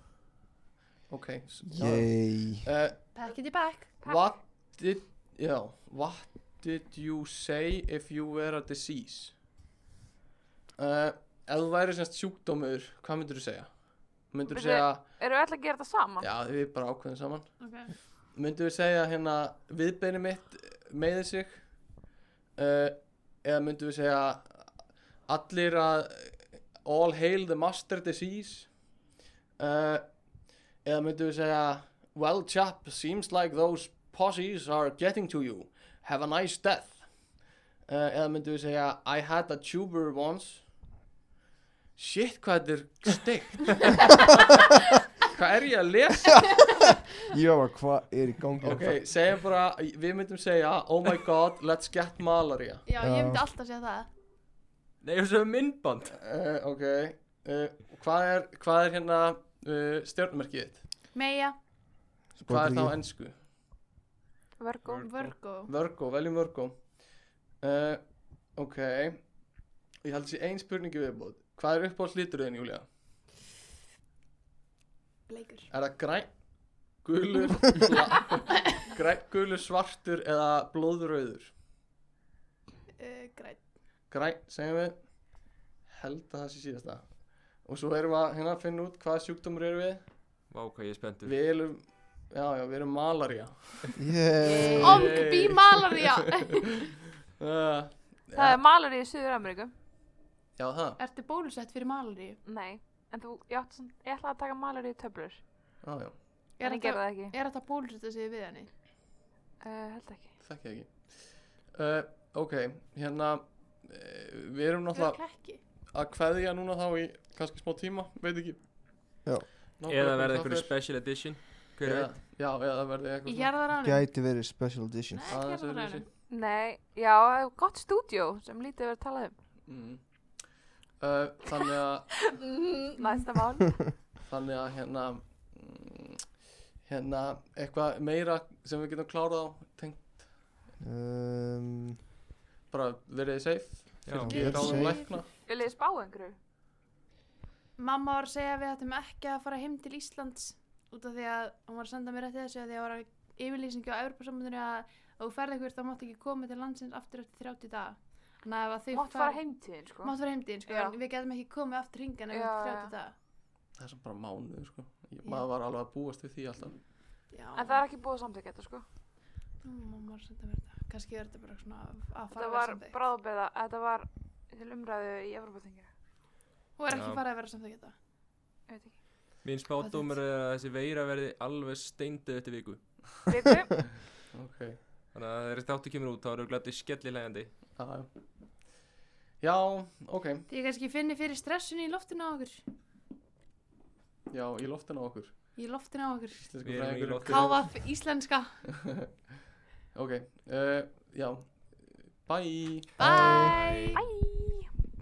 ok. s- já. Yey Uh, Pack it back. what did, já, what did you say if you were a disease? Uh, ef þú væri semst sjúkdómur, hvað myndur þú segja? Myndur þú Byrju. segja, Erum við alltaf að gera þetta saman? já, við bara ákveðum saman. Ok. myndum við segja hérna viðbeini mitt meðið sig uh, eða myndum við segja allir að all hail the master disease uh, eða myndum við segja well chap seems like those posses are getting to you have a nice death uh, eða myndum við segja I had a tuber once shit hvað þetta er steikt hvað er ég að lesa Ég var bara, hvað er í gangi Ok, segjum bara, við myndum segja Oh my god, let's get malaria Já, ég Já. myndi alltaf segja það. Nei, þessu er myndband uh, Ok, uh, hvað, er, hvað er hérna uh, stjórnmerkið þitt? Meja, Hvað er það á ennsku? Vergo. Virgo. Virgo, veljum Virgo uh, Ok Ég held þessi ein spurningi viðbúð Hvað er upp á slíturðin, Júlia? Bleikur. Er það græn, gulur Græn, gulur, svartur eða blóðröður? Uh, Græn. Græn, segjum við Held að það sé síðasta Og svo erum við að hérna að finna út hvaða sjúkdómur erum við Vá, hvað ég er spenntur Við erum, já, já, við erum malaria. Yeah. Om, bí, malaria. Uh, Það er malari í Suður-Ameríku. já, það. Ertu bólusett fyrir malaríu? Nei, en þú, ég, átti, samt- ég ætlaði að taka malari í töflur. Já, já, En ég gerði það ekki. Er þetta bólusetta sig við henni? Uh, held ekki. þekki það ekki. Uh, ok, hérna, uh, við erum náttúrulega Örugglega ekki. að kveðja núna þá í kannski smá tíma, veit ekki. Já. Nákvæmlega Eða verði hvað eitthvað fer. special edition Hver Eða- veit? Já, eða verði eitthvað. Í hérðaránum? Gæti verið special edition Nei, Aðeins hérðaránum. öðruvísi. Nei, já, það er gott stúdjó sem lítið verið að tala um. Mm. Uh, þannig að, Mm. Næsta mál. þannig að hérna, mm, hérna, eitthvað meira sem við getum klárað á, tengt um, bara verið safe, Já, Get ráðum safe. lækna. Viljið spá einhverju? Mamma var að segja að við ættum ekki að fara heim til Íslands út af því að hún var að senda mér eftir þessu af því að það var að yfirlýsingi á Evropasambandinu að ef þú ferði eitthvað þá mátt ekki koma til landsins aftur eftir 30 daga. Þannig að ef að þau Mátt fara heimtíðin, sko. Mátt fara heimdýn, sko, Já. en við getum ekki komið aftur hringan ef við Já, erum já. 30 daga. það er samt bara mánuður sko ég, Já. maður var alveg að búast við því alltaf Já, En það er ekki búið að samþykja þetta, sko. Nú, mamma var að senda mér þetta. Kannski er þetta bara svona að fara að Þetta vera var samþykkt. bráðbeða, þetta var til umræðu í Evropaþinginu. Hún er ekki Já. farið að vera samþykkt þetta. Ég veit ekki. Mín spátdómur er að þessi veira verði alveg steindið eftir viku Viku, ok Þannig að þegar þáttu kemur út þá eru glætið skellilegandi já, já ok Því ég kannski finni fyrir stressinu í loftinu á okkur. já í loftin á okkur Í loftinu á okkur. Íslensku Við erum í fræðingur. loftinu. KVF íslenska. ok uh, já bye Bye! æj.